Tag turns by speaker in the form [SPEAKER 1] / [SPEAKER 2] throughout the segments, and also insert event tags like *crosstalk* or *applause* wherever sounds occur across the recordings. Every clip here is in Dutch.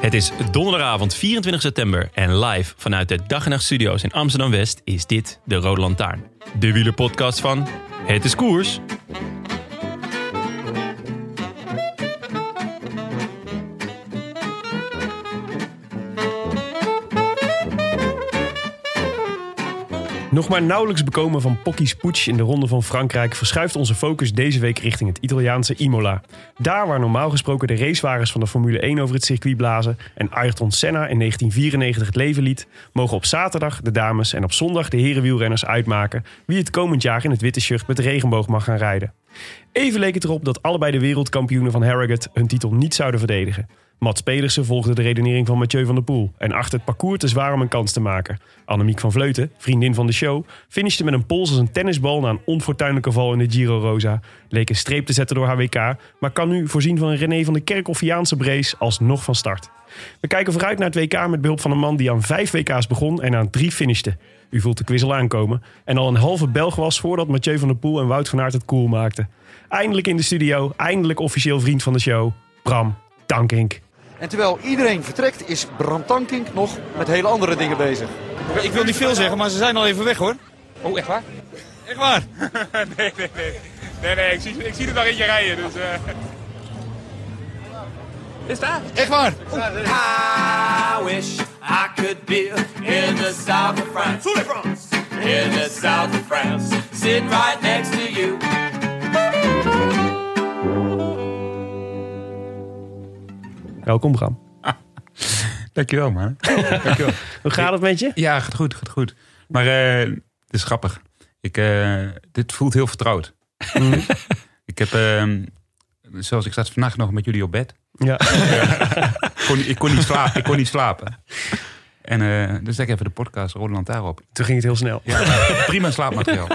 [SPEAKER 1] Het is donderdagavond 24 september en live vanuit de Dag en Nacht Studio's in Amsterdam-West is dit de Rode Lantaarn. De wielerpodcast van Het is Koers.
[SPEAKER 2] Nog maar nauwelijks bekomen van Pocky's Putsch in de Ronde van Frankrijk verschuift onze focus deze week richting het Italiaanse Imola. Daar waar normaal gesproken de racewagens van de Formule 1 over het circuit blazen en Ayrton Senna in 1994 het leven liet, mogen op zaterdag de dames en op zondag de herenwielrenners uitmaken wie het komend jaar in het witte shirt met de regenboog mag gaan rijden. Even leek het erop dat allebei de wereldkampioenen van Harrogate hun titel niet zouden verdedigen. Mats Pedersen volgde de redenering van Mathieu van der Poel en achter het parcours te zwaar om een kans te maken. Annemiek van Vleuten, vriendin van de show, finishte met een pols als een tennisbal na een onfortuinlijke val in de Giro Rosa. Leek een streep te zetten door haar WK, maar kan nu voorzien van een René van de Kerkhoffiaanse brace alsnog van start. We kijken vooruit naar het WK met behulp van een man die aan vijf WK's begon en aan drie finishte. U voelt de quiz al aankomen. En al een halve Belg was voordat Mathieu van der Poel en Wout van Aert het cool maakten. Eindelijk in de studio, eindelijk officieel vriend van de show, Bram Tankink.
[SPEAKER 3] En terwijl iedereen vertrekt, is Bram Tankink nog met hele andere dingen bezig.
[SPEAKER 4] Ik wil niet veel zeggen, maar ze zijn al even weg hoor.
[SPEAKER 3] Oh, echt waar?
[SPEAKER 4] Echt waar.
[SPEAKER 5] nee, nee, nee. Nee, nee, ik zie, ik zie er nog eentje rijden, dus... eh. Is daar?
[SPEAKER 4] Echt waar.
[SPEAKER 6] I wish I could be in the south of France. In the south of France. Sitting right next to you.
[SPEAKER 2] Welkom Bram.
[SPEAKER 5] Dankjewel, man. Dankjewel.
[SPEAKER 2] Hoe gaat het met je?
[SPEAKER 5] Ja, gaat goed, gaat goed. Maar eh, het is grappig. Ik, eh, dit voelt heel vertrouwd.
[SPEAKER 1] Mm.
[SPEAKER 5] *laughs* ik heb, eh, zoals ik zat vannacht nog met jullie op bed.
[SPEAKER 2] Ja. *laughs*
[SPEAKER 5] Ik kon, ik kon, niet, slapen, ik kon niet slapen. En eh, dus zet ik even de podcast Rode Lantaarn op.
[SPEAKER 2] Toen ging het heel snel.
[SPEAKER 5] Ja, prima slaapmateriaal.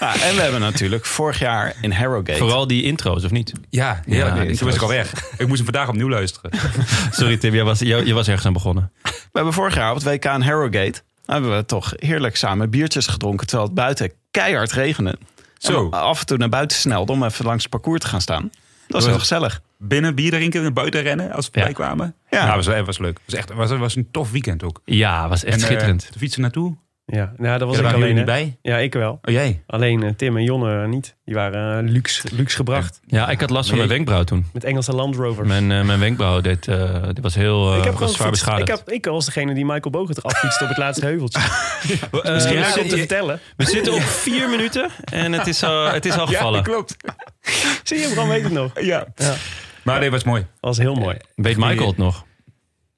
[SPEAKER 7] Nou, en we hebben natuurlijk vorig jaar in Harrogate.
[SPEAKER 1] Vooral die intro's, of niet?
[SPEAKER 5] Ja, heerlijk.
[SPEAKER 1] Ja,
[SPEAKER 5] Toen
[SPEAKER 1] ik
[SPEAKER 5] was ik
[SPEAKER 1] was-
[SPEAKER 5] al weg. Ik moest hem vandaag opnieuw luisteren.
[SPEAKER 1] Sorry Tim, jij was, jij- je was ergens aan begonnen.
[SPEAKER 7] We hebben vorig jaar op het WK in Harrogate. Hebben we toch heerlijk samen biertjes gedronken. Terwijl het buiten keihard regende.
[SPEAKER 5] Zo.
[SPEAKER 7] En we af en toe naar buiten snelde om even langs het parcours te gaan staan. Dat was heel gezellig.
[SPEAKER 5] Binnen bier drinken en buiten rennen als we
[SPEAKER 1] Ja.
[SPEAKER 5] bij kwamen.
[SPEAKER 7] Ja.
[SPEAKER 5] Ja, was, was, was leuk. Was echt, was, was een tof weekend ook.
[SPEAKER 1] Ja, was echt
[SPEAKER 5] en, eh,
[SPEAKER 1] schitterend.
[SPEAKER 5] de fietsen naartoe.
[SPEAKER 2] Ja, nou, dat was
[SPEAKER 5] Ja,
[SPEAKER 2] ik
[SPEAKER 5] waren
[SPEAKER 2] alleen.
[SPEAKER 5] jullie
[SPEAKER 2] hè.
[SPEAKER 5] niet
[SPEAKER 2] Ja, ik wel.
[SPEAKER 5] Oh jij?
[SPEAKER 2] Alleen eh, Tim en Jonne niet. Die waren eh, luxe, luxe gebracht.
[SPEAKER 1] ja, ik had last van mijn wenkbrauw toen.
[SPEAKER 2] Met Engelse Land Rover.
[SPEAKER 1] Mijn, eh, mijn wenkbrauw deed, eh, dit was heel eh, was zwaar
[SPEAKER 2] fiets- ik,
[SPEAKER 1] beschadigd.
[SPEAKER 2] heb, ik was degene die Michael Bogert eraf fietste op het laatste heuveltje.
[SPEAKER 1] Eh,
[SPEAKER 2] Misschien
[SPEAKER 1] ja,
[SPEAKER 2] leuk om te
[SPEAKER 1] je-
[SPEAKER 2] vertellen.
[SPEAKER 1] we zitten op vier minuten en het is, al- het *laughs* is al
[SPEAKER 5] Ja,
[SPEAKER 1] gevallen.
[SPEAKER 5] klopt.
[SPEAKER 2] Zie je, Bram weet het *laughs* nog.
[SPEAKER 5] Ja. Maar dit was mooi.
[SPEAKER 2] was heel mooi.
[SPEAKER 1] Weet Michael het nog?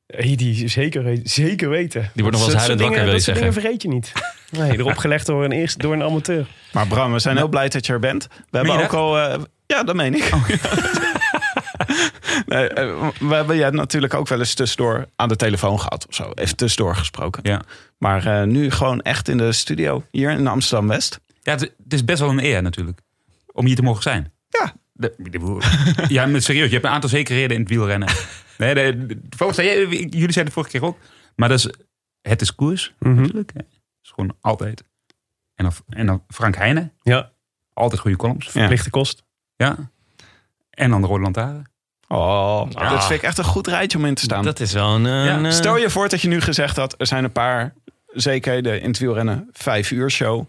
[SPEAKER 2] Hey, die Eh, zeker, zeker weten.
[SPEAKER 1] Die wordt nog wel eens
[SPEAKER 2] Dat
[SPEAKER 1] huilend
[SPEAKER 2] soort
[SPEAKER 1] wakker,
[SPEAKER 2] dingen-
[SPEAKER 1] wil je
[SPEAKER 2] Dat soort dingen
[SPEAKER 1] zeggen.
[SPEAKER 2] vergeet je niet.
[SPEAKER 1] *laughs*
[SPEAKER 2] Nee, erop gelegd door een, eerste, door een amateur.
[SPEAKER 7] Maar Bram, we zijn heel blij dat je er bent. We hebben
[SPEAKER 5] je
[SPEAKER 7] ook
[SPEAKER 5] dat?
[SPEAKER 7] al. eh, ja, dat meen *laughs* ik. nee, eh, we hebben jij natuurlijk ook wel eens tussendoor aan de telefoon gehad of zo. Even tussendoor gesproken.
[SPEAKER 5] Ja.
[SPEAKER 7] Maar eh, nu gewoon echt in de studio hier in Amsterdam West.
[SPEAKER 5] Ja, het, het is best wel een eer natuurlijk. Om hier te mogen zijn.
[SPEAKER 7] Ja.
[SPEAKER 5] De, de- de- *laughs* ja, maar serieus. Je hebt een aantal zekerheden in het wielrennen.
[SPEAKER 7] *laughs*
[SPEAKER 5] nee, de, de- volgens mij, jij- jullie zeiden het vorige keer ook. Maar dat is, het is koers
[SPEAKER 7] Mhm.
[SPEAKER 5] natuurlijk. hè. Het is gewoon altijd. En dan, en dan Frank Heijnen.
[SPEAKER 2] Ja.
[SPEAKER 5] Altijd goede columns.
[SPEAKER 7] Ja.
[SPEAKER 2] Lichte kost.
[SPEAKER 5] Ja. En dan de Rode Lantaarn.
[SPEAKER 7] Oh,
[SPEAKER 1] Ah.
[SPEAKER 7] dat vind ik echt een goed rijtje om in te staan.
[SPEAKER 1] Dat is wel een... eh,
[SPEAKER 5] Ja,
[SPEAKER 1] een, eh,
[SPEAKER 7] Stel
[SPEAKER 1] *laughs*
[SPEAKER 7] je voor dat je nu gezegd had, er zijn een paar zekerheden in het wielrennen. Vijf uur show.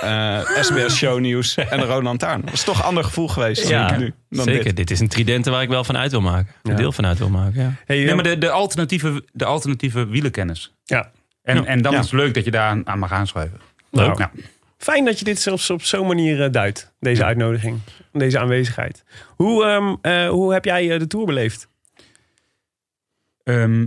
[SPEAKER 7] eh, SBS Show Nieuws en de Roland Taarn. Dat is toch een ander gevoel geweest
[SPEAKER 1] Ja,
[SPEAKER 7] nu dan
[SPEAKER 1] zeker.
[SPEAKER 7] dit.
[SPEAKER 1] Dit. is een tridente waar ik wel van uit wil maken. Een
[SPEAKER 2] Ja.
[SPEAKER 1] deel van uit wil maken, ja.
[SPEAKER 2] Hey,
[SPEAKER 5] Nee,
[SPEAKER 2] Jan.
[SPEAKER 5] maar de, de, alternatieve, de alternatieve wielenkennis.
[SPEAKER 2] ja.
[SPEAKER 5] En, en dan
[SPEAKER 7] Ja.
[SPEAKER 5] is het leuk dat je daar aan, aan mag aanschuiven.
[SPEAKER 2] Leuk.
[SPEAKER 5] Nou,
[SPEAKER 2] Fijn dat je dit zelfs op zo'n manier eh, duidt. Deze uitnodiging. Deze aanwezigheid. Hoe, ehm, eh, hoe heb jij eh, de Tour beleefd?
[SPEAKER 5] ehm,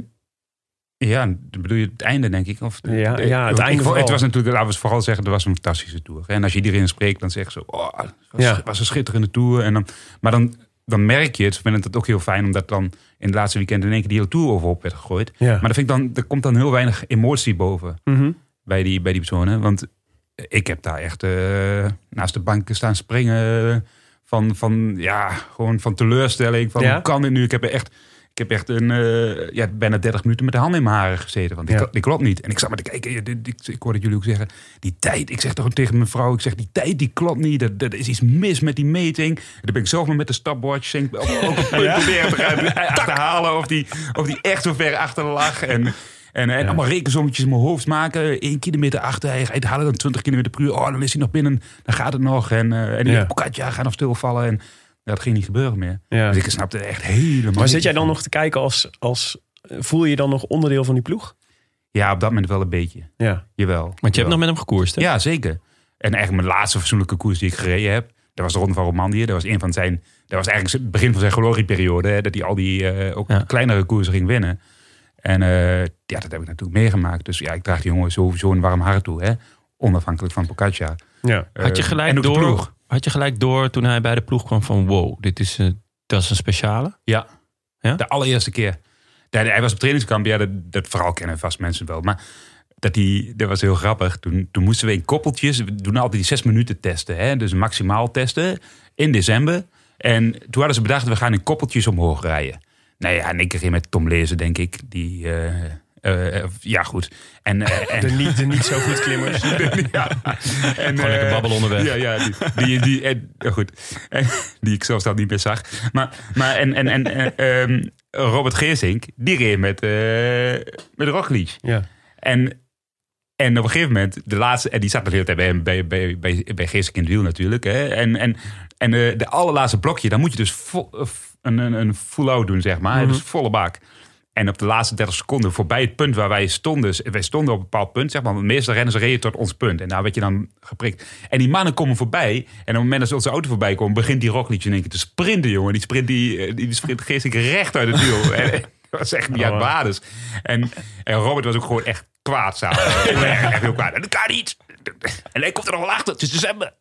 [SPEAKER 5] ja, dan bedoel je het einde, denk ik? Of,
[SPEAKER 2] Ja, ja, het
[SPEAKER 5] Ik- ik-
[SPEAKER 2] einde vooral.
[SPEAKER 5] Het was natuurlijk, laten we het vooral zeggen, het was een fantastische tour. En als je iedereen spreekt, dan zeggen ze, oh, het was,
[SPEAKER 2] Ja.
[SPEAKER 5] was een schitterende tour. En dan, maar dan, dan merk je het, ik vind het ook heel fijn, omdat dan in het laatste weekend in één keer die hele tour overop werd gegooid.
[SPEAKER 2] Ja.
[SPEAKER 5] Maar dat vind ik dan, er komt dan heel weinig emotie boven.
[SPEAKER 2] Mhm.
[SPEAKER 5] bij die, bij die personen. Want ik heb daar echt eh, naast de banken staan springen. Van, van, ja, gewoon van teleurstelling. Van
[SPEAKER 2] Ja?
[SPEAKER 5] hoe kan dit nu? Ik heb echt, ik heb echt een, eh, ja, bijna 30 minuten met de handen in mijn haren gezeten. Want
[SPEAKER 2] Ja.
[SPEAKER 5] ik, ik klopt niet. En ik zat maar te kijken. ja, dit- Ik, ik hoorde jullie ook zeggen. Die tijd. Ik zeg toch tegen mijn vrouw. Ik zeg die tijd die klopt niet. Er, er is iets mis met die meting. En dan ben ik zelf maar met de stopwatch. denk ik, Ook,
[SPEAKER 2] *laughs*
[SPEAKER 5] ook een punt proberen te gaan- eh, achterhalen. Of die, of die echt zo ver achter lag. En, en, en allemaal rekensommetjes in mijn hoofd maken. 1 kilometer achter, hij gaat halen dan 20 kilometer per uur. Oh, dan is hij nog binnen, dan gaat het nog. En, eh en die
[SPEAKER 2] Ja.
[SPEAKER 5] Pocatja gaat nog stilvallen. En ja, dat ging niet gebeuren meer.
[SPEAKER 2] Ja.
[SPEAKER 5] Dus ik snapte er echt helemaal
[SPEAKER 2] Maar zit
[SPEAKER 5] niks
[SPEAKER 2] jij dan
[SPEAKER 5] van.
[SPEAKER 2] nog te kijken als, als... eh, Voel je je dan nog onderdeel van die ploeg?
[SPEAKER 5] Ja, op dat moment wel een beetje.
[SPEAKER 2] Ja.
[SPEAKER 5] Jawel.
[SPEAKER 1] Want je hebt nog
[SPEAKER 5] Jawel.
[SPEAKER 1] met hem gekoerst, hè?
[SPEAKER 5] Ja, zeker. En echt mijn laatste fatsoenlijke koers die ik gereden heb. Dat was de Ronde van Romandie. Dat was een van zijn... Dat was eigenlijk het begin van zijn glorieperiode. hè, Dat hij al die eh, ook
[SPEAKER 1] Ja.
[SPEAKER 5] kleinere koersen ging winnen. En eh, ja, dat heb ik natuurlijk meegemaakt. Dus ja, ik draag die jongen sowieso een warm hart toe. Hè? Onafhankelijk van Pocaccia.
[SPEAKER 2] Ja.
[SPEAKER 5] Eh,
[SPEAKER 1] Had je, gelijk
[SPEAKER 5] en ook de
[SPEAKER 1] door,
[SPEAKER 5] ploeg.
[SPEAKER 1] had je gelijk door toen hij bij de ploeg kwam van... wow, dit is, eh, dat is een speciale?
[SPEAKER 5] Ja.
[SPEAKER 1] Ja?
[SPEAKER 5] De allereerste keer. Ja, hij was op trainingskamp. Ja, dat, dat verhaal kennen vast mensen wel. Maar dat, die, dat was heel grappig. Toen, toen moesten we in koppeltjes... We doen altijd die zes minuten testen. Hè? Dus maximaal testen. In december. En toen hadden ze bedacht... We gaan in koppeltjes omhoog rijden. Nou ja, en ik ging met Tom Lezen, denk ik. Die... eh, eh, ja, goed.
[SPEAKER 2] *laughs*
[SPEAKER 5] En, eh, en,
[SPEAKER 2] De niet, de niet zo goed
[SPEAKER 5] *laughs*
[SPEAKER 2] klimmers.
[SPEAKER 5] ja. En,
[SPEAKER 1] Gewoon lekker
[SPEAKER 5] eh,
[SPEAKER 1] babbelen onderweg.
[SPEAKER 5] Ja, ja die, die, die, en, ja, goed. En, die ik zelfs dan niet meer zag. Maar, maar en, en, en eh, ehm, Robert Geersink, die reed met, eh met Roglic.
[SPEAKER 2] Ja.
[SPEAKER 5] En, en op een gegeven moment, de laatste, en die zat nog de hele tijd bij, hem, bij, bij, bij, bij Geesink in het wiel natuurlijk. Hè? En, en, en eh, de allerlaatste blokje, dan moet je dus vo- eh, f- een, een, een full-out doen, zeg maar. Dus volle baak. En op de laatste 30 seconden, voorbij het punt waar wij stonden. s- Wij stonden op een bepaald punt, zeg maar. Want de meeste renners reden tot ons punt. En daar werd je dan geprikt. En die mannen komen voorbij. En op het moment dat ze onze auto voorbij komen, begint die Roglic in één keer te sprinten, jongen. Die sprint, die, eh, die sprint Geesink recht uit het wiel. en, *laughs* en dat was echt niet aan basis. En, en Robert was ook gewoon echt kwaad samen. echt, echt heel kwaad. En dat kan niet. En hij komt er nog wel achter. Het is december.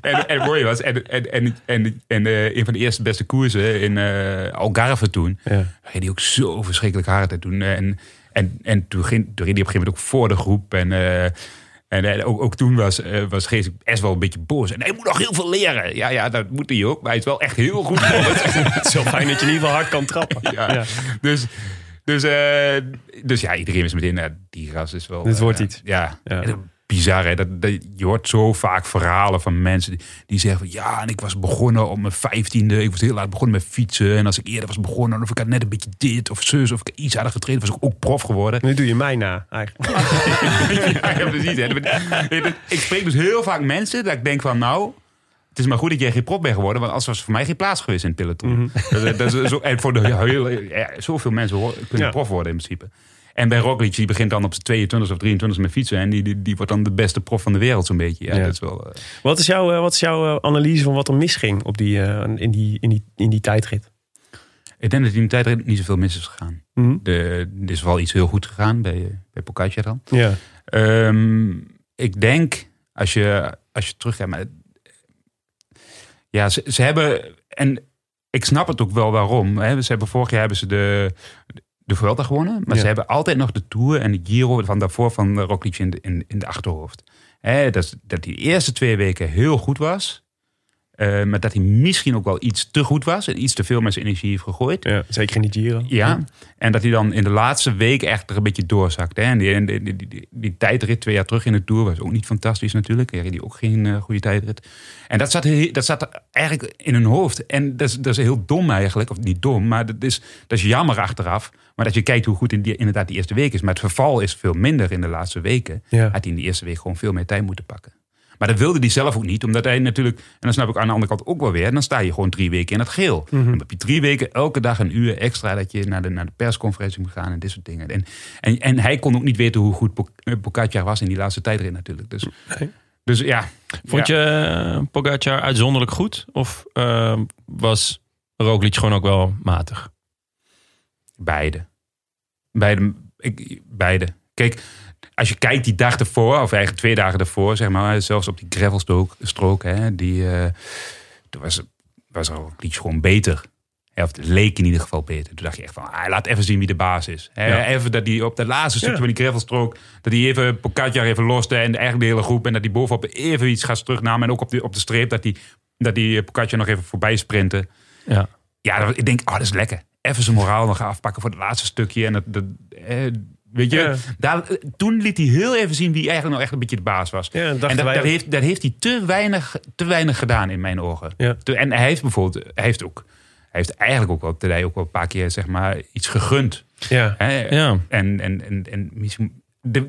[SPEAKER 5] en, en het mooie was, en, en, en, en, en eh, een van de eerste beste koersen in eh, Algarve toen,
[SPEAKER 2] Ja.
[SPEAKER 5] reed hij ook zo verschrikkelijk hard. En toen, eh, en, en, en toen, ging, toen reed hij op een gegeven moment ook voor de groep. En, eh, en, eh, ook, ook toen was, eh, was Gees best wel een beetje boos. En hij moet nog heel veel leren. Ja, ja, dat moet hij ook. Maar hij is wel echt heel
[SPEAKER 2] *laughs*
[SPEAKER 5] goed.
[SPEAKER 2] Het is wel fijn dat je in ieder geval hard kan trappen.
[SPEAKER 1] *laughs*
[SPEAKER 5] *laughs* ja.
[SPEAKER 2] Ja.
[SPEAKER 5] Dus, dus, eh, dus ja, iedereen is meteen, eh, die ras is wel...
[SPEAKER 2] Dit
[SPEAKER 5] eh,
[SPEAKER 2] wordt iets.
[SPEAKER 5] Ja,
[SPEAKER 2] Ja.
[SPEAKER 5] En dat- bizar hè. Dat, dat, je hoort zo vaak verhalen van mensen die, die zeggen van... Ja, en ik was begonnen op mijn vijftiende. Ik was heel laat begonnen met fietsen. En als ik eerder was begonnen, of ik had net een beetje dit of zus... of ik iets harder getraind, was ik ook prof geworden.
[SPEAKER 2] Nu doe je mij na, eigenlijk.
[SPEAKER 5] ja, precies. Hè. Ik spreek dus heel vaak mensen dat ik denk van nou... Het is maar goed dat jij geen prop bent geworden, want anders was er voor mij geen plaats geweest in het peloton.
[SPEAKER 2] Mhm.
[SPEAKER 5] dat, dat is zo, en voor de hele, ja, zoveel mensen ho- kunnen
[SPEAKER 2] Ja.
[SPEAKER 5] prof worden in principe. En bij Roglic, die begint dan op zijn 22 of 23 met fietsen. En die, die, die wordt dan de beste prof van de wereld zo'n beetje. Ja,
[SPEAKER 2] Ja.
[SPEAKER 5] Dat is wel, eh,
[SPEAKER 2] Wat is jouw, eh, wat is jouw eh, analyse van wat er misging op die, eh, in, die, in, die, in die tijdrit?
[SPEAKER 5] ik denk dat in de tijd niet zoveel mis is gegaan.
[SPEAKER 2] Mhm.
[SPEAKER 5] De, er is wel iets heel goed gegaan bij, eh, bij Pocaccia dan.
[SPEAKER 2] Ja.
[SPEAKER 5] Ehm, ik denk, als je, als je teruggaat... Maar, ja, ze, ze hebben... En ik snap het ook wel waarom. Hè. Ze hebben, vorig jaar hebben ze de, de Vuelta gewonnen. Maar
[SPEAKER 2] Ja.
[SPEAKER 5] ze hebben altijd nog de Tour en de Giro van daarvoor van eh, Roglic in de, in, in de achterhoofd. Hè, dat, is- dat die eerste twee weken heel goed was. eh, maar dat hij misschien ook wel iets te goed was. En iets te veel met zijn energie heeft gegooid.
[SPEAKER 2] ja. Zeker in die Giro.
[SPEAKER 5] Ja, en dat hij dan in de laatste week echt er een beetje doorzakt. Hè? En die, en die, die, die, die tijdrit twee jaar terug in de Tour was ook niet fantastisch natuurlijk. Hij reed ook geen eh, goede tijdrit. En dat zat, heel- dat zat eigenlijk in hun hoofd. En dat is, dat is heel dom eigenlijk. Of niet dom, maar dat is, dat is jammer achteraf. Maar dat je kijkt hoe goed in die, inderdaad die eerste week is. Maar het verval is veel minder in de laatste weken.
[SPEAKER 2] Ja.
[SPEAKER 5] Had hij in die eerste week gewoon veel meer tijd moeten pakken. Maar dat wilde hij zelf ook niet, omdat hij natuurlijk... En dan snap ik aan de andere kant ook wel weer... dan sta je gewoon drie weken in het geel.
[SPEAKER 1] Mhm.
[SPEAKER 5] Dan heb je drie weken, elke dag een uur extra... dat je naar de, naar de persconferentie moet gaan en dit soort dingen. En, en, en hij kon ook niet weten hoe goed Bo- eh, Pogacar was in die laatste tijdrit natuurlijk. Dus, dus ja.
[SPEAKER 1] Vond
[SPEAKER 5] Ja.
[SPEAKER 1] je eh, Pogacar uitzonderlijk goed? Of eh, was Roglic gewoon ook wel matig?
[SPEAKER 5] Beide. Beide. Ik, beide. Kijk, als je kijkt die dag ervoor, of eigenlijk twee dagen ervoor, zeg maar, zelfs op die gravelstrook, strook, hè, die, eh toen was, was al iets gewoon beter. Hè, Of het leek in ieder geval beter. Toen dacht je echt van, ah, laat even zien wie de baas is. Hè,
[SPEAKER 1] Ja.
[SPEAKER 5] Even dat die op dat laatste stukje van die gravelstrook, dat hij even Pogacar even loste en eigenlijk de hele groep. En dat die bovenop even iets gaat terugnamen. En ook op de, op de streep dat die, dat die Pogacar nog even voorbij sprinten.
[SPEAKER 1] Ja.
[SPEAKER 5] Ja, dat- ik denk, oh, dat is lekker. Even zijn moraal nog afpakken voor het laatste stukje. En dat, dat, eh, weet je,
[SPEAKER 2] Ja.
[SPEAKER 5] daar, toen liet hij heel even zien wie eigenlijk nog echt een beetje de baas was.
[SPEAKER 2] Ja, dat dachten
[SPEAKER 5] en dat,
[SPEAKER 2] wij
[SPEAKER 5] dat
[SPEAKER 2] ook.
[SPEAKER 5] heeft, dat heeft hij te weinig, te weinig gedaan in mijn ogen.
[SPEAKER 2] Ja.
[SPEAKER 5] Te- En hij heeft bijvoorbeeld, hij heeft ook, hij heeft eigenlijk ook wel, hij ook wel een paar keer zeg maar iets gegund.
[SPEAKER 2] Ja.
[SPEAKER 5] Hè?
[SPEAKER 1] Ja.
[SPEAKER 5] En, en, en, en misschien. De,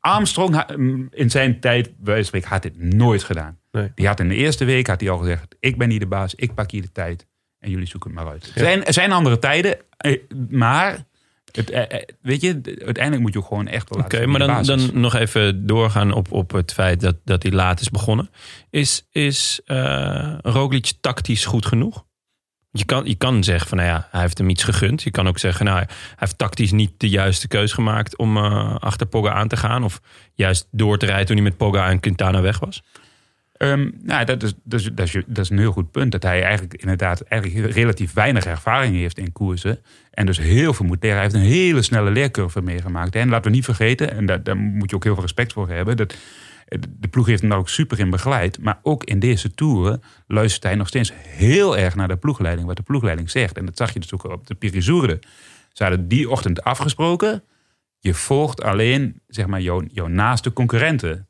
[SPEAKER 5] Armstrong ha- mm, in zijn tijd, bij wijze van spreken, had dit nooit gedaan.
[SPEAKER 2] Nee.
[SPEAKER 5] Die had in de eerste week had hij al gezegd: Ik ben hier de baas, ik pak hier de tijd. En jullie zoeken het maar uit. Er zijn, er zijn andere tijden, eh, maar. Het, eh, eh, weet je, d- uiteindelijk moet je ook gewoon echt wel
[SPEAKER 1] Oké,
[SPEAKER 5] laten zien
[SPEAKER 1] maar
[SPEAKER 5] wie de
[SPEAKER 1] dan,
[SPEAKER 5] baas is.
[SPEAKER 1] dan nog even doorgaan op, op het feit dat, dat hij laat is begonnen. Is, is eh, Roglic tactisch goed genoeg? Je kan, je kan zeggen van, nou ja, hij heeft hem iets gegund. Je kan ook zeggen, nou, hij heeft tactisch niet de juiste keus gemaakt om eh, achter Pogga aan te gaan. Of juist door te rijden toen hij met Pogga en Quintana weg was.
[SPEAKER 5] Ehm, nou, dat is, dat, is, dat, is, dat is een heel goed punt. Dat hij eigenlijk inderdaad eigenlijk relatief weinig ervaring heeft in koersen. En dus heel veel moet leren. Hij heeft een hele snelle leercurve meegemaakt. En laten we niet vergeten, en daar, daar moet je ook heel veel respect voor hebben. Dat, de ploeg heeft hem daar ook super in begeleid. Maar ook in deze toeren luistert hij nog steeds heel erg naar de ploegleiding. Wat de ploegleiding zegt. En dat zag je dus ook op de Pirisourde. Ze hadden die ochtend afgesproken. Je volgt alleen zeg maar, jouw, jouw naaste concurrenten.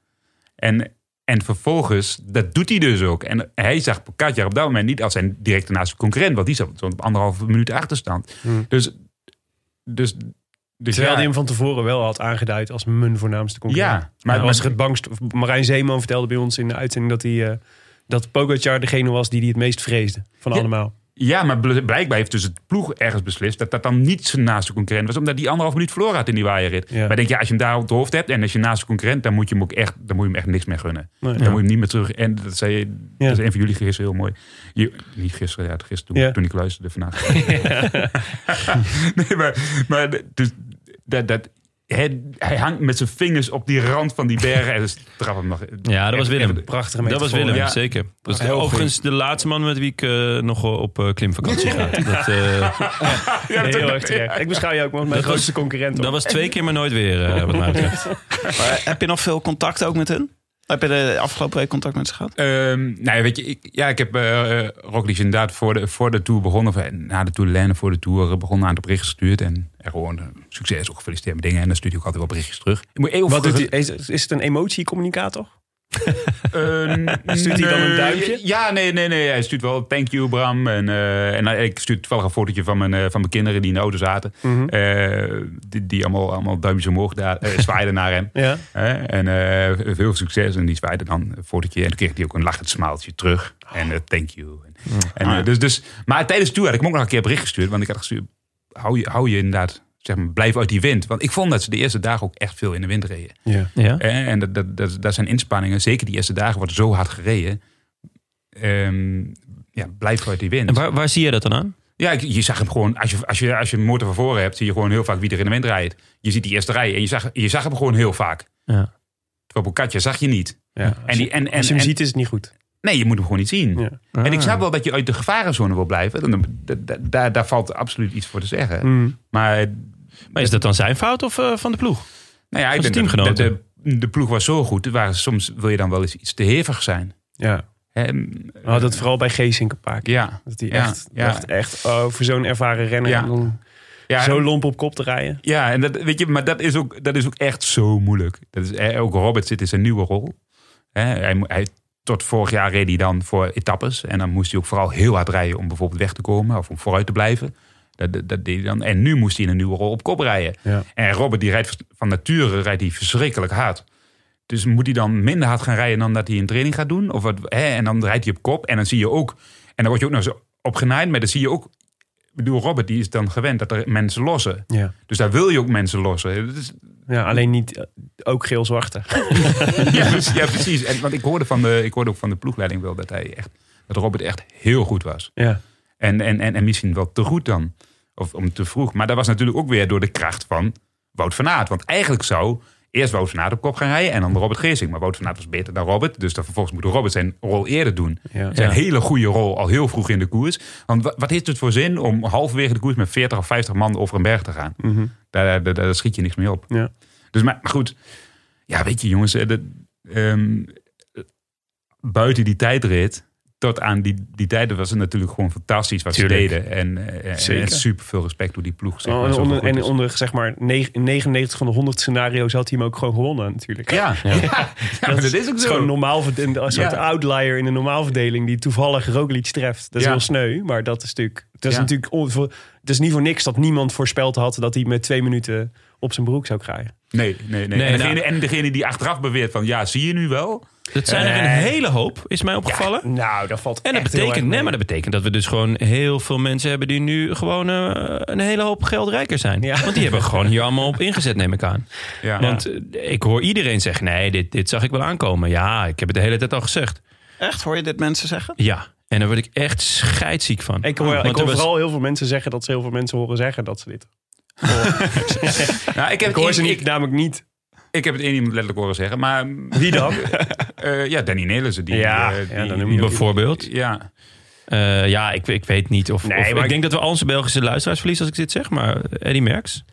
[SPEAKER 5] En, en vervolgens, dat doet hij dus ook. En hij zag Pogacar op dat moment niet als zijn directe naaste concurrent. Want die zat op zo'n anderhalve minuut achterstand. Dus, dus, dus
[SPEAKER 2] Hmm. Terwijl
[SPEAKER 5] ja,
[SPEAKER 2] hij hem van tevoren wel had aangeduid als mijn voornaamste concurrent.
[SPEAKER 5] Ja, maar-
[SPEAKER 2] maar was er het bangst. of Marijn Zeeman vertelde bij ons in de uitzending dat hij. eh, dat Pogacar degene was die hij het meest vreesde van
[SPEAKER 5] Ja.
[SPEAKER 2] allemaal.
[SPEAKER 5] ja, maar bl- blijkbaar heeft dus het ploeg ergens beslist... dat dat dan niet zijn naaste concurrent was. Omdat die anderhalve minuut verloren had in die waaierrit.
[SPEAKER 2] Ja.
[SPEAKER 5] Maar denk je, als je hem daar op het hoofd hebt... en als je naaste concurrent, dan moet je hem ook echt, dan moet je hem echt niks meer gunnen.
[SPEAKER 2] Nee.
[SPEAKER 5] dan moet je hem niet meer terug... En dat zei
[SPEAKER 2] Ja.
[SPEAKER 5] dat is een van jullie gisteren heel mooi. Je, niet gisteren, ja, gisteren toen,
[SPEAKER 2] Ja.
[SPEAKER 5] toen ik luisterde
[SPEAKER 2] *laughs*
[SPEAKER 5] vandaag. *laughs* nee, maar, maar dus, dat, dat, hij, hij hangt met zijn vingers op die rand van die bergen. En dus trap hem nog.
[SPEAKER 1] Ja, dat was Willem.
[SPEAKER 2] Prachtige
[SPEAKER 1] Dat was Willem,
[SPEAKER 5] Ja.
[SPEAKER 1] zeker. Dat is
[SPEAKER 5] Heel
[SPEAKER 1] overigens de laatste man met wie ik eh, nog op eh, klimvakantie *laughs* ga. Dat, eh,
[SPEAKER 5] Ja, dat-
[SPEAKER 2] Heel erg terecht. Ik beschouw je ook als mijn
[SPEAKER 1] Dat was-
[SPEAKER 2] grootste concurrent.
[SPEAKER 1] dat
[SPEAKER 2] hoor.
[SPEAKER 1] was twee keer maar nooit weer, eh, wat mij betreft.
[SPEAKER 7] Maar heb je nog veel contact ook met hun? Heb je de afgelopen week contact met ze gehad?
[SPEAKER 5] Ehm, nou, ja, weet je, ik, ja, ik heb eh eh, Roglic inderdaad voor de, voor de Tour begonnen. Of, eh, na de Tour de Laine voor de Tour eh, begonnen aan het bericht gestuurd. En er gewoon eh, succes, ook gefeliciteerd met dingen. En dan stuurt hij ook altijd wel berichtjes terug. Ik moet even
[SPEAKER 2] Wat doet hij- is, is het een emotiecommunicator?
[SPEAKER 5] *laughs*
[SPEAKER 2] Stuurt hij dan een duimpje?
[SPEAKER 5] Ja, nee, nee, nee. Hij stuurt wel thank you Bram. En, eh, en ik stuur toevallig een fotootje van mijn, eh, van mijn kinderen die in de auto zaten. Eh, die die allemaal, allemaal duimpjes omhoog daar, eh, zwaaiden naar hem.
[SPEAKER 2] Ja.
[SPEAKER 5] Hè? En eh, veel succes. En die zwaaide dan een fotootje. En toen kreeg hij ook een lachend smaaltje terug. En eh, thank you. En, en, eh, dus, dus, maar tijdens de tour had ik hem ook nog een keer bericht gestuurd. Want ik had gestuurd, hou je, hou je inderdaad, zeg maar, blijf uit die wind. Want ik vond dat ze de eerste dagen ook echt veel in de wind reden.
[SPEAKER 2] Ja.
[SPEAKER 1] Ja?
[SPEAKER 5] Eh, En dat, dat, dat, dat zijn inspanningen. Zeker die eerste dagen wordt zo hard gereden. Ehm, ja, blijf uit die wind.
[SPEAKER 1] En waar, waar zie je dat dan aan?
[SPEAKER 5] Ja, ik- je zag hem gewoon, als je, als, je, als je een motor van voren hebt, zie je gewoon heel vaak wie er in de wind rijdt. Je ziet die eerste rij en je zag, je zag hem gewoon heel vaak.
[SPEAKER 1] Ja.
[SPEAKER 5] Terwijl Bocatja zag je niet.
[SPEAKER 2] Ja.
[SPEAKER 5] En die, en, en,
[SPEAKER 2] Als je hem
[SPEAKER 5] en-
[SPEAKER 2] ziet is het niet goed.
[SPEAKER 5] Nee, je moet hem gewoon niet zien.
[SPEAKER 2] Ja. Ah.
[SPEAKER 5] En ik snap wel dat je uit de gevarenzone wil blijven. Dan- da- da- Daar, daar valt absoluut iets voor te
[SPEAKER 2] Hm.
[SPEAKER 5] zeggen.
[SPEAKER 2] Hmm.
[SPEAKER 5] Maar
[SPEAKER 1] Maar is dat dan zijn fout of eh, van de ploeg?
[SPEAKER 5] nou ja, ik
[SPEAKER 1] Als
[SPEAKER 5] denk dat- dat
[SPEAKER 1] teamgenoten.
[SPEAKER 5] de, de ploeg was zo goed. Waar, soms wil je dan wel eens iets te hevig zijn.
[SPEAKER 2] Ja.
[SPEAKER 5] Hè,
[SPEAKER 2] We hadden het vooral bij Geesink een paar keer.
[SPEAKER 5] Ja.
[SPEAKER 2] Dat hij
[SPEAKER 5] Ja,
[SPEAKER 2] echt,
[SPEAKER 5] ja.
[SPEAKER 2] dacht echt oh, voor zo'n ervaren renner
[SPEAKER 5] Ja.
[SPEAKER 2] om dan
[SPEAKER 5] Ja,
[SPEAKER 2] zo lomp op kop te rijden.
[SPEAKER 5] ja en dat, weet je, maar dat is, ook, dat is ook echt zo moeilijk. Dat is, eh, ook Robert zit in zijn nieuwe rol. Hè, hij, mo- hij, tot vorig jaar reed hij dan voor etappes. En dan moest hij ook vooral heel hard rijden om bijvoorbeeld weg te komen of om vooruit te blijven. Dat, dat, dat deed hij dan. En nu moest hij in een nieuwe rol op kop rijden.
[SPEAKER 2] Ja.
[SPEAKER 5] En Robert die rijdt van nature rijdt hij verschrikkelijk hard. Dus moet hij dan minder hard gaan rijden dan dat hij in training gaat doen? Of wat, hè? En dan rijdt hij op kop. En dan zie je ook. En dan word je ook nog zo opgenaaid. Maar dan zie je ook. Ik bedoel, Robert die is dan gewend dat er mensen lossen.
[SPEAKER 2] Ja.
[SPEAKER 5] Dus daar wil je ook mensen lossen. Dat is-
[SPEAKER 2] *laughs*
[SPEAKER 5] *laughs*
[SPEAKER 2] Ja, alleen niet eh, ook geel-zwarte.
[SPEAKER 5] ja, precies, Dus, ja, precies. En, want ik hoorde, van de, ik hoorde ook van de ploegleiding wel dat hij echt. Dat Robert echt heel goed was.
[SPEAKER 2] Ja.
[SPEAKER 5] En, en, en, en misschien wel te goed dan. Of om te vroeg. Maar dat was natuurlijk ook weer door de kracht van Wout van Aert. Want eigenlijk zou eerst Wout van Aert op kop gaan rijden en dan Robert Geesing. Maar Wout van Aert was beter dan Robert. Dus dan vervolgens moet Robert zijn rol eerder doen.
[SPEAKER 2] Ja.
[SPEAKER 5] Zijn
[SPEAKER 1] Ja.
[SPEAKER 5] hele goede rol al heel vroeg in de koers. Want wa- wat heeft het voor zin om halverwege de koers met 40 of 50 man over een berg te gaan?
[SPEAKER 2] Mhm.
[SPEAKER 5] Daar, daar, daar schiet je niks mee op.
[SPEAKER 2] Ja.
[SPEAKER 5] Dus maar, maar goed, ja, weet je jongens, eh, dat, ehm, eh, buiten die tijdrit, tot aan die, die tijden was het natuurlijk gewoon fantastisch wat
[SPEAKER 2] Tuurlijk.
[SPEAKER 5] ze deden. En, eh, en,
[SPEAKER 2] Zeker.
[SPEAKER 5] super veel respect door die ploeg. Zeg maar,
[SPEAKER 2] Oh, en
[SPEAKER 5] zo
[SPEAKER 2] onder,
[SPEAKER 5] goed
[SPEAKER 2] en
[SPEAKER 5] is.
[SPEAKER 2] onder zeg maar neg- 99 van de 100 scenario's had hij hem ook gewoon gewonnen natuurlijk.
[SPEAKER 5] ja, ja. *laughs* ja, maar dat is ook
[SPEAKER 2] Het is
[SPEAKER 5] zo.
[SPEAKER 2] gewoon een normaal verd- een soort
[SPEAKER 5] Ja.
[SPEAKER 2] outlier in de normaalverdeling die toevallig Roglic treft. Dat is
[SPEAKER 5] Ja.
[SPEAKER 2] heel sneu, maar dat is natuurlijk... Het is,
[SPEAKER 5] Ja.
[SPEAKER 2] natuurlijk on- voor- het is niet voor niks dat niemand voorspeld had dat hij met twee minuten op zijn broek zou krijgen.
[SPEAKER 5] Nee, nee, nee.
[SPEAKER 1] Nee,
[SPEAKER 5] en, degene,
[SPEAKER 1] nou-
[SPEAKER 5] en degene die achteraf beweert van ja, zie je nu wel?
[SPEAKER 1] Dat zijn er een hele hoop, is mij opgevallen.
[SPEAKER 2] Nou, dat valt
[SPEAKER 1] En dat
[SPEAKER 2] echt heel erg
[SPEAKER 1] betekent,
[SPEAKER 2] mee.
[SPEAKER 1] nee, maar dat betekent dat we dus gewoon heel veel mensen hebben die nu gewoon eh, een hele hoop geld rijker zijn.
[SPEAKER 2] Ja.
[SPEAKER 1] Want die hebben gewoon hier allemaal *laughs* op ingezet, neem ik aan.
[SPEAKER 5] Ja.
[SPEAKER 1] Want eh, ik hoor iedereen zeggen, nee, dit, dit zag ik wel aankomen. Ja, ik heb het de hele tijd al gezegd.
[SPEAKER 7] Echt, hoor je dit mensen zeggen?
[SPEAKER 1] Ja, en daar word ik echt scheidziek van.
[SPEAKER 2] Ik hoor, ik
[SPEAKER 1] Want
[SPEAKER 2] hoor
[SPEAKER 1] er was-
[SPEAKER 2] vooral heel veel mensen zeggen dat ze heel veel mensen horen zeggen dat ze
[SPEAKER 5] *laughs*
[SPEAKER 2] dit.
[SPEAKER 5] Nou, ik, heb
[SPEAKER 2] Ik hoor
[SPEAKER 5] het
[SPEAKER 2] ze
[SPEAKER 5] één-
[SPEAKER 2] niet,
[SPEAKER 5] ik,
[SPEAKER 2] namelijk niet.
[SPEAKER 5] ik heb het één iemand letterlijk horen zeggen, maar
[SPEAKER 2] Wie dan?
[SPEAKER 5] *laughs* eh, ja, Danny Nelissen. Die,
[SPEAKER 2] Ja,
[SPEAKER 5] eh,
[SPEAKER 2] ja,
[SPEAKER 5] die-
[SPEAKER 2] dan noem je ook
[SPEAKER 1] Bijvoorbeeld.
[SPEAKER 5] ja.
[SPEAKER 1] Eh, ja, ik, ik weet niet of...
[SPEAKER 2] Nee,
[SPEAKER 1] of-
[SPEAKER 2] maar ik-
[SPEAKER 1] ik denk dat we al onze Belgische luisteraars verliezen als ik dit zeg, maar Eddie Merckx.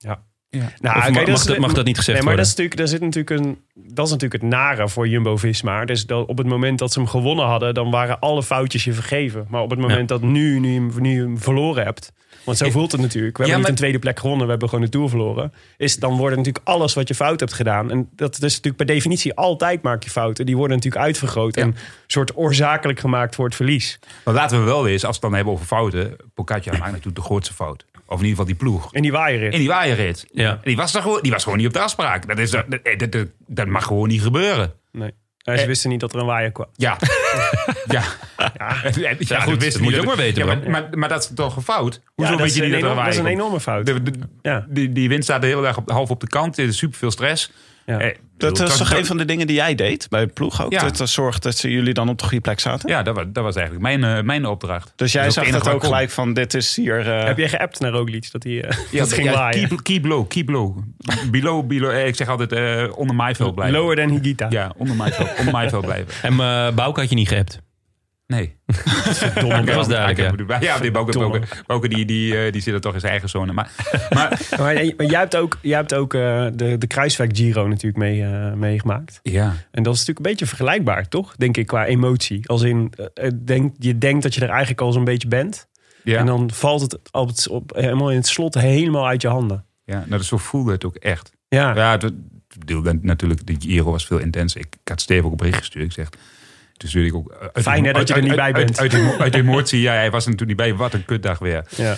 [SPEAKER 2] Nou,
[SPEAKER 1] Of
[SPEAKER 2] kijk,
[SPEAKER 1] mag,
[SPEAKER 2] dat
[SPEAKER 1] mag
[SPEAKER 2] is-
[SPEAKER 1] dat, mag dat niet gezegd
[SPEAKER 2] nee, maar dat
[SPEAKER 1] worden?
[SPEAKER 2] is, natuurlijk, daar zit natuurlijk een, dat is natuurlijk het nare voor Jumbo-Visma. Dus dat op het moment dat ze hem gewonnen hadden, dan waren alle foutjes je vergeven. Maar op het moment dat nu, nu, je hem- nu je hem verloren hebt... Want zo voelt het natuurlijk. We hebben
[SPEAKER 5] Ja,
[SPEAKER 2] niet
[SPEAKER 5] maar-
[SPEAKER 2] een tweede plek gewonnen, we hebben gewoon de Tour verloren. Is, dan wordt natuurlijk alles wat je fout hebt gedaan. En dat is natuurlijk per definitie altijd maak je fouten. Die worden natuurlijk uitvergroot en soort oorzakelijk gemaakt voor het verlies.
[SPEAKER 5] Maar laten we wel eens, als we het dan hebben over fouten, Pocaccia maakt natuurlijk de grootste fout. Of in ieder geval die ploeg.
[SPEAKER 2] En die waaien
[SPEAKER 5] In die waaierrit.
[SPEAKER 1] Ja.
[SPEAKER 5] Die, was daar gewoon, die was gewoon niet op de afspraak. Dat, is, dat, dat, dat, dat mag gewoon niet gebeuren.
[SPEAKER 2] Nee. Ja,
[SPEAKER 1] Eh-
[SPEAKER 2] ze wisten niet dat er een waaier kwam.
[SPEAKER 5] Ja. ja. En- en- Ja,
[SPEAKER 1] goed, dat
[SPEAKER 5] wist
[SPEAKER 1] moet je
[SPEAKER 5] niet
[SPEAKER 1] ook maar weten,
[SPEAKER 5] Ja,
[SPEAKER 1] bro.
[SPEAKER 5] maar, maar, maar dat is toch een fout? Hoezo
[SPEAKER 2] Ja,
[SPEAKER 5] weet je
[SPEAKER 2] is
[SPEAKER 5] niet
[SPEAKER 2] een
[SPEAKER 5] dat er
[SPEAKER 2] enorm-
[SPEAKER 5] een
[SPEAKER 2] dat
[SPEAKER 5] waaier
[SPEAKER 2] is een
[SPEAKER 5] komt?
[SPEAKER 2] enorme fout.
[SPEAKER 5] De- de-
[SPEAKER 2] Ja.
[SPEAKER 5] die, die wind staat de hele dag op, half op de kant. Er is superveel stress.
[SPEAKER 2] Ja.
[SPEAKER 5] Eh,
[SPEAKER 7] Dat
[SPEAKER 5] bedoel,
[SPEAKER 7] was
[SPEAKER 5] het
[SPEAKER 7] toch een van de dingen die jij deed bij de ploeg ook?
[SPEAKER 5] Ja.
[SPEAKER 7] Dat eh, zorgt dat ze jullie dan op de goede plek zaten?
[SPEAKER 5] Ja, dat was, dat was eigenlijk mijn, eh, mijn opdracht.
[SPEAKER 7] Dus jij
[SPEAKER 5] Dat is
[SPEAKER 7] zag
[SPEAKER 5] het
[SPEAKER 7] dat
[SPEAKER 5] enige
[SPEAKER 7] ook
[SPEAKER 5] wat ik
[SPEAKER 7] gelijk van dit is hier... eh,
[SPEAKER 2] Heb jij geappt naar Roglic dat hij eh,
[SPEAKER 5] kon. Ja,
[SPEAKER 2] *laughs* dat ging
[SPEAKER 5] ja,
[SPEAKER 2] waaien?
[SPEAKER 5] keep, keep low, keep low. Below, below. eh, Ik zeg altijd eh, onder mij veel blijven.
[SPEAKER 2] Lower than Higita.
[SPEAKER 5] Ja, onder mij veel, onder mij veel blijven.
[SPEAKER 1] En eh Bouke had je niet
[SPEAKER 2] *laughs*
[SPEAKER 1] geappt.
[SPEAKER 5] Nee.
[SPEAKER 1] Dat was duidelijk, ja.
[SPEAKER 5] ja. Ja, die Bouke, Bouke, Bouke die, die, eh, die zit er toch in zijn eigen zone. Maar,
[SPEAKER 2] *laughs*
[SPEAKER 5] maar
[SPEAKER 2] Maar, maar jij hebt ook, jij hebt ook eh, de, de Kruiswijk Giro natuurlijk mee, eh, meegemaakt.
[SPEAKER 5] ja.
[SPEAKER 2] En dat is natuurlijk een beetje vergelijkbaar, toch? Denk ik, qua emotie. Als in, eh, eh, denk, je denkt dat je er eigenlijk al zo'n beetje bent.
[SPEAKER 5] Ja,
[SPEAKER 2] En dan valt het, op het op, helemaal in het slot helemaal uit je handen.
[SPEAKER 5] ja nou, dat zo voelde het ook echt.
[SPEAKER 2] Ja,
[SPEAKER 5] Ja, het, het bedoel, dan natuurlijk, de Giro was veel intenser. Ik, ik had Steve ook een bericht gestuurd. Ik zeg, toen stuurde ik ook... eh, Uit,
[SPEAKER 2] Fijn, hè, dat je er niet bij
[SPEAKER 5] uit-
[SPEAKER 2] bent.
[SPEAKER 5] Uit, uit,
[SPEAKER 2] *laughs*
[SPEAKER 5] uit emotie, ja, hij was er toen niet bij. Wat een kutdag weer. En
[SPEAKER 2] ja.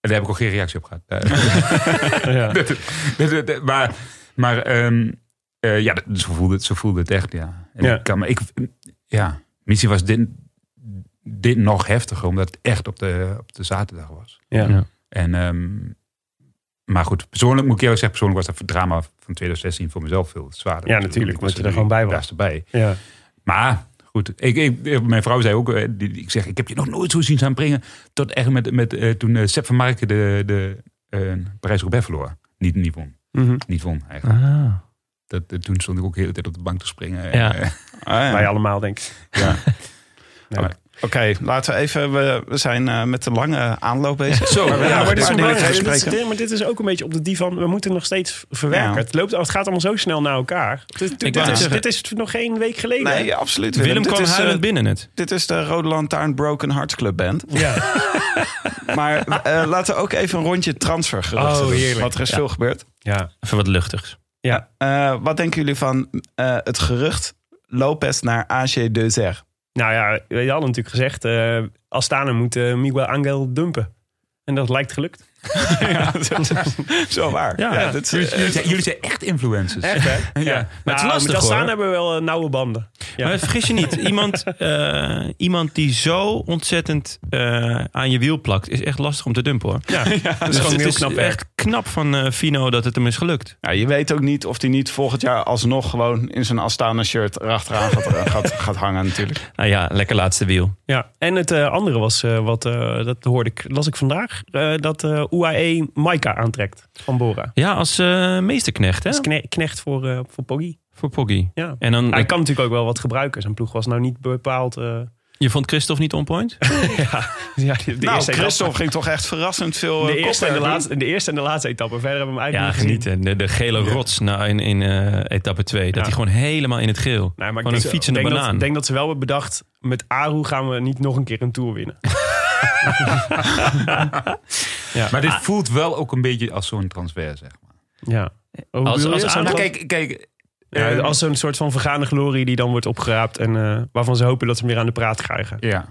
[SPEAKER 5] daar heb ik ook geen reactie op gehad. Eh,
[SPEAKER 2] ja.
[SPEAKER 5] Dat- dat- dat- maar maar ehm, eh, ja, dat- zo voelde, het, zo voelde het echt, ja. En
[SPEAKER 2] Ja.
[SPEAKER 5] Ik kan, me- ik, ja, misschien was dit, dit nog heftiger, omdat het echt op de, op de zaterdag was.
[SPEAKER 2] ja.
[SPEAKER 5] En, ehm, maar goed, persoonlijk moet ik eerlijk zeggen, persoonlijk was dat drama van 2016 voor mezelf veel zwaarder.
[SPEAKER 2] Ja,
[SPEAKER 5] Want
[SPEAKER 2] natuurlijk,
[SPEAKER 5] ik
[SPEAKER 2] omdat
[SPEAKER 5] was
[SPEAKER 2] je er gewoon bij was.
[SPEAKER 5] daar erbij.
[SPEAKER 2] ja.
[SPEAKER 5] Maar goed, ik, ik, mijn vrouw zei ook, eh, die, die- ik zeg, ik heb je nog nooit zo zien aanbrengen. Tot echt met, met eh, toen eh, Sepp van Marken de, de eh Parijs-Roubaix verloor. Niet, niet won,
[SPEAKER 2] Mhm.
[SPEAKER 5] niet won eigenlijk.
[SPEAKER 1] Ah.
[SPEAKER 5] Dat, eh, toen stond ik ook de hele tijd op de bank te springen.
[SPEAKER 1] Ja.
[SPEAKER 5] *laughs* Eh,
[SPEAKER 7] ah, ja.
[SPEAKER 2] Wij allemaal, denk ik.
[SPEAKER 7] Oké, laten we even... We, we zijn eh, met de lange aanloop *laughs* bezig.
[SPEAKER 5] Zo,
[SPEAKER 7] Maar we hebben
[SPEAKER 2] Ja,
[SPEAKER 7] nog
[SPEAKER 2] maar
[SPEAKER 7] een
[SPEAKER 1] dus
[SPEAKER 2] dit is,
[SPEAKER 7] paar dingen
[SPEAKER 2] belangrijk.
[SPEAKER 7] te
[SPEAKER 2] Dit is-
[SPEAKER 7] bespreken.
[SPEAKER 2] dit- maar dit is ook een beetje op de divan. We moeten nog steeds verwerken.
[SPEAKER 7] Ja.
[SPEAKER 2] Het, loopt, het gaat allemaal zo snel naar elkaar. Dit, dit,
[SPEAKER 1] wou net
[SPEAKER 2] is,
[SPEAKER 1] zeggen.
[SPEAKER 2] dit is nog geen week geleden.
[SPEAKER 7] Nee, absoluut. Willem,
[SPEAKER 1] Willem
[SPEAKER 7] dit,
[SPEAKER 1] kwam
[SPEAKER 7] is, eh,
[SPEAKER 1] huilend binnen net.
[SPEAKER 7] dit is de Rode Lantaarn Broken Hearts Club Band.
[SPEAKER 2] Ja.
[SPEAKER 7] Maar eh,
[SPEAKER 2] *laughs*
[SPEAKER 7] laten we ook even een rondje transfer
[SPEAKER 2] Oh,
[SPEAKER 7] doen.
[SPEAKER 2] heerlijk.
[SPEAKER 7] Want er is veel gebeurd.
[SPEAKER 2] ja.
[SPEAKER 1] Even wat luchtigs.
[SPEAKER 7] Eh, wat denken jullie van eh, het gerucht Lopez naar AG Dezer?
[SPEAKER 2] Nou ja, je had natuurlijk gezegd... eh Astana moet eh, Miguel Angel dumpen. En dat lijkt gelukt.
[SPEAKER 7] *laughs* Zo waar.
[SPEAKER 1] Ja.
[SPEAKER 7] Ja, dat is,
[SPEAKER 5] Jullie,
[SPEAKER 7] eh,
[SPEAKER 5] jullie zijn, jullie zijn echt influencers.
[SPEAKER 2] Echt, hè? *laughs*
[SPEAKER 5] Ja.
[SPEAKER 1] Maar het is lastig,
[SPEAKER 2] Nou, met dat staan
[SPEAKER 1] hoor.
[SPEAKER 2] hebben we wel eh, nauwe banden. Ja.
[SPEAKER 1] Maar vergis je niet, iemand, eh, iemand die zo ontzettend eh, aan je wiel plakt, is echt lastig om te dumpen hoor.
[SPEAKER 2] *laughs* *laughs* Ja, dat is
[SPEAKER 1] Dus
[SPEAKER 2] gewoon
[SPEAKER 1] het
[SPEAKER 2] heel
[SPEAKER 1] is
[SPEAKER 2] knap werk.
[SPEAKER 1] echt knap van eh, Fino dat het hem is gelukt.
[SPEAKER 7] ja, je weet ook niet of hij niet volgend jaar alsnog gewoon in zijn Astana shirt erachteraan gaat, eh,
[SPEAKER 2] *laughs*
[SPEAKER 7] gaat, gaat hangen natuurlijk.
[SPEAKER 1] Nou ja, lekker laatste wiel.
[SPEAKER 2] Ja, en het eh, andere was eh, wat, eh, dat hoorde ik, las ik vandaag, eh, dat eh UAE Maika aantrekt van Bora.
[SPEAKER 1] Ja, als eh, meesterknecht hè,
[SPEAKER 2] Dat is kne- knecht voor, eh, voor Poggi.
[SPEAKER 1] voor Poggi.
[SPEAKER 2] Oh. Ja.
[SPEAKER 1] En dan,
[SPEAKER 2] Hij kan natuurlijk ook wel wat gebruiken. Zijn ploeg was nou niet bepaald... eh,
[SPEAKER 1] je vond Christophe niet on point?
[SPEAKER 2] ja, de, de
[SPEAKER 7] nou,
[SPEAKER 2] eerste etappe-
[SPEAKER 7] Christophe ging toch echt verrassend veel
[SPEAKER 2] de
[SPEAKER 7] eh,
[SPEAKER 2] eerste, en de,
[SPEAKER 7] kopwerk doen.
[SPEAKER 2] laatste, de eerste en de laatste etappe. Verder hebben we hem
[SPEAKER 1] Ja,
[SPEAKER 2] eigenlijk niet gezien.
[SPEAKER 1] genieten. De, de gele rots nou, in, in eh, etappe 2. Dat
[SPEAKER 2] Ja.
[SPEAKER 1] hij gewoon helemaal in het geel.
[SPEAKER 2] Nee, maar ik
[SPEAKER 1] gewoon een
[SPEAKER 2] denk,
[SPEAKER 1] fietsende
[SPEAKER 2] denk
[SPEAKER 1] banaan.
[SPEAKER 2] Dat, denk dat ze wel hebben bedacht, met Aru gaan we niet nog een keer een Tour winnen.
[SPEAKER 5] Maar dit voelt wel ook een beetje als zo'n transfer, zeg maar.
[SPEAKER 2] Ja.
[SPEAKER 1] Als- als Aru-
[SPEAKER 5] Nou,
[SPEAKER 1] Klopt.
[SPEAKER 5] kijk, kijk.
[SPEAKER 2] Ja,
[SPEAKER 5] eh,
[SPEAKER 2] als een soort van vergane glorie die dan wordt opgeraapt en eh, waarvan ze hopen dat ze hem weer aan de praat krijgen.
[SPEAKER 5] Ja,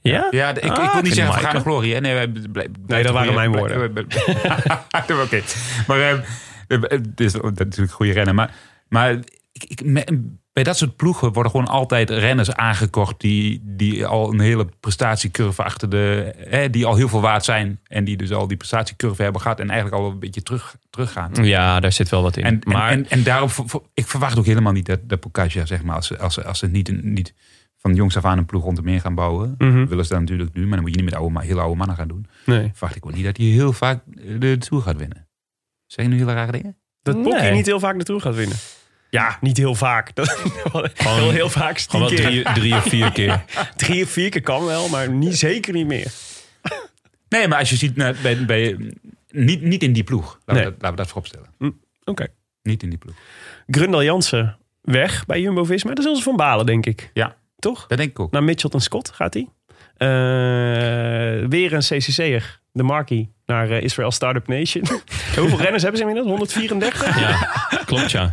[SPEAKER 1] ja?
[SPEAKER 5] ja de- ik, ik
[SPEAKER 1] Ah,
[SPEAKER 5] wil niet
[SPEAKER 1] vind
[SPEAKER 5] zeggen
[SPEAKER 1] Maaike.
[SPEAKER 5] vergaande glorie. Hè? Nee, wij bl- bl-
[SPEAKER 2] dat
[SPEAKER 5] toch
[SPEAKER 2] waren
[SPEAKER 5] weer-
[SPEAKER 2] mijn
[SPEAKER 5] bl-
[SPEAKER 2] woorden.
[SPEAKER 5] bl- bl- *laughs* Oké. Maar eh, eh, het is natuurlijk een goede rennen. Maar, maar ik, ik, me- bij dat soort ploegen worden gewoon altijd renners aangekocht... die, die al een hele prestatiecurve achter de... Hè, die al heel veel waard zijn. En die dus al die prestatiecurve hebben gehad... en eigenlijk al een beetje terug, teruggaan.
[SPEAKER 1] Ja, daar zit wel wat in.
[SPEAKER 5] En,
[SPEAKER 1] maar
[SPEAKER 5] en, en, en daarom, ver- ver- ik verwacht ook helemaal niet dat, dat Pocaccia, zeg maar, als ze, als ze, als ze niet, een- niet van jongs af aan een ploeg rondom meer gaan bouwen.
[SPEAKER 2] Mhm.
[SPEAKER 5] Willen ze dat natuurlijk nu, maar dan moet je niet met oude, ma- hele oude mannen gaan doen.
[SPEAKER 2] Nee.
[SPEAKER 5] Verwacht ik ook niet dat hij heel vaak de Tour gaat winnen. Zeg ik nu hele rare dingen?
[SPEAKER 2] Dat Pocky
[SPEAKER 1] Nee.
[SPEAKER 2] niet heel vaak naartoe gaat winnen. Ja, niet heel vaak. Dat, heel, *laughs* heel vaak. Tien
[SPEAKER 1] gewoon wel
[SPEAKER 2] keer. Drie.
[SPEAKER 1] drie, drie of vier
[SPEAKER 2] *laughs*
[SPEAKER 1] keer.
[SPEAKER 2] of vier keer kan wel, maar niet, zeker niet meer.
[SPEAKER 5] Nee, maar als je ziet, nou, bij, bij, niet, niet in die ploeg. Laten,
[SPEAKER 2] Nee.
[SPEAKER 5] we, dat, laten we dat vooropstellen.
[SPEAKER 2] Hm, Oké.
[SPEAKER 5] Niet in die ploeg.
[SPEAKER 2] Grundal Jansen weg bij Jumbo-Visma. Dat is onze Van Balen, denk ik.
[SPEAKER 5] Ja.
[SPEAKER 2] Toch?
[SPEAKER 5] Dat denk ik ook.
[SPEAKER 2] Naar Mitchell en Scott gaat hij. Eh, weer een CCC'er, de Markie, naar eh, Israel Startup
[SPEAKER 1] *laughs*
[SPEAKER 2] Nation. Hoeveel renners hebben ze inmiddels? 134? *laughs*
[SPEAKER 1] Ja, klopt *laughs* ja.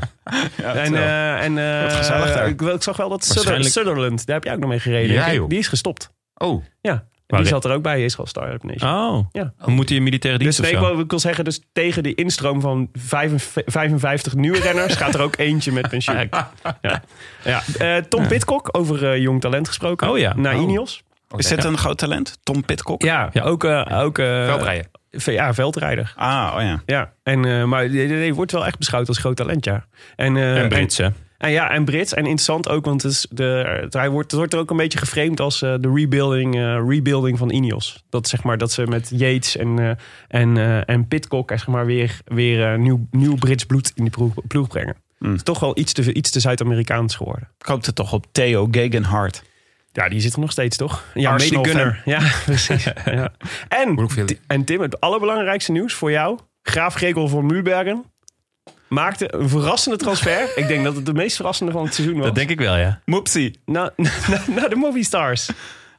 [SPEAKER 2] En, eh, en eh,
[SPEAKER 7] Wat gezellig daar.
[SPEAKER 2] ik, wil- ik zag wel dat
[SPEAKER 1] Waarschijnlijk-
[SPEAKER 2] Suther- Sutherland, daar heb jij ook nog mee gereden.
[SPEAKER 5] Ja,
[SPEAKER 2] Die-
[SPEAKER 5] joh.
[SPEAKER 2] Die is gestopt.
[SPEAKER 5] Oh,
[SPEAKER 2] Ja,
[SPEAKER 1] Waar-
[SPEAKER 2] die zat er ook bij Israel Startup Nation.
[SPEAKER 1] Oh,
[SPEAKER 2] Ja.
[SPEAKER 1] dan moet hij in militaire
[SPEAKER 2] Dus
[SPEAKER 1] dienst
[SPEAKER 2] nee, ik
[SPEAKER 1] of zo?
[SPEAKER 2] wil, ik wil zeggen, dus tegen de instroom van 55, 55 nieuwe renners gaat er ook eentje
[SPEAKER 1] *laughs*
[SPEAKER 2] met pensioen. Ja. Ja. Eh, Tom Pitcock, over eh, jong talent gesproken.
[SPEAKER 1] Oh ja.
[SPEAKER 2] Naar
[SPEAKER 1] Oh.
[SPEAKER 2] Ineos.
[SPEAKER 7] Is dit een groot talent? Tom Pitcock?
[SPEAKER 2] Ja, ook... eh, ook eh,
[SPEAKER 5] veldrijden.
[SPEAKER 2] v- ja, veldrijder.
[SPEAKER 7] Ah, oh ja.
[SPEAKER 2] Ja, en, eh, maar die, die- die wordt wel echt beschouwd als groot talent, ja. En, eh,
[SPEAKER 1] En Brits hè?
[SPEAKER 2] En ja, en Brits. En interessant ook, want het, is de, het, hij wordt, het wordt er ook een beetje geframed als eh, de rebuilding, eh, rebuilding van Ineos. Dat, zeg maar, dat ze met Yates en, eh, en, eh, en Pitcock eh, zeg maar, weer, weer eh, nieuw, nieuw Brits bloed in die ploeg, ploeg brengen. Het is toch wel iets te, iets te Zuid-Amerikaans geworden.
[SPEAKER 7] Ik hoopte toch op Theo Gegenhardt.
[SPEAKER 2] Ja, die zit er nog steeds, toch? Ja,
[SPEAKER 7] Arsenal
[SPEAKER 2] mede-gunner. Ja,
[SPEAKER 1] *laughs*
[SPEAKER 2] precies. ja. En,
[SPEAKER 5] Brookfield.
[SPEAKER 2] en Tim, het allerbelangrijkste nieuws voor jou. Graaf Gregor van Muurbergen maakte een verrassende transfer. Ik denk dat het de meest verrassende van het seizoen was.
[SPEAKER 1] Dat denk ik wel ja.
[SPEAKER 7] Moepsie.
[SPEAKER 2] Naar na, na de Movie
[SPEAKER 1] *laughs*
[SPEAKER 2] Stars.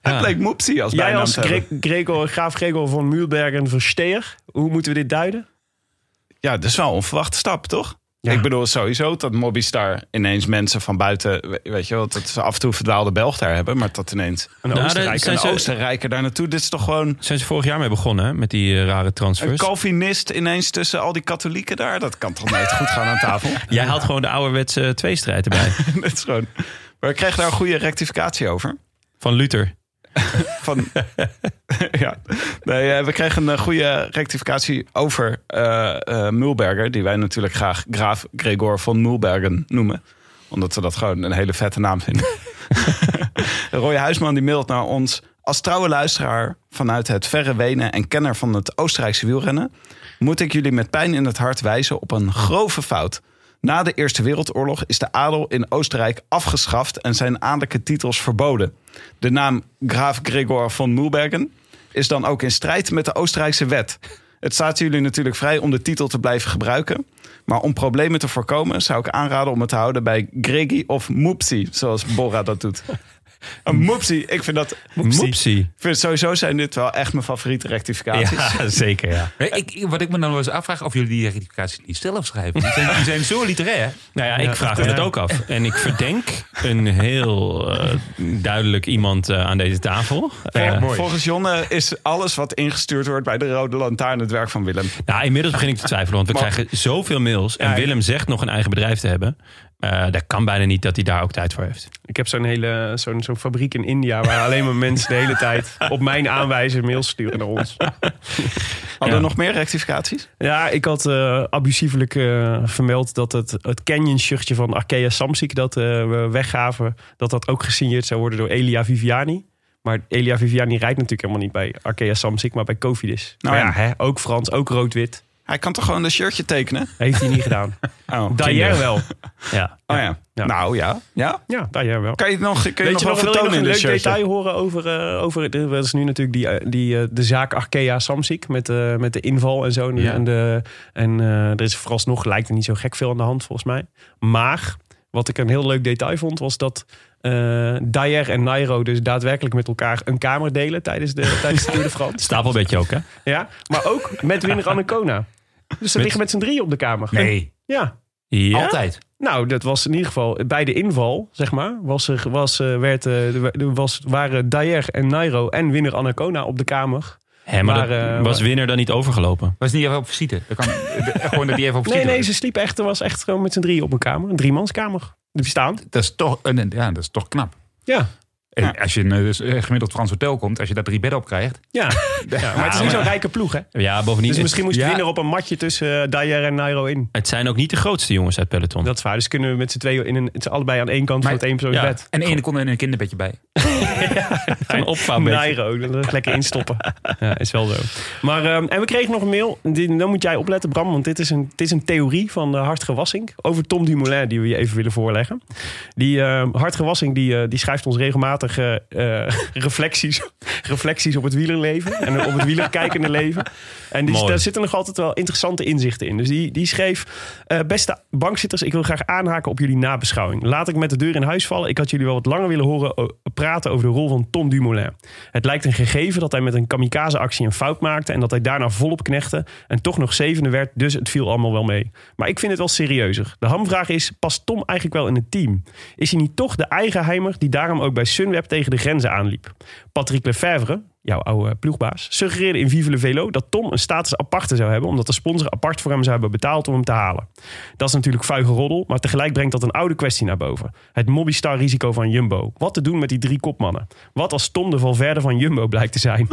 [SPEAKER 7] Het leek Moepsie als
[SPEAKER 2] Jij
[SPEAKER 7] bijnaam
[SPEAKER 2] als
[SPEAKER 7] te hebben.
[SPEAKER 2] Gre- Gregor, graaf Gregor van Muurbergen Versteer. Hoe moeten we dit duiden?
[SPEAKER 7] Ja, dat is wel een onverwachte stap, toch?
[SPEAKER 2] Ja.
[SPEAKER 7] Ik bedoel sowieso dat Mobistar ineens mensen van buiten... we- Weet je wel, dat ze af en toe verdwaalde Belg daar hebben... maar dat ineens
[SPEAKER 2] Een
[SPEAKER 1] Nou,
[SPEAKER 2] Oostenrijk.
[SPEAKER 1] dat-
[SPEAKER 7] een
[SPEAKER 1] ze-
[SPEAKER 7] Oostenrijker daar naartoe... Dit is toch gewoon
[SPEAKER 1] Zijn ze vorig jaar mee begonnen hè, met die eh, rare
[SPEAKER 7] een
[SPEAKER 1] transfers?
[SPEAKER 7] Calvinist ineens tussen al die katholieken daar? Dat kan toch nooit goed gaan aan tafel?
[SPEAKER 1] Jij haalt gewoon de ouderwetse tweestrijd
[SPEAKER 2] *laughs*
[SPEAKER 1] erbij.
[SPEAKER 7] *laughs* dat is gewoon... Maar ik kreeg daar een goede rectificatie over.
[SPEAKER 1] Van Luther.
[SPEAKER 7] Van, *laughs* ja. nee, eh, we kregen een eh, goede rectificatie over eh eh, Mulberger. Die wij natuurlijk graag Graaf Gregor van Mulbergen noemen. Omdat we dat gewoon een hele vette naam vinden. *laughs* Roy Huisman die mailt naar ons. Als trouwe luisteraar vanuit het verre Wenen en kenner van het Oostenrijkse wielrennen... moet ik jullie met pijn in het hart wijzen op een grove fout. Na de Eerste Wereldoorlog is de adel in Oostenrijk afgeschaft... en zijn adellijke titels verboden. De naam Graaf Gregor van Mulbergen is dan ook in strijd met de Oostenrijkse wet. Het staat jullie natuurlijk vrij om de titel te blijven gebruiken. Maar om problemen te voorkomen zou ik aanraden om het te houden bij Gregi of Moepsi, zoals Bora dat doet. Een moepsie. Ik vind dat...
[SPEAKER 1] Moepsie.
[SPEAKER 7] Ik vind sowieso zijn dit wel echt mijn favoriete rectificaties.
[SPEAKER 1] Ja, zeker ja.
[SPEAKER 5] Nee, ik, wat ik me dan wel eens afvraag, of jullie die rectificaties niet zelf schrijven. Die zijn, die zijn zo literair.
[SPEAKER 1] Nou ja, ik vraag me dat ook af. En ik verdenk een heel eh, duidelijk iemand eh, aan deze tafel. Eh,
[SPEAKER 7] Volgens Jonne is alles wat ingestuurd wordt bij de Rode Lantaarn het werk van Willem.
[SPEAKER 1] Nou, inmiddels begin ik te twijfelen, want we krijgen zoveel mails. En Willem zegt nog een eigen bedrijf te hebben. Eh dat kan bijna niet dat hij daar ook tijd voor heeft.
[SPEAKER 2] Ik heb zo'n hele zo'n zo'n fabriek in India waar alleen maar mensen de hele tijd op mijn aanwijzen mails sturen naar ons.
[SPEAKER 7] Hadden we nog meer rectificaties?
[SPEAKER 2] Ja, ik had eh, abusievelijk eh, vermeld dat het, het Canyon-shirtje van Arkea Samsic dat eh, we weggaven, dat dat ook gesigneerd zou worden door Elia Viviani. Maar Elia Viviani rijdt natuurlijk helemaal niet bij Arkea Samsic, maar bij Covidis.
[SPEAKER 7] Nou
[SPEAKER 2] Nou ja,
[SPEAKER 7] ja.
[SPEAKER 2] hè, ook Frans, ook rood-wit.
[SPEAKER 7] Hij kan toch gewoon een shirtje tekenen?
[SPEAKER 2] Heeft hij niet gedaan.
[SPEAKER 7] *laughs* Oh,
[SPEAKER 2] Dayer
[SPEAKER 7] *laughs*
[SPEAKER 2] wel.
[SPEAKER 1] Ja.
[SPEAKER 7] Oh ja.
[SPEAKER 2] Ja.
[SPEAKER 7] Nou ja. ja.
[SPEAKER 2] Ja, Dayer wel.
[SPEAKER 7] Kan je het nog, kun je
[SPEAKER 2] Weet
[SPEAKER 7] nog
[SPEAKER 2] je
[SPEAKER 7] wel
[SPEAKER 2] nog, wil je nog
[SPEAKER 7] vertonen
[SPEAKER 2] een
[SPEAKER 7] in
[SPEAKER 2] leuk
[SPEAKER 7] dit shirtje?
[SPEAKER 2] detail horen over... eh, over de- dat is nu natuurlijk die, eh, die, eh, de zaak Arkea Samsic met, eh, met de inval en zo. En,
[SPEAKER 5] Ja.
[SPEAKER 2] en, de, en eh, er is vooralsnog, lijkt er niet zo gek veel aan de hand volgens mij. Maar wat ik een heel leuk detail vond was dat... eh Dyer en Nairo dus daadwerkelijk met elkaar een kamer delen tijdens *laughs* de, tijdens de Tour de France.
[SPEAKER 1] Stapelbedje ook, hè?
[SPEAKER 2] Ja, maar ook met *laughs* Winner Annacona. Dus ze liggen met z'n drieën op de kamer.
[SPEAKER 5] Nee,
[SPEAKER 2] Ja,
[SPEAKER 1] Ja?
[SPEAKER 5] altijd.
[SPEAKER 2] nou, dat was in ieder geval bij de inval, zeg maar. Was er, was, eh, werd, eh, er wa- er was, waren Dayer en Nairo en winner Anacona op de kamer.
[SPEAKER 1] Hè, maar
[SPEAKER 2] Maar,
[SPEAKER 1] dat-
[SPEAKER 2] eh,
[SPEAKER 1] was
[SPEAKER 2] maar-
[SPEAKER 1] winner dan niet overgelopen?
[SPEAKER 5] Was niet even op visite. Dat kan, gewoon dat die even op
[SPEAKER 2] Nee,
[SPEAKER 5] visite
[SPEAKER 2] nee,
[SPEAKER 5] was.
[SPEAKER 2] ze sliepen echt, er was echt gewoon met z'n drieën op een kamer. Een driemanskamer. Die bestaan.
[SPEAKER 5] dat, is toch, een- ja, dat is toch knap.
[SPEAKER 2] Ja,
[SPEAKER 5] En Als je in een dus, eh, gemiddeld Frans hotel komt, als je daar drie bedden op krijgt.
[SPEAKER 2] ja. ja maar het is niet zo'n rijke ploeg, hè?
[SPEAKER 1] Ja, bovendien.
[SPEAKER 2] Dus misschien moest
[SPEAKER 5] ja.
[SPEAKER 2] winner op een matje tussen eh, Dayer en Nairo in.
[SPEAKER 1] Het zijn ook niet de grootste jongens uit Peloton.
[SPEAKER 2] Dat is waar. Dus kunnen we met z'n tweeën in een, het is allebei aan één kant
[SPEAKER 5] Maar-
[SPEAKER 2] van het één persoon
[SPEAKER 1] ja.
[SPEAKER 2] bed.
[SPEAKER 5] En de ene kon er in een kinderbedje bij.
[SPEAKER 1] een opvouwbedje.
[SPEAKER 2] Nairo, dat is lekker instoppen. Ja, is wel zo. Maar, ehm, en we kregen nog een mail. Dit- dan moet jij opletten, Bram, want dit is een, dit is een theorie van eh Hartge Wassink over Tom Dumoulin, die we je even willen voorleggen. Die ehm Hartge Wassink, die, eh, die schrijft ons regelmatig eh, eh, *laughs* reflecties, reflecties op het wielerleven en op het wielerkijkende leven. En die,
[SPEAKER 1] Mooi.
[SPEAKER 2] daar zitten nog altijd wel interessante inzichten in. Dus die, die schreef, eh, beste bankzitters, ik wil graag aanhaken op jullie nabeschouwing. Laat ik met de deur in huis vallen. Ik had jullie wel wat langer willen horen o- praten over de rol van Tom Dumoulin. Het lijkt een gegeven dat hij met een kamikaze-actie een fout maakte en dat hij daarna volop knechtte en toch nog zevende werd, dus het viel allemaal wel mee. Maar ik vind het wel serieuzer. De hamvraag is, past Tom eigenlijk wel in het team? Is hij niet toch de eigenheimer die daarom ook bij Sunweb tegen de grenzen aanliep? Patrick Lefevre, jouw oude ploegbaas, suggereerde in Vive le Velo dat Tom een status aparte zou hebben, omdat de sponsor apart voor hem zou hebben betaald om hem te halen. Dat is natuurlijk vuige roddel, maar tegelijk brengt dat een oude kwestie naar boven. Het Mobistar-risico van Jumbo. Wat te doen met die drie kopmannen? Wat als Tom de Valverde van Jumbo blijkt te zijn?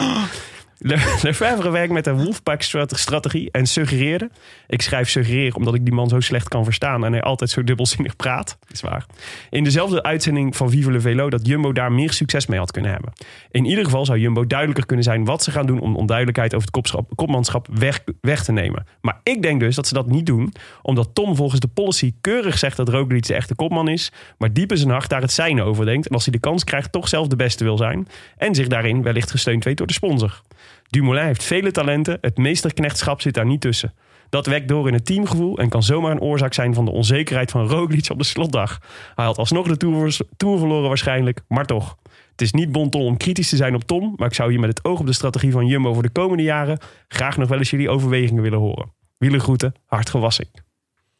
[SPEAKER 2] Le- Lefebvre werkt met een Wolfpack-strategie en suggereerde. Ik schrijf suggereer omdat ik die man zo slecht kan verstaan en hij altijd zo dubbelzinnig praat. Dat is waar. In dezelfde uitzending van Vive le Velo dat Jumbo daar meer succes mee had kunnen hebben. In ieder geval zou Jumbo duidelijker kunnen zijn wat ze gaan doen om onduidelijkheid over het kopschap- kopmanschap weg, weg te nemen. Maar ik denk dus dat ze dat niet doen, omdat Tom volgens de policy keurig zegt dat Roglic de echte kopman is, maar diep in zijn hart daar het zijne over denkt. En als hij de kans krijgt, toch zelf de beste wil zijn. En zich daarin wellicht gesteund weet door de sponsor. Dumoulin heeft vele talenten. Het meesterknechtschap zit daar niet tussen. Dat wekt door in het teamgevoel en kan zomaar een oorzaak zijn van de onzekerheid van Roglic op de slotdag. Hij had alsnog de Tour, vers- tour verloren waarschijnlijk, maar toch. Het is niet bonton om kritisch te zijn op Tom, maar ik zou hier met het oog op de strategie van Jumbo voor de komende jaren graag nog wel eens jullie overwegingen willen horen. Wielengroeten, hard gewassen.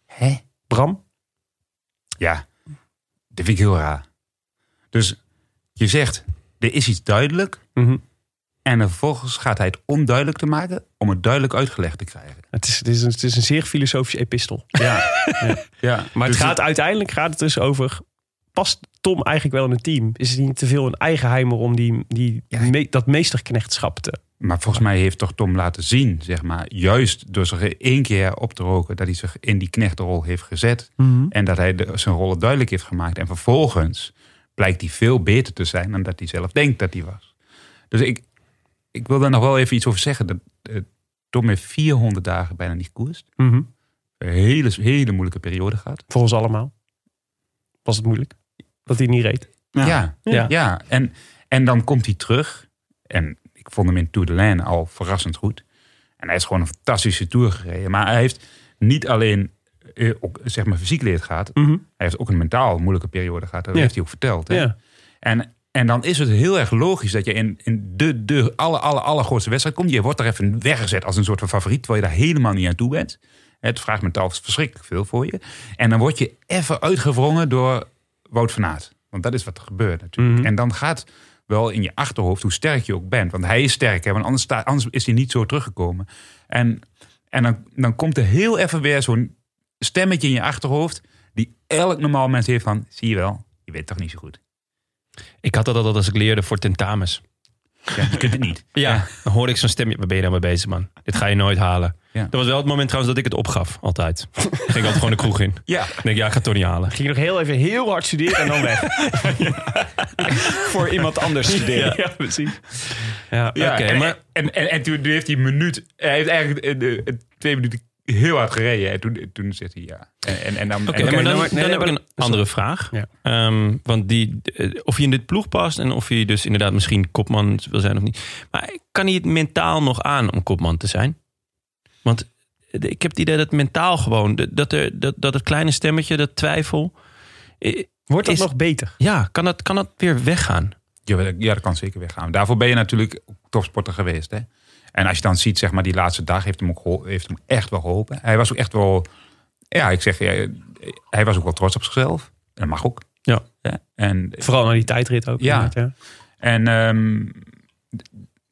[SPEAKER 5] Hè?
[SPEAKER 2] Bram?
[SPEAKER 5] Ja, dat vind ik heel raar. Dus je zegt, er is iets duidelijk.
[SPEAKER 2] Mhm.
[SPEAKER 5] En vervolgens gaat hij het onduidelijk te maken om het duidelijk uitgelegd te krijgen.
[SPEAKER 2] Het, is, het, is een, het is een zeer filosofische epistel.
[SPEAKER 5] Ja,
[SPEAKER 2] Maar Dus het gaat uiteindelijk gaat het dus over. Past Tom eigenlijk wel in het team? Is het niet te veel een eigenheimer om die, die,
[SPEAKER 5] Ja.
[SPEAKER 2] me- dat meesterknechtschap te.
[SPEAKER 5] Maar volgens mij heeft toch Tom laten zien, zeg maar, juist door zich één keer op te roken, dat hij zich in die knechtenrol heeft gezet.
[SPEAKER 2] Mhm.
[SPEAKER 5] En dat hij de- zijn rollen duidelijk heeft gemaakt. En vervolgens blijkt hij veel beter te zijn dan dat hij zelf denkt dat hij was. Dus ik, ik wil daar nog wel even iets over zeggen. Dat, eh, Tom heeft 400 dagen bijna niet koerst.
[SPEAKER 2] Mhm.
[SPEAKER 5] Een hele, hele moeilijke periode gehad.
[SPEAKER 2] Voor ons allemaal. Was het moeilijk? Dat hij niet reed.
[SPEAKER 5] Ja, ja.
[SPEAKER 2] Ja.
[SPEAKER 5] En, en dan komt hij terug. En ik vond hem in Tour de Laine al verrassend goed. En hij is gewoon een fantastische Tour gereden. Maar hij heeft niet alleen eh, ook, zeg maar, fysiek leed gehad. Hij heeft ook een mentaal moeilijke periode gehad. Dat
[SPEAKER 2] Mm. Mhm. Ja.
[SPEAKER 5] heeft hij ook verteld. Hè?
[SPEAKER 2] Ja.
[SPEAKER 5] En En dan is het heel erg logisch dat je in, in de, de alle, alle, allergrootste wedstrijd komt. Je wordt er even weggezet als een soort van favoriet, terwijl je daar helemaal niet aan toe bent. Het vraagt mentaal verschrikkelijk veel voor je. En dan word je even uitgewrongen door Wout van Aert. Want dat is wat er gebeurt natuurlijk. En dan gaat wel in je achterhoofd hoe sterk je ook bent. Want hij is sterk, hè? want anders, sta- anders is hij niet zo teruggekomen. En, en dan, dan komt er heel even weer zo'n stemmetje in je achterhoofd... die elk normaal mens heeft van... zie je wel, je weet toch niet zo goed.
[SPEAKER 1] Ik had dat altijd als ik leerde voor tentamens.
[SPEAKER 5] Ja, je kunt het niet.
[SPEAKER 1] Ja. Dan hoorde ik zo'n stemje. Waar ben je nou mee bezig, man? Dit ga je nooit halen.
[SPEAKER 5] Ja.
[SPEAKER 1] Dat was wel het moment trouwens dat ik het opgaf, altijd. ging ik altijd gewoon de kroeg in.
[SPEAKER 5] Ja.
[SPEAKER 1] Ik denk, ja, ik ga het toch niet halen.
[SPEAKER 2] Ging je nog heel even heel hard studeren en dan weg. *laughs*
[SPEAKER 7] Voor iemand
[SPEAKER 5] *laughs*
[SPEAKER 7] anders studeren.
[SPEAKER 2] ja, precies.
[SPEAKER 1] Ja,
[SPEAKER 5] Ja,
[SPEAKER 1] oké,
[SPEAKER 5] en,
[SPEAKER 1] maar
[SPEAKER 5] en, en, en toen heeft hij een minuut... Hij heeft eigenlijk eh, de- de- twee minuten heel hard gereden. En toen, toen zegt hij ja. En, en, en dan...
[SPEAKER 1] Oké,
[SPEAKER 5] en-
[SPEAKER 1] maar
[SPEAKER 5] en-
[SPEAKER 1] dan,
[SPEAKER 2] nee,
[SPEAKER 1] dan
[SPEAKER 2] nee,
[SPEAKER 1] heb ik
[SPEAKER 2] maar-
[SPEAKER 1] een andere vraag.
[SPEAKER 2] Ja.
[SPEAKER 1] Ehm, want die, eh, of je in dit ploeg past en of je dus inderdaad misschien kopman wil zijn of niet. Maar kan hij het mentaal nog aan om kopman te zijn? Want eh, ik heb het idee dat mentaal gewoon, dat- dat, er, dat, dat het kleine stemmetje, dat twijfel. eh,
[SPEAKER 2] Wordt dat
[SPEAKER 1] Is-
[SPEAKER 2] nog beter?
[SPEAKER 1] Ja, kan dat, kan dat weer weggaan?
[SPEAKER 5] Ja, wel, ja, dat kan zeker weggaan. Daarvoor ben je natuurlijk ook topsporter geweest. Hè? En als je dan ziet, zeg maar, die laatste dag heeft hem, ook geholpen, heeft hem echt wel geholpen. Hij was ook echt wel, ja, ik zeg, ja, eh, hij was ook wel trots op zichzelf. En dat mag ook.
[SPEAKER 1] Ja.
[SPEAKER 5] En,
[SPEAKER 2] Vooral naar die tijdrit ook.
[SPEAKER 5] Ja.
[SPEAKER 2] inderdaad, ja.
[SPEAKER 5] en ehm, het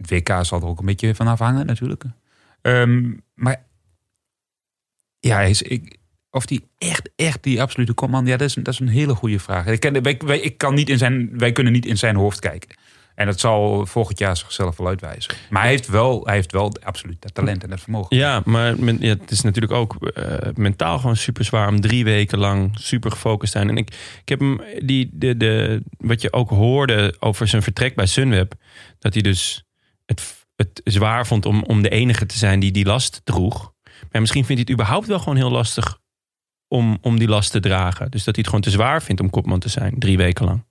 [SPEAKER 5] WK zal er ook een beetje van afhangen, natuurlijk. Ehm, maar ja, hij is, ik, of die echt, echt die absolute kopman, ja, dat is, een- dat is een hele goede vraag. Ik, ken, wij, wij- ik kan niet in zijn, wij kunnen niet in zijn hoofd kijken. En dat zal volgend jaar zichzelf wel uitwijzen. Maar hij heeft wel, hij heeft wel absoluut dat talent en dat vermogen.
[SPEAKER 1] Ja, maar men- ja, het is natuurlijk ook eh, mentaal gewoon super zwaar om drie weken lang super gefocust te zijn. En ik, ik heb hem, die, de, de, wat je ook hoorde over zijn vertrek bij Sunweb, dat hij dus het, het zwaar vond om, om de enige te zijn die die last droeg. Maar misschien vindt hij het überhaupt wel gewoon heel lastig om, om die last te dragen. Dus dat hij het gewoon te zwaar vindt om kopman te zijn, drie weken lang.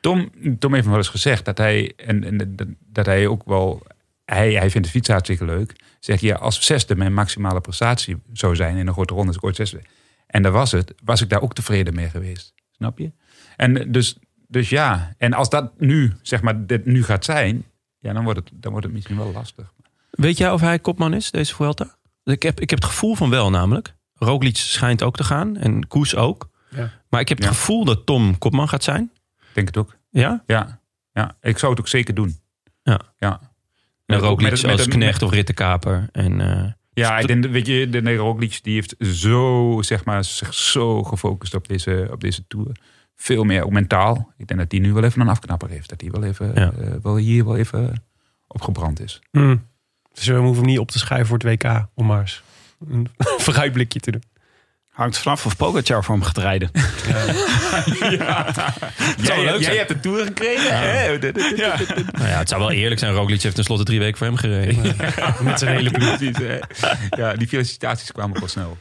[SPEAKER 5] Tom, Tom heeft me wel eens gezegd dat hij, en, en, dat, dat hij ook wel. Hij, hij vindt de fiets hartstikke leuk. Zegt hij, ja, als zesde mijn maximale prestatie zou zijn in een grote ronde, is ik ooit zesde. En dat was het. Was ik daar ook tevreden mee geweest. Snap je? En dus, dus ja. En als dat nu, zeg maar, dit nu gaat zijn. Ja, dan wordt het, dan wordt het misschien wel lastig.
[SPEAKER 1] Weet jij of hij kopman is, deze Vuelta? Ik heb, ik heb het gevoel van wel namelijk. Roglic schijnt ook te gaan en Koes ook.
[SPEAKER 2] Ja.
[SPEAKER 1] Maar ik heb het
[SPEAKER 5] Ja.
[SPEAKER 1] gevoel dat Tom kopman gaat zijn.
[SPEAKER 5] Ik denk het ook.
[SPEAKER 1] Ja?
[SPEAKER 5] Ja. ja. Ik zou het ook zeker doen.
[SPEAKER 1] Ja.
[SPEAKER 5] ja.
[SPEAKER 1] En Roglic
[SPEAKER 5] Met- met-
[SPEAKER 1] als
[SPEAKER 5] met-
[SPEAKER 1] knecht of rittenkaper. En, eh,
[SPEAKER 2] Dus
[SPEAKER 5] Ja, ik denk, dat- weet je, de de Roglic die heeft zo, zeg maar, zich zo gefocust op deze, op deze tour. Veel meer ook mentaal. Ik denk dat die nu wel even een afknapper heeft. Dat die wel even,
[SPEAKER 1] Ja.
[SPEAKER 5] eh, wel hier wel even opgebrand is.
[SPEAKER 2] Hmm. Dus we hoeven hem niet op te schrijven voor het WK. Om maar eens een *laughs* vooruitblikje te doen.
[SPEAKER 7] Hangt vanaf of Pogacar voor hem gaat rijden. *laughs*
[SPEAKER 2] *laughs*
[SPEAKER 5] Jij, jij, hebt de tour gekregen.
[SPEAKER 2] Oh,
[SPEAKER 5] hè? De- de- de-
[SPEAKER 1] nou ja, het zou wel eerlijk zijn. Roglic heeft tenslotte drie weken voor hem gereden.
[SPEAKER 2] Met *laughs* zijn hele ploeg.
[SPEAKER 5] Precies, *laughs* hè. Ja, die felicitaties kwamen ook wel snel.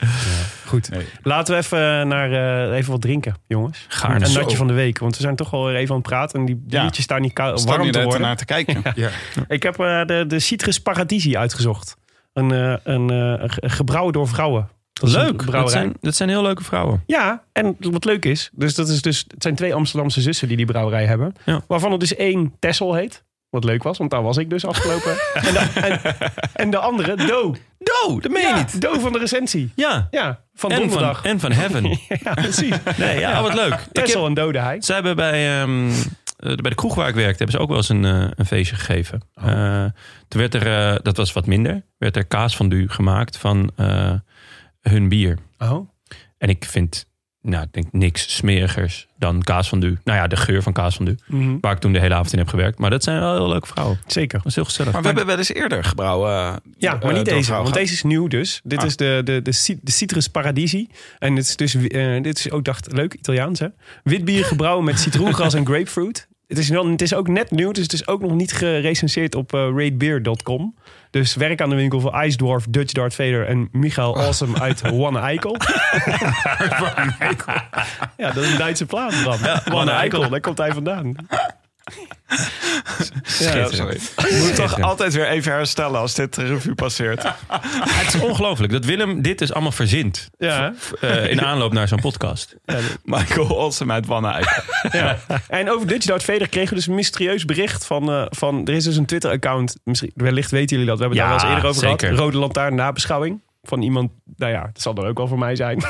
[SPEAKER 2] Goed.
[SPEAKER 5] Nee.
[SPEAKER 2] Laten we even, naar, eh, even wat drinken, jongens.
[SPEAKER 1] Gaarne.
[SPEAKER 2] Een
[SPEAKER 1] Zo.
[SPEAKER 2] natje van de week. Want we zijn toch wel weer even aan het praten. En die
[SPEAKER 7] Ja.
[SPEAKER 2] biertjes staan niet kou-
[SPEAKER 7] Staan
[SPEAKER 2] warm
[SPEAKER 7] jullie
[SPEAKER 2] te
[SPEAKER 7] daar
[SPEAKER 2] worden.
[SPEAKER 7] naar te kijken?
[SPEAKER 5] Ja.
[SPEAKER 2] Ik heb eh, de, de Citrus Paradisi uitgezocht. Een, eh, een eh, ge- gebrouwen door vrouwen. Dat is een
[SPEAKER 1] Leuk. Dat
[SPEAKER 2] brouwerij.
[SPEAKER 1] zijn, dat zijn heel leuke vrouwen.
[SPEAKER 2] Ja, en wat leuk is, dus dat is dus, het zijn twee Amsterdamse zussen die die brouwerij hebben.
[SPEAKER 1] Ja.
[SPEAKER 2] Waarvan er dus één Tessel heet. Wat leuk was, want daar was ik dus
[SPEAKER 1] *laughs*
[SPEAKER 2] afgelopen. en, de, en, en de andere Do.
[SPEAKER 1] Do, dat meen je
[SPEAKER 2] Ja,
[SPEAKER 1] niet.
[SPEAKER 2] Do van de recensie.
[SPEAKER 1] Ja.
[SPEAKER 2] Ja, van
[SPEAKER 1] en,
[SPEAKER 2] donderdag.
[SPEAKER 1] van, en van Heaven.
[SPEAKER 2] *laughs* Ja, precies.
[SPEAKER 1] Nee, ja, wat leuk. Ik
[SPEAKER 2] Tessel
[SPEAKER 1] heb,
[SPEAKER 2] en Dode Hij.
[SPEAKER 1] zij hebben bij, ehm, eh, bij de kroeg waar ik werkte, hebben ze ook wel eens een, eh, een feestje gegeven.
[SPEAKER 2] Oh.
[SPEAKER 1] Eh, toen werd er, eh, dat was wat minder, werd er kaas van du gemaakt van eh, hun bier.
[SPEAKER 2] Oh.
[SPEAKER 1] En ik vind, nou, ik denk niks smerigers dan kaas van du. Nou ja, de geur van kaas van du.
[SPEAKER 2] Mhm.
[SPEAKER 1] Waar ik toen de hele avond in heb gewerkt. Maar dat zijn wel heel leuke vrouwen.
[SPEAKER 2] Zeker.
[SPEAKER 1] Dat is heel gezellig.
[SPEAKER 7] Maar we hebben wel eens eerder gebrouwen. eh,
[SPEAKER 2] Ja, maar niet
[SPEAKER 7] eh, door
[SPEAKER 2] deze, want
[SPEAKER 7] vrouwen gehad.
[SPEAKER 2] deze is nieuw dus. Dit
[SPEAKER 7] Ah.
[SPEAKER 2] is de, de, de, ci- de Citrus Paradisi. En dit is dus, eh, dit is ook, dacht leuk, Italiaans hè. Wit bier gebrouwen met citroengras en grapefruit. Het is, wel, het is ook net nieuw, dus het is ook nog niet gerecenseerd op eh, ratebeer.com. Dus werk aan de winkel voor Ice Dwarf, Dutch Dart Vader en Michael
[SPEAKER 7] Ah.
[SPEAKER 2] Awesome
[SPEAKER 7] *laughs*
[SPEAKER 2] uit One Eikel. ja, dat is een Duitse plaat, Bram. One Eikel, daar komt hij vandaan.
[SPEAKER 7] sorry. Moet toch altijd weer even herstellen als dit de revue passeert.
[SPEAKER 1] Het is ongelooflijk dat Willem dit dus allemaal verzint.
[SPEAKER 2] Ja.
[SPEAKER 1] eh,
[SPEAKER 2] *laughs*
[SPEAKER 1] in aanloop naar zo'n podcast.
[SPEAKER 7] Michael Olsen uit
[SPEAKER 2] *laughs*
[SPEAKER 7] Wanne
[SPEAKER 2] En over Dutch Darth Vader kregen we dus een mysterieus bericht van... eh, van er is dus een Twitter-account, misschien- wellicht weten jullie dat. We hebben het
[SPEAKER 1] Ja,
[SPEAKER 2] daar wel eens eerder over
[SPEAKER 1] zeker.
[SPEAKER 2] gehad. Rode Lantaarn nabeschouwing. Van iemand, nou ja, dat zal dan ook wel voor mij
[SPEAKER 1] *laughs*
[SPEAKER 2] zijn.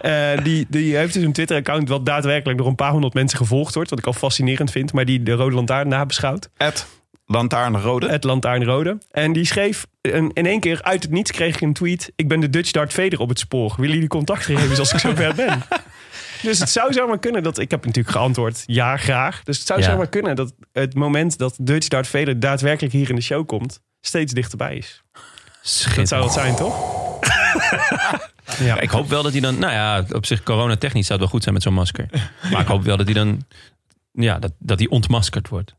[SPEAKER 2] Eh, die, die heeft dus een Twitter-account... wat daadwerkelijk door een paar honderd mensen gevolgd wordt. Wat ik al fascinerend vind. Maar die de Rode Lantaarn nabeschouwt.
[SPEAKER 7] Ed Lantaarnrode.
[SPEAKER 2] Het Lantaarnrode. En die schreef een, in één keer uit het niets kreeg ik een tweet. Ik ben de Dutch Dart Vader op het spoor. Willen jullie contactgegevens als ik zo ver ben? Dus het zou zomaar kunnen dat... Ik heb natuurlijk geantwoord ja, graag. Dus het zou
[SPEAKER 1] Ja.
[SPEAKER 2] zomaar kunnen dat het moment dat Dutch Dart Vader daadwerkelijk hier in de show komt... steeds dichterbij is. Dat zou
[SPEAKER 1] Schitterend.
[SPEAKER 2] het zijn, toch? ja.
[SPEAKER 1] Ik hoop wel dat hij dan... Nou ja, op zich coronatechnisch zou het wel goed zijn met zo'n masker. Maar ik hoop wel dat hij dan... Ja, dat, dat hij ontmaskerd wordt.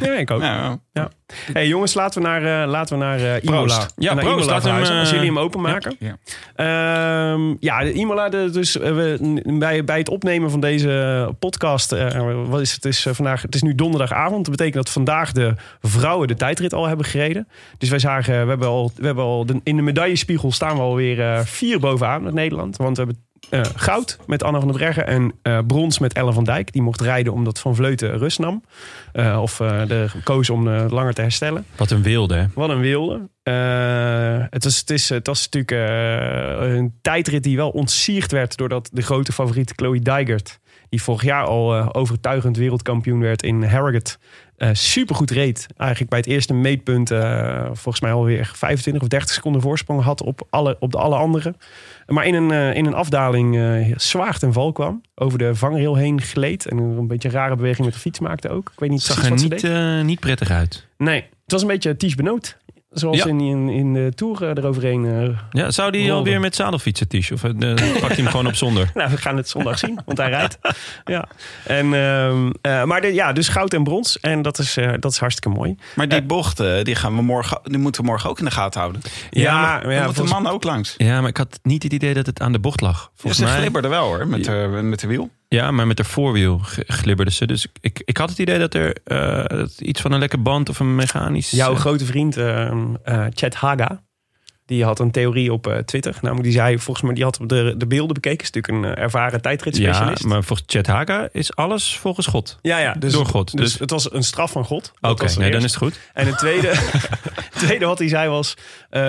[SPEAKER 2] Ja, ik ook.
[SPEAKER 7] Ja,
[SPEAKER 1] *laughs*
[SPEAKER 2] Hey jongens, laten we naar, eh, laten we naar eh, Imola.
[SPEAKER 1] Ja,
[SPEAKER 2] naar
[SPEAKER 1] proost. Laten we
[SPEAKER 2] Imola
[SPEAKER 1] hem,
[SPEAKER 2] verhuizen,
[SPEAKER 1] eh,
[SPEAKER 2] als jullie hem openmaken.
[SPEAKER 5] ja.
[SPEAKER 2] Ja, ja de Imola, de- dus eh, we, n- bij, bij het opnemen van deze podcast. eh, wat is het? Het Is, eh, vandaag, het is nu donderdagavond. Dat betekent dat vandaag de vrouwen de tijdrit al hebben gereden. Dus wij zagen, we hebben al, we hebben al de- in de medaillespiegel staan we alweer eh, vier bovenaan met Nederland. Want we hebben eh, goud met Anna van der Breggen en eh, brons met Ellen van Dijk. Die mocht rijden omdat Van Vleuten rust nam. Eh, of eh er koos om eh, langer te herstellen.
[SPEAKER 1] Wat een wilde, hè?
[SPEAKER 2] Wat een wilde. Eh, het, was, het, is, het was natuurlijk eh, een tijdrit die wel ontsierd werd... doordat de grote favoriet Chloe Dijgert... die vorig jaar al eh, overtuigend wereldkampioen werd in Harrogate... eh, supergoed reed. Eigenlijk bij het eerste meetpunt... eh, volgens mij alweer 25 of 30 seconden voorsprong had op, alle, op de alle anderen. Maar in een, eh, in een afdaling eh, zwaar ten val kwam. Over de vangrail heen gleed. En een beetje rare beweging met de fiets maakte ook. Ik weet niet
[SPEAKER 1] Zag
[SPEAKER 2] precies
[SPEAKER 1] er
[SPEAKER 2] wat ze
[SPEAKER 1] niet,
[SPEAKER 2] deed.
[SPEAKER 1] eh, niet prettig uit.
[SPEAKER 2] Nee, het was een beetje Ties Benoot. Zoals
[SPEAKER 1] Ja.
[SPEAKER 2] in, in, in de Tour eh, eroverheen. eh.
[SPEAKER 1] Ja, zou die
[SPEAKER 2] Rolde.
[SPEAKER 1] alweer met zadelfietsen, Tish? Of eh, pakt hij hem gewoon op zonder?
[SPEAKER 2] nou, we gaan het zondag zien, want hij *laughs* rijdt. Ja. En, ehm, eh, maar de- ja, dus goud en brons. En dat is, eh, dat is hartstikke mooi.
[SPEAKER 7] Maar die bochten, die, gaan we morgen, die moeten we morgen ook in de gaten houden.
[SPEAKER 2] Ja,
[SPEAKER 7] maar
[SPEAKER 2] maar
[SPEAKER 7] dan
[SPEAKER 2] ja,
[SPEAKER 7] moet de
[SPEAKER 2] volgens-
[SPEAKER 7] man ook langs.
[SPEAKER 1] Ja, maar ik had niet het idee dat het aan de bocht lag.
[SPEAKER 7] Ja,
[SPEAKER 1] Volgens
[SPEAKER 7] ze
[SPEAKER 1] mij.
[SPEAKER 7] glibberde wel hoor, met de, met de wiel.
[SPEAKER 1] Ja, maar met haar voorwiel g- glibberde ze. Dus ik, ik had het idee dat er eh, dat iets van een lekker band of een mechanisch.
[SPEAKER 2] Jouw
[SPEAKER 1] eh,
[SPEAKER 2] grote vriend ehm, eh, Chad Haga. Die had een theorie op eh, Twitter. Namelijk, die zei volgens mij, die had op de, de beelden bekeken. Is natuurlijk een eh, ervaren
[SPEAKER 1] Ja,
[SPEAKER 2] tijdritspecialist.
[SPEAKER 1] maar volgens Chet Haga is alles volgens God.
[SPEAKER 2] ja, ja, dus,
[SPEAKER 1] Door God,
[SPEAKER 2] Dus,
[SPEAKER 1] dus-
[SPEAKER 2] het was een straf van God. Dat
[SPEAKER 1] Oké,
[SPEAKER 2] was het
[SPEAKER 1] nee, dan
[SPEAKER 2] eerste.
[SPEAKER 1] is het goed.
[SPEAKER 2] En het tweede, *laughs* het tweede wat hij zei was... eh,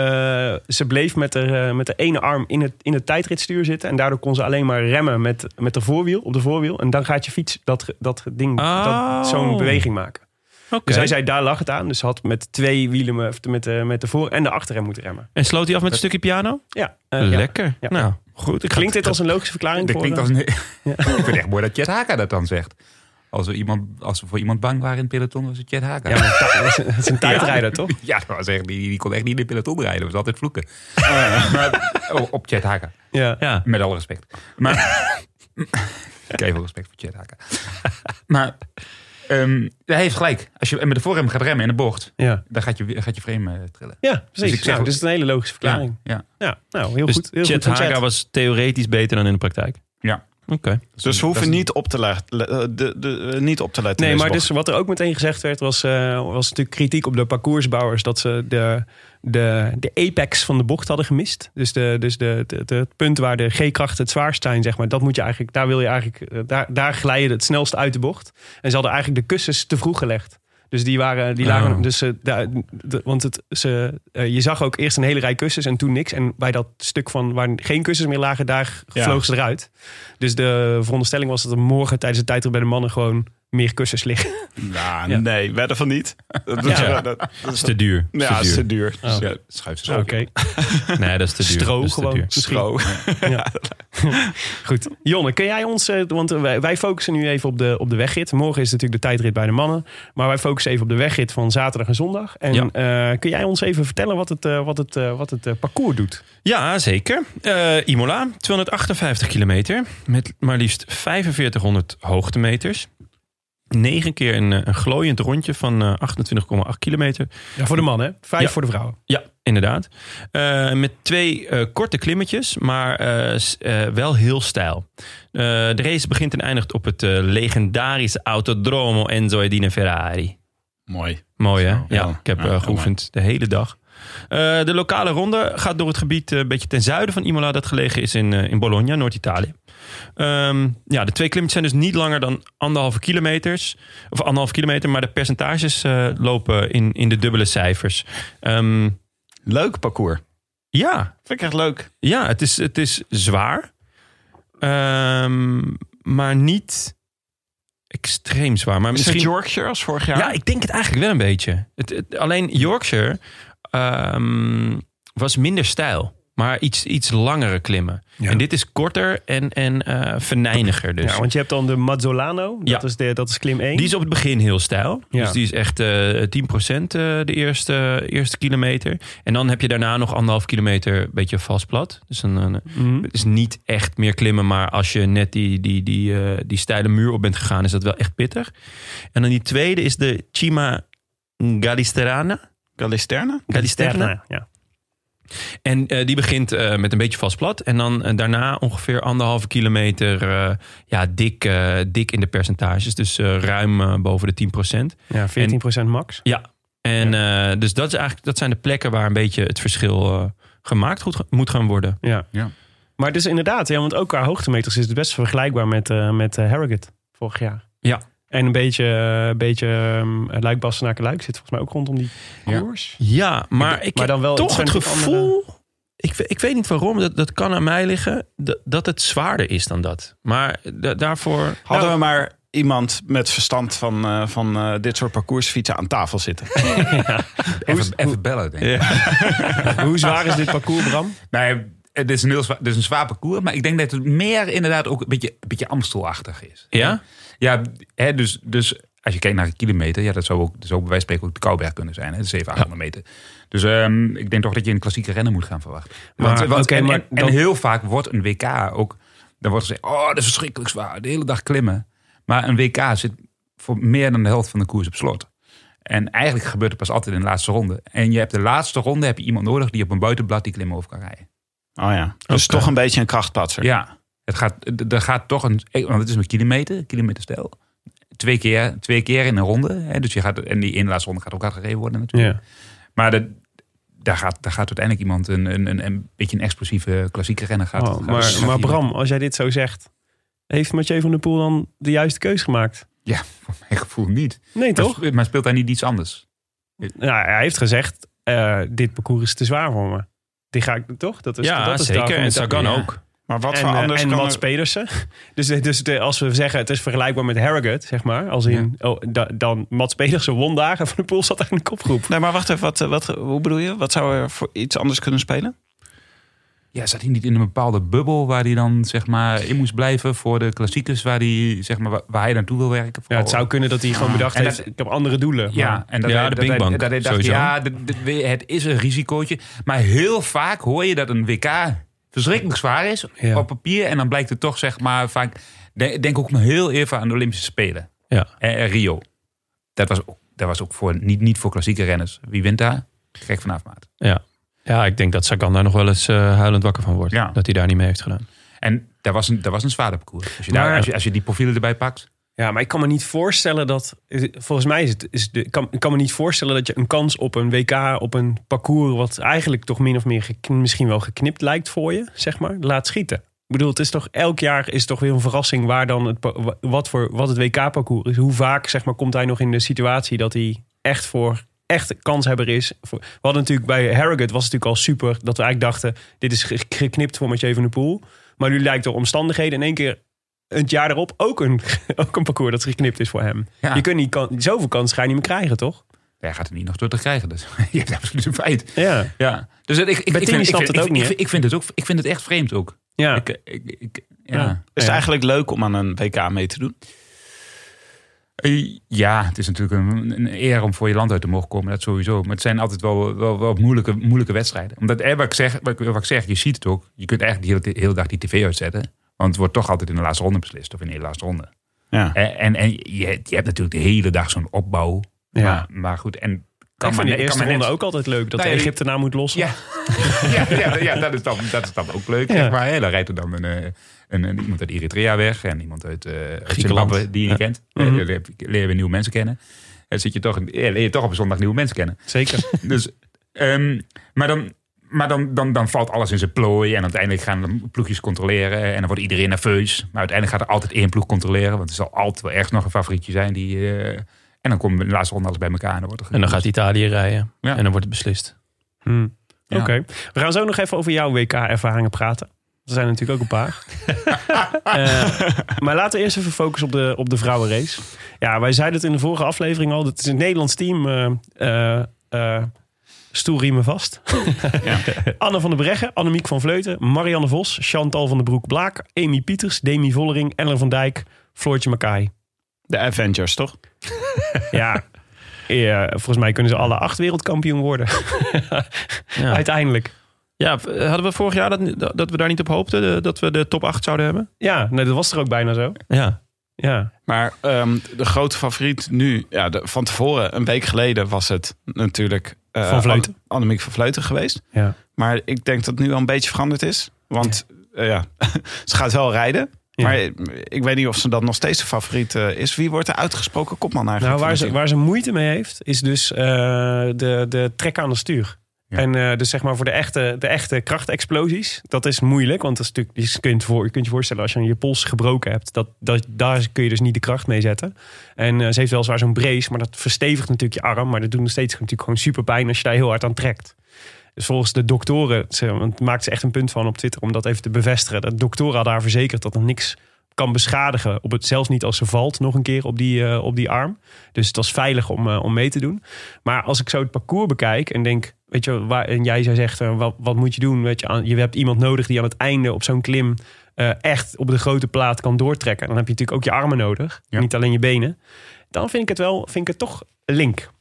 [SPEAKER 2] ze bleef met de, met de ene arm in het, in het tijdritstuur zitten... en daardoor kon ze alleen maar remmen met, met de voorwiel, op de voorwiel. En dan gaat je fiets dat, dat ding,
[SPEAKER 1] Oh.
[SPEAKER 2] dat, zo'n beweging maken.
[SPEAKER 1] Oké.
[SPEAKER 2] Dus hij zei, daar lag het aan. Dus ze had met twee wielen, of met, de- met de voor- en de achterrem moeten remmen.
[SPEAKER 1] En sloot hij af met een stukje piano?
[SPEAKER 2] Ja, eh, ja.
[SPEAKER 1] lekker.
[SPEAKER 2] Ja.
[SPEAKER 1] Nou, goed. Ik ga-
[SPEAKER 2] Klinkt dit als een logische verklaring?
[SPEAKER 5] Dat
[SPEAKER 2] voor,
[SPEAKER 5] klinkt
[SPEAKER 2] eh,
[SPEAKER 5] als een... *laughs* ik vind het echt mooi dat Chet Haka dat dan zegt. Als we, iemand, als we voor iemand bang waren in het peloton, was het Chet Haka.
[SPEAKER 2] eh? Ja, maar dat is een-
[SPEAKER 1] *laughs*
[SPEAKER 2] dat is een tijdrijder, toch?
[SPEAKER 5] Ja, dat was echt, die, die kon echt niet in de peloton rijden. Dat was altijd vloeken. Eh, *laughs* maar, oh, op Chet Haka.
[SPEAKER 2] Ja.
[SPEAKER 1] Ja.
[SPEAKER 5] Met alle respect. *laughs* Maar, ik heb veel respect voor Chet Haka. *laughs* maar ehm, hij heeft gelijk. Als je met de voorrem gaat remmen in de bocht,
[SPEAKER 2] Ja.
[SPEAKER 5] dan gaat je, gaat je frame eh, trillen.
[SPEAKER 2] Ja, precies.
[SPEAKER 5] ik
[SPEAKER 2] Dus,
[SPEAKER 5] zeg-
[SPEAKER 2] nou, dus het is een hele logische verklaring.
[SPEAKER 5] Ja, ja.
[SPEAKER 2] Ja, nou, heel
[SPEAKER 1] Dus
[SPEAKER 2] goed. Heel
[SPEAKER 1] Chet
[SPEAKER 2] goed van Chet.
[SPEAKER 1] Haga was theoretisch beter dan in de praktijk.
[SPEAKER 5] Ja.
[SPEAKER 1] Oké.
[SPEAKER 7] Dus we hoeven niet op te, le- le- eh, de, de, eh, niet op te letten.
[SPEAKER 2] Nee,
[SPEAKER 7] in
[SPEAKER 2] maar
[SPEAKER 7] deze
[SPEAKER 2] dus wat er ook meteen gezegd werd, was, eh, was natuurlijk kritiek op de parcoursbouwers dat ze de, de, de apex van de bocht hadden gemist. Dus, de, dus de, de- de- het punt waar de G-krachten het zwaarst zijn, zeg maar, dat moet je eigenlijk, daar wil je eigenlijk, eh, daar, daar glij je het snelst uit de bocht. En ze hadden eigenlijk de kussens te vroeg gelegd. Dus die waren, die lagen,
[SPEAKER 1] Oh.
[SPEAKER 2] dus eh, daar- de- want het, ze, eh, je zag ook eerst een hele rij kussens en toen niks. En bij dat stuk van waar geen kussens meer lagen, daar
[SPEAKER 7] Ja.
[SPEAKER 2] vloog ze eruit. Dus de veronderstelling was dat er morgen tijdens de tijdrit bij de mannen gewoon meer kussens liggen.
[SPEAKER 7] bocht. Nou, nee, wedden van *laughs* niet. Dat,
[SPEAKER 1] Ja.
[SPEAKER 7] dat, dat- dat
[SPEAKER 1] is
[SPEAKER 7] is
[SPEAKER 1] te duur.
[SPEAKER 7] ja,
[SPEAKER 1] Is
[SPEAKER 7] is
[SPEAKER 1] te
[SPEAKER 7] te
[SPEAKER 1] duur.
[SPEAKER 7] duur. Dus ja,
[SPEAKER 5] Schuif ze
[SPEAKER 2] Oké,
[SPEAKER 1] Nee, dat is te duur.
[SPEAKER 2] *laughs* stro
[SPEAKER 1] Dat is te
[SPEAKER 2] gewoon.
[SPEAKER 1] duur.
[SPEAKER 2] Misschien.
[SPEAKER 7] Stro.
[SPEAKER 2] *laughs* Ja. Goed. Jonne, kun jij ons... eh, Want wij, wij focussen nu even op de, op de wegrit. Morgen is natuurlijk de tijdrit bij de mannen. Maar wij focussen even op de wegrit van zaterdag en zondag. En eh, kun jij ons even vertellen wat het, eh, wat het, eh, wat het eh, parcours doet?
[SPEAKER 1] Ja, zeker. Eh, Imola, 258 kilometer. Met maar liefst 4500 hoogtemeters. negen keer een, eh, een glooiend rondje van eh, 28,8 kilometer.
[SPEAKER 2] Ja, voor de man, hè? Vijf
[SPEAKER 1] Ja.
[SPEAKER 2] voor de vrouwen.
[SPEAKER 1] Ja, inderdaad. Eh, met twee eh, korte klimmetjes, maar eh, s- eh, wel heel stijl. Eh, de race begint en eindigt op het eh, legendarische Autodromo Enzo Edine Ferrari.
[SPEAKER 7] Mooi.
[SPEAKER 1] Mooi hè? Ja,
[SPEAKER 7] ja.
[SPEAKER 1] ik heb
[SPEAKER 7] Ja,
[SPEAKER 1] eh,
[SPEAKER 7] heel
[SPEAKER 1] geoefend de hele dag. Eh, de lokale ronde gaat door het gebied eh, een beetje ten zuiden van Imola... dat gelegen is in, eh, in Bologna, Noord-Italië. Ehm, ja, de twee klimmetjes zijn dus niet langer dan anderhalve kilometers. Of anderhalve kilometer, maar de percentages eh, lopen in, in de dubbele cijfers. Ehm,
[SPEAKER 7] Leuk parcours.
[SPEAKER 1] ja,
[SPEAKER 7] Vind ik echt leuk.
[SPEAKER 1] ja, het is, het is zwaar. Ehm, maar niet extreem zwaar. Maar
[SPEAKER 7] Is het
[SPEAKER 1] misschien...
[SPEAKER 7] Yorkshire als vorig jaar?
[SPEAKER 1] Ja, ik denk het eigenlijk wel een beetje. Het, het- alleen Yorkshire ehm, was minder stijl. Maar iets, iets langere klimmen.
[SPEAKER 2] Ja.
[SPEAKER 1] En dit is korter en, en eh venijniger dus.
[SPEAKER 2] Ja, want je hebt dan de Mazzolano. Dat,
[SPEAKER 1] Ja.
[SPEAKER 2] is, de, dat is klim 1.
[SPEAKER 1] Die is op het begin heel stijl.
[SPEAKER 2] Ja.
[SPEAKER 1] Dus die is echt eh 10% eh, de eerste, eerste kilometer. En dan heb je daarna nog anderhalf kilometer een beetje vast plat. Dus een, een- het is niet echt meer klimmen. Maar als je net die, die, die, eh, die steile muur op bent gegaan, is dat wel echt pittig. En dan die tweede is de Cima Gallisterana.
[SPEAKER 7] Galisterna?
[SPEAKER 1] Galisterna.
[SPEAKER 2] Sterna, Ja.
[SPEAKER 1] En eh, die begint eh, met een beetje vast plat. En dan eh, daarna ongeveer anderhalve kilometer eh, ja, dik, eh, dik in de percentages. Dus eh, ruim eh, boven de 10%.
[SPEAKER 2] ja, 14% max.
[SPEAKER 1] Ja. En eh, dus dat, is eigenlijk, dat zijn de plekken waar een beetje het verschil eh, gemaakt goed, moet gaan worden.
[SPEAKER 2] Ja.
[SPEAKER 5] Ja.
[SPEAKER 2] Maar het is inderdaad, ja, want ook qua hoogtemeters is het best vergelijkbaar met, eh, met eh, Harrogate vorig jaar.
[SPEAKER 1] Ja.
[SPEAKER 2] En een beetje, eh, een beetje ehm, Luik Bastenaken Luik zit volgens mij ook rondom die
[SPEAKER 5] Ja.
[SPEAKER 2] koers.
[SPEAKER 1] Ja, maar ik
[SPEAKER 2] maar
[SPEAKER 1] heb
[SPEAKER 2] dan wel-
[SPEAKER 1] toch
[SPEAKER 2] het zijn
[SPEAKER 1] het
[SPEAKER 2] natuurlijk
[SPEAKER 1] gevoel... Ik, we- ik weet niet waarom, dat, dat kan aan mij liggen... Dat, dat het zwaarder is dan dat. Maar da- daarvoor... Nou,
[SPEAKER 7] Hadden we maar iemand met verstand van, eh, van eh, dit soort parcoursfietsen aan tafel zitten. Oh
[SPEAKER 5] Even, even bellen, denk ik.
[SPEAKER 2] Hoe zwaar is dit parcours,
[SPEAKER 5] *laughs*
[SPEAKER 2] Bram?
[SPEAKER 5] Nee, het is, een heel zwaar, het is een zwaar parcours, maar ik denk dat het meer inderdaad ook een beetje, een beetje Amstelachtig is.
[SPEAKER 1] Ja?
[SPEAKER 5] Ja, hè, dus, dus als je kijkt naar een kilometer, ja, dat zou ook, dat zou bij wijze van spreken ook de Kouberg kunnen zijn, hè, 700, 800 meter. Dus ehm, ik denk toch dat je een klassieke rennen moet gaan verwachten. Want,
[SPEAKER 2] Maar,
[SPEAKER 5] want-
[SPEAKER 2] oké,
[SPEAKER 5] en,
[SPEAKER 2] maar
[SPEAKER 5] en- en
[SPEAKER 2] dan-
[SPEAKER 5] heel vaak wordt een WK ook, dan wordt gezegd, oh, dat is verschrikkelijk zwaar, de hele dag klimmen. Maar een WK zit voor meer dan de helft van de koers op slot. En eigenlijk gebeurt het pas altijd in de laatste ronde. En je hebt de laatste ronde heb je iemand nodig die op een buitenblad die klim over kan rijden.
[SPEAKER 7] Oh ja. Dus
[SPEAKER 1] Oké.
[SPEAKER 7] toch een beetje een krachtpatser.
[SPEAKER 5] Ja, het gaat, d- er gaat toch een. e-, Want het is een kilometer, kilometerstijl. Twee keer, twee keer in een ronde. Hè, dus je gaat, en die ene laatste ronde gaat ook hard gereden worden natuurlijk.
[SPEAKER 2] Ja.
[SPEAKER 5] Maar dat- daar, gaat, daar gaat uiteindelijk iemand een, een, een, een beetje een explosieve klassieke renner. Gaat,
[SPEAKER 2] Oh,
[SPEAKER 5] gaat-
[SPEAKER 2] maar,
[SPEAKER 5] gaat
[SPEAKER 2] maar
[SPEAKER 5] iemand-
[SPEAKER 2] Bram, als jij dit zo zegt, heeft Mathieu van der Poel dan de juiste keus gemaakt?
[SPEAKER 5] Ja, *laughs* voor mijn gevoel niet.
[SPEAKER 2] Nee,
[SPEAKER 5] Maar
[SPEAKER 2] toch?
[SPEAKER 5] sp- Maar speelt hij niet iets anders?
[SPEAKER 2] Nou, hij heeft gezegd, eh, dit parcours is te zwaar voor me. Die ga ik toch? Dat is,
[SPEAKER 1] ja,
[SPEAKER 2] dat is
[SPEAKER 1] zeker.
[SPEAKER 2] daarvan-
[SPEAKER 1] En Sagan
[SPEAKER 5] ja.
[SPEAKER 1] ook.
[SPEAKER 7] Maar wat
[SPEAKER 2] En,
[SPEAKER 7] voor
[SPEAKER 2] eh,
[SPEAKER 7] anders
[SPEAKER 2] en
[SPEAKER 7] kan
[SPEAKER 2] Mats
[SPEAKER 7] er-
[SPEAKER 2] Pedersen. *laughs* Dus, dus de, als we zeggen het is vergelijkbaar met Harrogate, zeg maar. Als in, oh, da- dan Mats Pedersen won daar en Van de Poel zat daar in de kopgroep.
[SPEAKER 7] Nee, maar wacht even. Wat, eh, wat, hoe bedoel je? Wat zou er voor iets anders kunnen spelen?
[SPEAKER 5] Ja, zat hij niet in een bepaalde bubbel waar hij dan zeg maar in moest blijven voor de klassiekers waar hij, zeg maar, wa- waar hij naartoe wil werken?
[SPEAKER 2] Ja,
[SPEAKER 1] Oh.
[SPEAKER 2] het
[SPEAKER 5] Vooral-
[SPEAKER 2] zou kunnen dat hij gewoon bedacht
[SPEAKER 5] En
[SPEAKER 2] heeft,
[SPEAKER 5] dat-
[SPEAKER 2] ik heb andere doelen.
[SPEAKER 5] Ja, en dat
[SPEAKER 1] Ah. Ja,
[SPEAKER 5] hij-
[SPEAKER 1] de
[SPEAKER 5] dat hij-
[SPEAKER 1] Pinkbank,
[SPEAKER 5] dat hij dacht,
[SPEAKER 1] sowieso.
[SPEAKER 5] ja, dit- dit- we- het is een risicootje. Maar heel vaak hoor je dat een WK verschrikkelijk zwaar is
[SPEAKER 2] Ja.
[SPEAKER 5] op papier. En dan blijkt het toch, zeg maar, vaak... de- Denk ook maar heel even aan de Olympische Spelen.
[SPEAKER 1] Ja.
[SPEAKER 5] En, en Rio. Dat was ook, dat was ook voor, niet, niet voor klassieke renners. Wie wint daar? Gek vanaf maat.
[SPEAKER 1] Ja. ja, ik denk dat Sagan daar nog wel eens eh, huilend wakker van wordt.
[SPEAKER 5] Ja.
[SPEAKER 1] Dat hij daar niet mee heeft gedaan.
[SPEAKER 5] En dat was een, dat was een zwaarder parcours. Als je, daar-
[SPEAKER 2] Maar-
[SPEAKER 5] als, je, als je die profielen erbij pakt.
[SPEAKER 2] Ja, maar ik kan me niet voorstellen dat. eh, Volgens mij is het. Is de, ik kan, ik kan me niet voorstellen dat je een kans op een WK. op een parcours. wat eigenlijk toch min of meer. gek- misschien wel geknipt lijkt voor je, zeg maar. laat schieten. Ik bedoel, het is toch. elk jaar is toch weer een verrassing. waar dan het. pa- wa- wat, voor, wat het WK-parcours is. Hoe vaak, zeg maar, komt hij nog in de situatie dat hij echt voor. echt kanshebber is. Voor- We hadden natuurlijk bij Harrogate. was het natuurlijk al super. dat we eigenlijk dachten. dit is ge- geknipt voor Mathieu van der Poel. Maar nu lijkt door omstandigheden in één keer het jaar daarop ook een, *laughs* ook een parcours dat geknipt is voor hem.
[SPEAKER 5] Ja.
[SPEAKER 2] Je kunt niet kan, zoveel kans ga je niet meer krijgen, toch?
[SPEAKER 5] Hij gaat er niet nog door te krijgen. Dus *laughs* je hebt absoluut een feit.
[SPEAKER 2] Ja.
[SPEAKER 5] Ja. Dus ik, ik, ik,
[SPEAKER 2] Bettini snapt het
[SPEAKER 5] ik-
[SPEAKER 2] ook niet,
[SPEAKER 5] ik-
[SPEAKER 2] hè?
[SPEAKER 5] ik vind het ook. Ik vind het echt vreemd ook.
[SPEAKER 2] ja.
[SPEAKER 5] Ik, ik, ik-
[SPEAKER 2] Ja. Dus
[SPEAKER 5] ja.
[SPEAKER 7] Is het
[SPEAKER 2] Ja.
[SPEAKER 7] eigenlijk leuk om aan een WK mee te doen?
[SPEAKER 5] Eh, ja, het is natuurlijk een, een eer om voor je land uit te mogen komen, dat sowieso. Maar het zijn altijd wel, wel, wel moeilijke, moeilijke wedstrijden. Omdat, eh, wat, ik zeg, wat, ik, wat ik zeg, je ziet het ook. Je kunt eigenlijk de hele, de hele dag die tv uitzetten. Want het wordt toch altijd in de laatste ronde beslist. Of in de hele laatste ronde.
[SPEAKER 7] Ja.
[SPEAKER 5] En, en, en je, je hebt natuurlijk de hele dag zo'n opbouw.
[SPEAKER 7] Ja.
[SPEAKER 5] Maar, maar goed, en kan
[SPEAKER 2] Ik
[SPEAKER 5] maar
[SPEAKER 2] vond die
[SPEAKER 5] net-
[SPEAKER 2] eerste
[SPEAKER 5] kan maar
[SPEAKER 2] ronde
[SPEAKER 5] net-
[SPEAKER 2] ook altijd leuk. Dat
[SPEAKER 5] Nou
[SPEAKER 2] de
[SPEAKER 5] ja,
[SPEAKER 2] Egyptenaar moet lossen.
[SPEAKER 5] Ja, ja, ja, ja dat, is dan, dat is dan ook leuk. Zeg maar, hè. Dan rijdt er dan een, eh, een, een- iemand uit Eritrea weg en iemand uit eh, uit
[SPEAKER 1] Griekenland.
[SPEAKER 5] Zimbabwe die je niet kent. Eh,
[SPEAKER 2] Mhm.
[SPEAKER 5] leer- Leren we nieuwe mensen kennen. En zit je toch, in- eh, leer je toch op een zondag nieuwe mensen
[SPEAKER 1] *laughs*
[SPEAKER 5] kennen.
[SPEAKER 2] Zeker.
[SPEAKER 5] Dus, ehm, maar dan, maar dan, dan, dan valt alles in zijn plooi. En uiteindelijk gaan de ploegjes controleren. En dan wordt iedereen nerveus. Maar uiteindelijk gaat er altijd één ploeg controleren. Want er zal altijd wel ergens nog een favorietje zijn. Die, eh, en dan komt de laatste ronde alles bij elkaar. En dan wordt er
[SPEAKER 1] En dan gaat Italië rijden.
[SPEAKER 5] Ja.
[SPEAKER 1] En dan wordt het beslist.
[SPEAKER 2] Hmm.
[SPEAKER 5] Ja.
[SPEAKER 2] Oké. We gaan zo nog even over jouw WK-ervaringen praten. Er zijn er natuurlijk ook een paar. Eh, maar laten we eerst even focussen op de, op de vrouwenrace. Ja, wij zeiden het in de vorige aflevering al. Het is een Nederlands team. eh, eh, eh, stoel riemen vast. Anne van der Breggen, Annemiek van Vleuten, Marianne Vos, Chantal van der Broek-Blaak, Amy Pieters, Demi Vollering, Ellen van Dijk, Floortje Makai.
[SPEAKER 7] De Avengers, toch?
[SPEAKER 2] Ja. Ja, volgens mij kunnen ze alle acht wereldkampioen worden.
[SPEAKER 1] Ja.
[SPEAKER 2] Uiteindelijk.
[SPEAKER 1] ja, v- hadden we vorig jaar dat, dat we daar niet op hoopten? de- Dat we de top 8 zouden hebben?
[SPEAKER 2] Ja, nee, dat was er ook bijna zo.
[SPEAKER 1] Ja.
[SPEAKER 2] Ja.
[SPEAKER 7] Maar ehm, de grote favoriet nu, ja, de- van tevoren, een week geleden was het natuurlijk eh,
[SPEAKER 2] Van Vleuten.
[SPEAKER 7] Anne- Annemiek van Vleuten geweest.
[SPEAKER 2] ja.
[SPEAKER 7] Maar ik denk dat het nu al een beetje veranderd is. Want eh, ja, *laughs* ze gaat wel rijden.
[SPEAKER 2] Ja.
[SPEAKER 7] Maar eh, ik weet niet of ze dan nog steeds de favoriet eh, is. Wie wordt de uitgesproken kopman
[SPEAKER 2] Nou,
[SPEAKER 7] eigenlijk?
[SPEAKER 2] waar
[SPEAKER 7] van
[SPEAKER 2] ze,
[SPEAKER 7] het
[SPEAKER 2] waar ze moeite mee heeft, is dus eh, de, de trek aan de stuur.
[SPEAKER 5] Ja.
[SPEAKER 2] En eh, dus zeg maar voor de echte, de echte krachtexplosies, dat is moeilijk. Want dat is natuurlijk, je kunt, voor, je kunt je voorstellen als je je pols gebroken hebt, dat, dat, daar kun je dus niet de kracht mee zetten. En eh, ze heeft wel zwaar zo'n brace, maar dat verstevigt natuurlijk je arm. Maar dat doet nog steeds natuurlijk gewoon super pijn als je daar heel hard aan trekt. Dus volgens de doktoren, ze, want het maakt ze echt een punt van op Twitter om dat even te bevestigen. Dat doktoren hadden haar verzekerd dat er niks kan beschadigen. Op het, zelfs niet als ze valt nog een keer op die, eh, op die arm. Dus het was veilig om, eh, om mee te doen. Maar als ik zo het parcours bekijk en denk, weet je, waar, en jij zei zegt, eh, wat, wat moet je doen? Weet je, aan, je hebt iemand nodig die aan het einde op zo'n klim eh, echt op de grote plaat kan doortrekken. Dan heb je natuurlijk ook je armen nodig,
[SPEAKER 5] Ja.
[SPEAKER 2] niet alleen je benen. Dan vind ik het wel, vind ik het toch een link.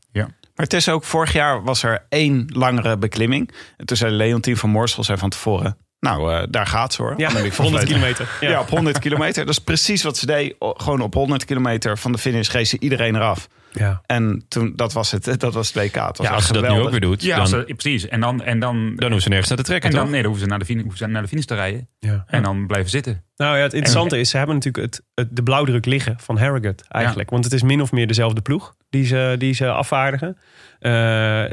[SPEAKER 7] Maar het is ook, vorig jaar was er één langere beklimming. En toen zei Leontien van Moorsel zei van tevoren... Nou, eh, daar gaat ze hoor.
[SPEAKER 2] Ja,
[SPEAKER 7] Annemiek van
[SPEAKER 2] 100
[SPEAKER 7] Vleuten.
[SPEAKER 2] kilometer.
[SPEAKER 7] Ja. op 100 kilometer. Dat is precies wat ze deed. O- Gewoon op 100 kilometer van de finish reed ze iedereen eraf.
[SPEAKER 2] ja.
[SPEAKER 7] En toen, dat was het. Dat was het WK. Het was
[SPEAKER 1] ja
[SPEAKER 7] echt
[SPEAKER 1] als ze dat nu
[SPEAKER 7] geweldig.
[SPEAKER 1] ook weer doet,
[SPEAKER 5] Ja,
[SPEAKER 1] dan,
[SPEAKER 5] als er- precies. En dan, en dan,
[SPEAKER 1] dan hoeven ze nergens naar te trekken,
[SPEAKER 5] en dan,
[SPEAKER 1] toch?
[SPEAKER 5] nee, dan hoeven ze naar de, fin- hoeven ze naar de finish te rijden.
[SPEAKER 2] ja.
[SPEAKER 5] En dan blijven zitten.
[SPEAKER 2] Nou ja, het interessante is, ze hebben natuurlijk het, het, de blauwdruk liggen van Harrogate eigenlijk. Want het is min of meer dezelfde ploeg die ze, die ze afvaardigen. Eh, eh,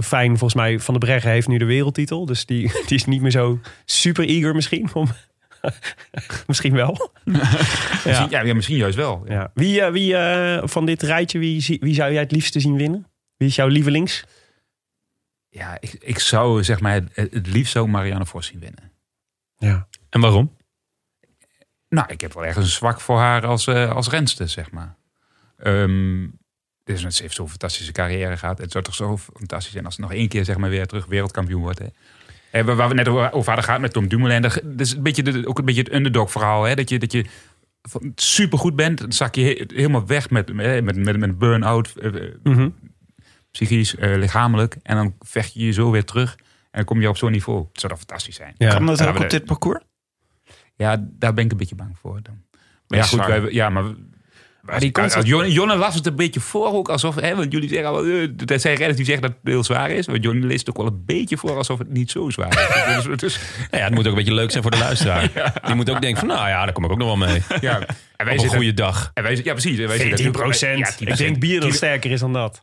[SPEAKER 2] fijn, volgens mij, Van der Breggen heeft nu de wereldtitel. Dus die, *laughs* die is niet meer zo super eager misschien. Om, *laughs* misschien wel. ja.
[SPEAKER 5] Misschien, ja, ja, misschien juist wel.
[SPEAKER 2] Ja. Wie, eh, wie eh, van dit rijtje, wie, zie- wie zou jij het liefste zien winnen? Wie is jouw lievelings?
[SPEAKER 5] Ja, ik, ik zou zeg maar het, het liefst zo Marianne Vos zien winnen.
[SPEAKER 2] Ja.
[SPEAKER 1] En waarom?
[SPEAKER 5] Nou, ik heb wel ergens een zwak voor haar als, eh, als renster, zeg maar. Ehm dus ze heeft zo'n fantastische carrière gehad. Het zou toch zo fantastisch zijn als ze nog één keer zeg maar, weer terug wereldkampioen wordt. Hè? Eh, waar- waar we net over over hadden gehad met Tom Dumoulin. Dat is een beetje de, ook een beetje het underdog verhaal. Hè? Dat je, dat je van- supergoed bent. Dan zak je he- helemaal weg met, met, met, met een burn-out. eh, eh, psychisch, eh, lichamelijk. En dan vecht je je zo weer terug. En dan kom je op zo'n niveau. Het zou dan fantastisch zijn.
[SPEAKER 2] Ja.
[SPEAKER 7] Kan dat
[SPEAKER 5] Ja,
[SPEAKER 7] ook
[SPEAKER 5] maar
[SPEAKER 7] op
[SPEAKER 5] de-
[SPEAKER 7] dit parcours?
[SPEAKER 5] Ja, daar ben ik een beetje bang voor. Dan. Maar ja,
[SPEAKER 7] is
[SPEAKER 5] goed,
[SPEAKER 7] waar.
[SPEAKER 5] wij, ja, maar...
[SPEAKER 2] die
[SPEAKER 5] die
[SPEAKER 2] kans dat-
[SPEAKER 5] Jonne, Jonne las het een beetje voor ook alsof... Hè, want jullie zeggen al, eh, dat zijn redders die zeggen dat het heel zwaar is. Maar Jonne leest het ook wel een beetje voor alsof het niet zo zwaar
[SPEAKER 1] *laughs*
[SPEAKER 5] is. dus, dus,
[SPEAKER 1] Nou ja, het moet ook een beetje leuk zijn voor de
[SPEAKER 5] *laughs*
[SPEAKER 1] luisteraar. Die moet ook denken van, nou ja, daar kom ik ook nog wel mee.
[SPEAKER 5] ja. En wij
[SPEAKER 1] Op een
[SPEAKER 5] zitten...
[SPEAKER 1] goede dag.
[SPEAKER 5] En wij, ja, precies. En Wij
[SPEAKER 2] 14
[SPEAKER 5] Ja,
[SPEAKER 2] Ik denk bier dat sterker is dan dat.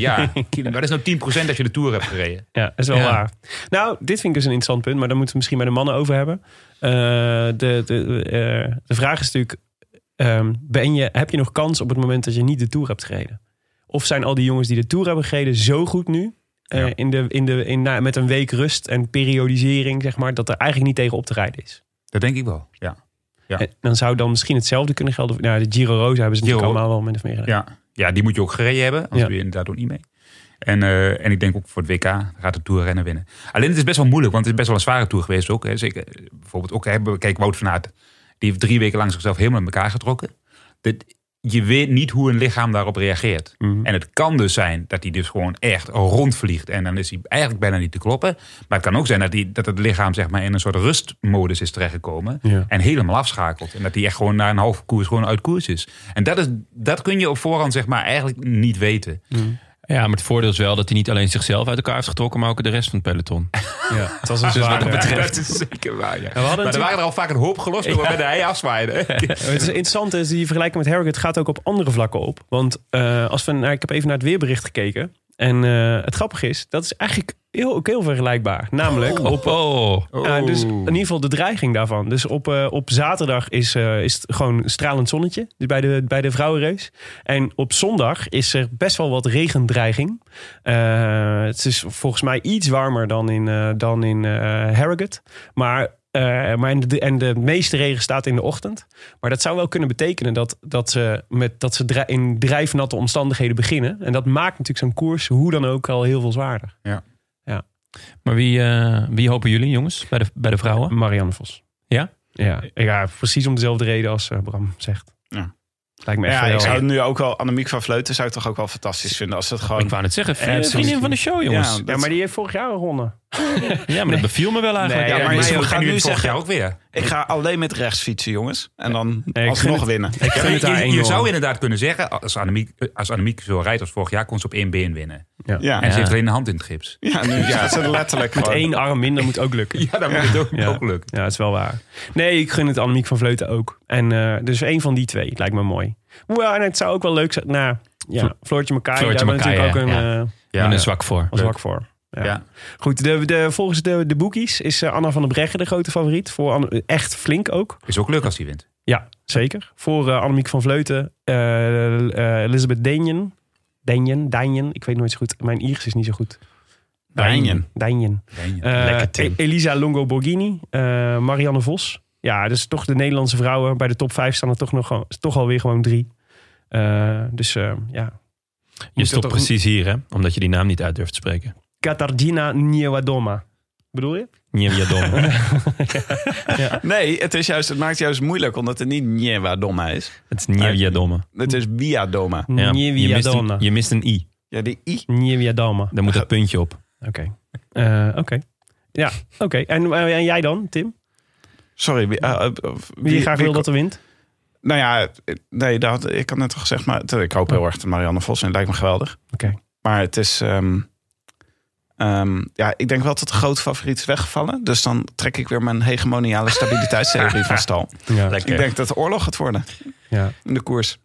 [SPEAKER 2] *laughs*
[SPEAKER 5] Ja, kilo- maar dat is nou 10 dat je de Tour hebt gereden.
[SPEAKER 2] Ja, dat is wel
[SPEAKER 1] Ja.
[SPEAKER 2] waar. Nou, dit vind ik dus een interessant punt, maar daar moeten we misschien bij de mannen over hebben. Eh, de, de, eh, de vraag is natuurlijk: ehm, ben je, heb je nog kans op het moment dat je niet de tour hebt gereden? Of zijn al die jongens die de tour hebben gereden zo goed nu? eh,
[SPEAKER 5] Ja.
[SPEAKER 2] in de, in de, in, na- met een week rust en periodisering, zeg maar, dat er eigenlijk niet tegen op te rijden is.
[SPEAKER 5] Dat denk ik wel, ja. Ja.
[SPEAKER 2] En dan zou dan misschien hetzelfde kunnen gelden. voor- Nou, de Giro Rosa hebben ze natuurlijk
[SPEAKER 5] Giro.
[SPEAKER 2] allemaal wel min of meer gedaan.
[SPEAKER 5] Ja, ja die moet je ook gereden hebben. Anders
[SPEAKER 2] Ja.
[SPEAKER 5] doe je inderdaad ook niet mee. En, eh, en ik denk ook voor het WK gaat de Tourrennen winnen. Alleen het is best wel moeilijk, want het is best wel een zware Tour geweest ook. Hè. Zeker, eh, bijvoorbeeld ook, hè, kijk, Wout van Aert. Die heeft drie weken lang zichzelf helemaal in elkaar getrokken. Dit, je weet niet hoe een lichaam daarop reageert. En het kan dus zijn dat hij dus gewoon echt rondvliegt. En dan is hij eigenlijk bijna niet te kloppen. Maar het kan ook zijn dat, hij, dat het lichaam zeg maar, in een soort rustmodus is terechtgekomen.
[SPEAKER 2] Ja.
[SPEAKER 5] En helemaal afschakelt. En dat hij echt gewoon na een halve koers gewoon uit koers is. En dat, is, dat kun je op voorhand zeg maar, eigenlijk niet weten.
[SPEAKER 1] Ja, maar het voordeel is wel dat hij niet alleen zichzelf uit elkaar heeft getrokken, maar ook de rest van het Dus peloton.
[SPEAKER 2] Ja, het was een zware.
[SPEAKER 5] Dat is zeker waar. Ja.
[SPEAKER 2] hadden
[SPEAKER 5] Maar er
[SPEAKER 2] natuurlijk-
[SPEAKER 5] waren er al vaak een hoop gelost door waarbij hij afzwaaide.
[SPEAKER 2] Ja, Het is interessant is, die vergelijking met Harrogate gaat ook op andere vlakken op. Want eh, als we, nou, ik heb even naar het weerbericht gekeken. En eh, het grappige is, dat is eigenlijk heel, ook heel vergelijkbaar. Namelijk op...
[SPEAKER 1] Oh,
[SPEAKER 2] ja, dus in ieder geval de dreiging daarvan. Dus op, eh, op zaterdag is, eh, is het gewoon stralend zonnetje dus bij, de, bij de vrouwenrace. En op zondag is er best wel wat regendreiging. Eh, het is volgens mij iets warmer dan in, eh, dan in eh, Harrogate. Maar, eh, maar en, de, en de meeste regen staat in de ochtend. Maar dat zou wel kunnen betekenen dat, dat ze, met, dat ze dra- in drijfnatte omstandigheden beginnen. En dat maakt natuurlijk zo'n koers hoe dan ook al heel veel zwaarder.
[SPEAKER 1] maar wie, eh, wie hopen jullie, jongens, bij de, bij de vrouwen?
[SPEAKER 2] Marianne Vos.
[SPEAKER 1] Ja?
[SPEAKER 2] Ja, ja precies om dezelfde reden als eh, Bram zegt.
[SPEAKER 7] Ja.
[SPEAKER 2] Lijkt me echt
[SPEAKER 7] Ja,
[SPEAKER 2] wel...
[SPEAKER 7] ik zou nu ook wel Annemiek van Vleuten zou ik toch ook wel fantastisch vinden als dat
[SPEAKER 1] Ik
[SPEAKER 7] gewoon.
[SPEAKER 1] wou net zeggen,
[SPEAKER 7] Eh,
[SPEAKER 1] vriendin, vriendin van de show, jongens.
[SPEAKER 7] Ja,
[SPEAKER 2] Ja, maar die heeft vorig jaar
[SPEAKER 7] *laughs*
[SPEAKER 2] gewonnen.
[SPEAKER 1] Ja, maar dat beviel me wel eigenlijk.
[SPEAKER 7] Nee,
[SPEAKER 1] Ja,
[SPEAKER 7] ja,
[SPEAKER 1] maar
[SPEAKER 7] maar-
[SPEAKER 5] Meijel
[SPEAKER 7] we
[SPEAKER 5] ging
[SPEAKER 7] gaan nu
[SPEAKER 5] het vorig
[SPEAKER 7] zeggen-
[SPEAKER 5] jaar ook weer.
[SPEAKER 7] Ik ga alleen met rechts fietsen, jongens. En dan
[SPEAKER 2] ik
[SPEAKER 7] alsnog
[SPEAKER 2] vind het- *laughs*
[SPEAKER 7] winnen.
[SPEAKER 2] Ik
[SPEAKER 5] Ja,
[SPEAKER 2] vind het
[SPEAKER 5] je-
[SPEAKER 2] daar
[SPEAKER 5] je,
[SPEAKER 2] enorm.
[SPEAKER 5] zou inderdaad kunnen zeggen, als Annemiek, als Annemiek zo rijdt als vorig jaar, kon ze op één been winnen.
[SPEAKER 7] Ja,
[SPEAKER 5] En
[SPEAKER 7] ja.
[SPEAKER 5] ze heeft alleen een hand in het gips.
[SPEAKER 7] nu ja, *laughs* ze letterlijk
[SPEAKER 2] Met
[SPEAKER 7] gewoon.
[SPEAKER 2] één *laughs* arm minder moet ook
[SPEAKER 7] *laughs*
[SPEAKER 2] lukken.
[SPEAKER 5] Ja, dat moet het ook,
[SPEAKER 2] Ja.
[SPEAKER 5] ook lukken.
[SPEAKER 2] Ja, dat is wel waar. Nee, ik gun het Annemiek van Vleuten ook. En eh, dus één van die twee lijkt me mooi. Ja, en het zou ook wel leuk zijn. Nou, ja, Floortje Makai, daar
[SPEAKER 1] Floortje
[SPEAKER 2] hebben we
[SPEAKER 1] Makai,
[SPEAKER 2] natuurlijk ook een...
[SPEAKER 1] ja.
[SPEAKER 2] eh,
[SPEAKER 1] ik ben er zwak voor.
[SPEAKER 2] als zwak voor. Ja.
[SPEAKER 5] Ja.
[SPEAKER 2] Goed, de, de, volgens de, de boekies is eh, Anna van der Breggen de grote favoriet. Voor Anne- eh, echt flink ook.
[SPEAKER 5] Is ook leuk als hij wint.
[SPEAKER 2] Ja, zeker. Voor eh, Annemiek van Vleuten, eh, eh, Elizabeth Denjen. Denjen, Denjen, ik weet nooit zo goed. Mijn Iers is niet zo goed.
[SPEAKER 7] Denjen.
[SPEAKER 2] Denjen.
[SPEAKER 5] Ja.
[SPEAKER 2] Eh,
[SPEAKER 7] Lekker, Tim.
[SPEAKER 2] E- Elisa Longo Borghini, eh, Marianne Vos. Ja, dus toch de Nederlandse vrouwen. Bij de top 5 staan er toch, nog, gewoon- toch alweer gewoon drie. Eh, dus eh, ja.
[SPEAKER 1] Je
[SPEAKER 2] Moet
[SPEAKER 1] stopt
[SPEAKER 2] dat ook-
[SPEAKER 1] precies hier, hè? Omdat je die naam niet uit durft te spreken.
[SPEAKER 2] Katarzyna Niewiadoma. Bedoel je?
[SPEAKER 1] Nieuwjadon.
[SPEAKER 7] Nee, het, is juist, het maakt juist moeilijk omdat het niet Niewa Doma is.
[SPEAKER 1] *laughs* Het is *laughs* Nieuwjadomme.
[SPEAKER 7] Het is Via Doma.
[SPEAKER 1] Ja. Je, mist
[SPEAKER 2] Niewiadoma.
[SPEAKER 1] een- je mist een i.
[SPEAKER 7] Ja, die I.
[SPEAKER 2] Niewiadoma.
[SPEAKER 1] Daar moet dat puntje op.
[SPEAKER 2] Oké. Eh, oké. Ja, oké. En, eh, en jij dan, Tim?
[SPEAKER 7] Sorry. Wie, eh, eh,
[SPEAKER 2] Wie,
[SPEAKER 7] wie-
[SPEAKER 2] graag
[SPEAKER 7] wie-
[SPEAKER 2] wil dat er wint?
[SPEAKER 7] Nou ja, nee, dat, had- ik had net al gezegd, maar het- ik hoop heel erg dat Marianne Vos en het lijkt me geweldig.
[SPEAKER 2] Oké.
[SPEAKER 7] Maar het is. ehm, ehm, ja, ik denk wel dat de grote favoriet is weggevallen. Dus dan trek ik weer mijn hegemoniale stabiliteitstheorie van stal.
[SPEAKER 2] Ja.
[SPEAKER 7] Ik denk dat de oorlog gaat worden
[SPEAKER 2] Ja.
[SPEAKER 7] in de koers.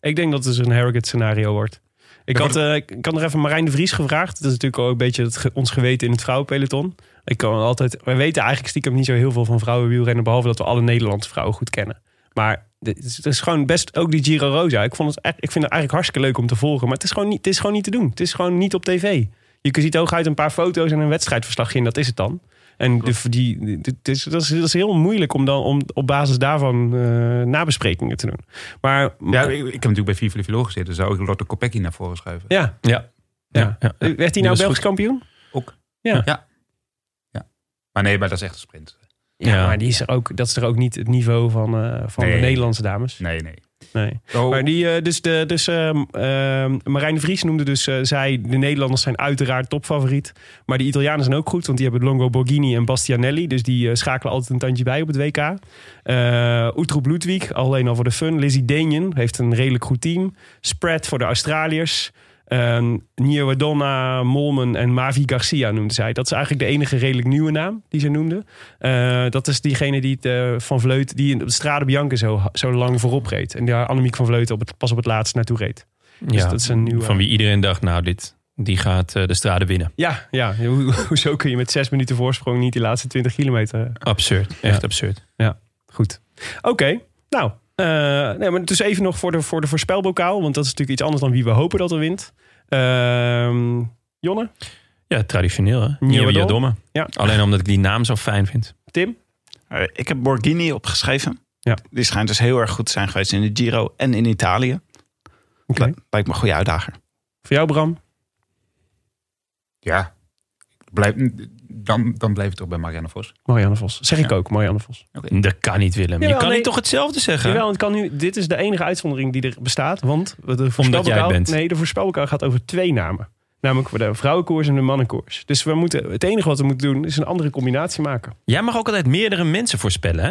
[SPEAKER 2] Ik denk dat het een Harrogate scenario wordt. Ik had, eh, ik kan nog even Marijn de Vries gevraagd. Dat is natuurlijk ook een beetje het ge- ons geweten in het vrouwenpeloton. Ik kan altijd, wij weten eigenlijk stiekem niet zo heel veel van vrouwenwielrennen. Behalve dat we alle Nederlandse vrouwen goed kennen. Maar dit is- het is gewoon best ook die Giro Rosa. Ik, vond het, echt- ik vind het eigenlijk hartstikke leuk om te volgen. Maar het is, gewoon niet, het is gewoon niet te doen. Het is gewoon niet op tv. Je ziet hooguit een paar foto's en een wedstrijdverslagje en dat is het dan. En de, die, die- het is, dat, is, dat is heel moeilijk om dan om, op basis daarvan eh, nabesprekingen te doen. Maar
[SPEAKER 5] Ja, ik, ik heb natuurlijk bij Viva Vilo gezeten. Dus zou ik Lotte Kopecky naar voren schuiven.
[SPEAKER 2] ja,
[SPEAKER 1] Ja.
[SPEAKER 2] Ja.
[SPEAKER 1] ja.
[SPEAKER 2] Werd hij
[SPEAKER 1] Die
[SPEAKER 2] nou
[SPEAKER 1] was
[SPEAKER 2] Belgisch
[SPEAKER 1] goed.
[SPEAKER 2] kampioen?
[SPEAKER 5] Ook.
[SPEAKER 2] Ja.
[SPEAKER 5] Ja. ja. Maar nee, maar dat is echt een sprint.
[SPEAKER 2] Ja,
[SPEAKER 1] Ja.
[SPEAKER 2] maar die is er ook, dat is er ook niet het niveau van, eh, van de
[SPEAKER 5] Nee.
[SPEAKER 2] Nederlandse dames.
[SPEAKER 5] Nee, nee.
[SPEAKER 2] Nee.
[SPEAKER 5] Oh,
[SPEAKER 2] Maar die, eh, dus, de, dus ehm, ehm, Marijn de Vries noemde dus, eh, zij, de Nederlanders zijn uiteraard topfavoriet. Maar de Italianen zijn ook goed, want die hebben Longo Borghini en Bastianelli. Dus die eh, schakelen altijd een tandje bij op het WK. Eh Utroep Ludwig, alleen al voor de fun. Lizzie Denjen heeft een redelijk goed team. Spread voor de Australiërs. Ehm Niewadonna, Molman en Mavi Garcia noemde zij. Dat is eigenlijk de enige redelijk nieuwe naam die ze noemde. Eh, dat is diegene die het, eh, van Vleut, die in de Strade Bianca zo, zo lang voorop reed. En daar Annemiek van Vleuten op het, pas op het laatst naartoe reed. Dus
[SPEAKER 1] Ja.
[SPEAKER 2] dat is een nieuwe-
[SPEAKER 1] Van wie iedereen dacht, nou, dit, die gaat eh, de straden winnen.
[SPEAKER 2] Ja, ja. *laughs* Hoe, hoezo kun je met zes minuten voorsprong niet die laatste 20 kilometer eh,
[SPEAKER 1] Absurd. Echt absurd.
[SPEAKER 2] Goed. Oké, nou. eh, nee, maar dus even nog voor de, voor de voorspelbokaal. Want dat is natuurlijk iets anders dan wie we hopen dat er wint. Ehm, Jonne,
[SPEAKER 1] Ja, traditioneel, hè?
[SPEAKER 2] Nieuwe
[SPEAKER 1] Nieuwjadomme.
[SPEAKER 2] Ja.
[SPEAKER 1] Alleen omdat ik die naam zo fijn vind.
[SPEAKER 2] Tim.
[SPEAKER 7] Eh, Ik heb Borghini opgeschreven.
[SPEAKER 2] Ja.
[SPEAKER 7] Die schijnt dus heel erg goed te zijn geweest in de Giro en in Italië.
[SPEAKER 2] Oké.
[SPEAKER 7] Lijkt me een goede uitdager.
[SPEAKER 2] Voor jou, Bram.
[SPEAKER 5] ja. Blijf, dan, dan blijf ik toch bij Marianne Vos.
[SPEAKER 2] Marianne Vos. Zeg ik
[SPEAKER 5] Ja.
[SPEAKER 2] ook, Marianne Vos.
[SPEAKER 1] Dat kan niet, Willem. je
[SPEAKER 2] Jawel,
[SPEAKER 1] kan
[SPEAKER 2] nee.
[SPEAKER 1] niet toch hetzelfde zeggen?
[SPEAKER 2] Jawel, het kan nu, dit is de enige uitzondering die er bestaat. Want de voorspelbokaal,
[SPEAKER 1] eh, jij bent.
[SPEAKER 2] Nee, de voorspelbokaal gaat over twee namen. Namelijk voor de vrouwenkoers en de mannenkoers. Dus we moeten, het enige wat we moeten doen is een andere combinatie maken.
[SPEAKER 1] Jij mag ook altijd meerdere mensen voorspellen, hè?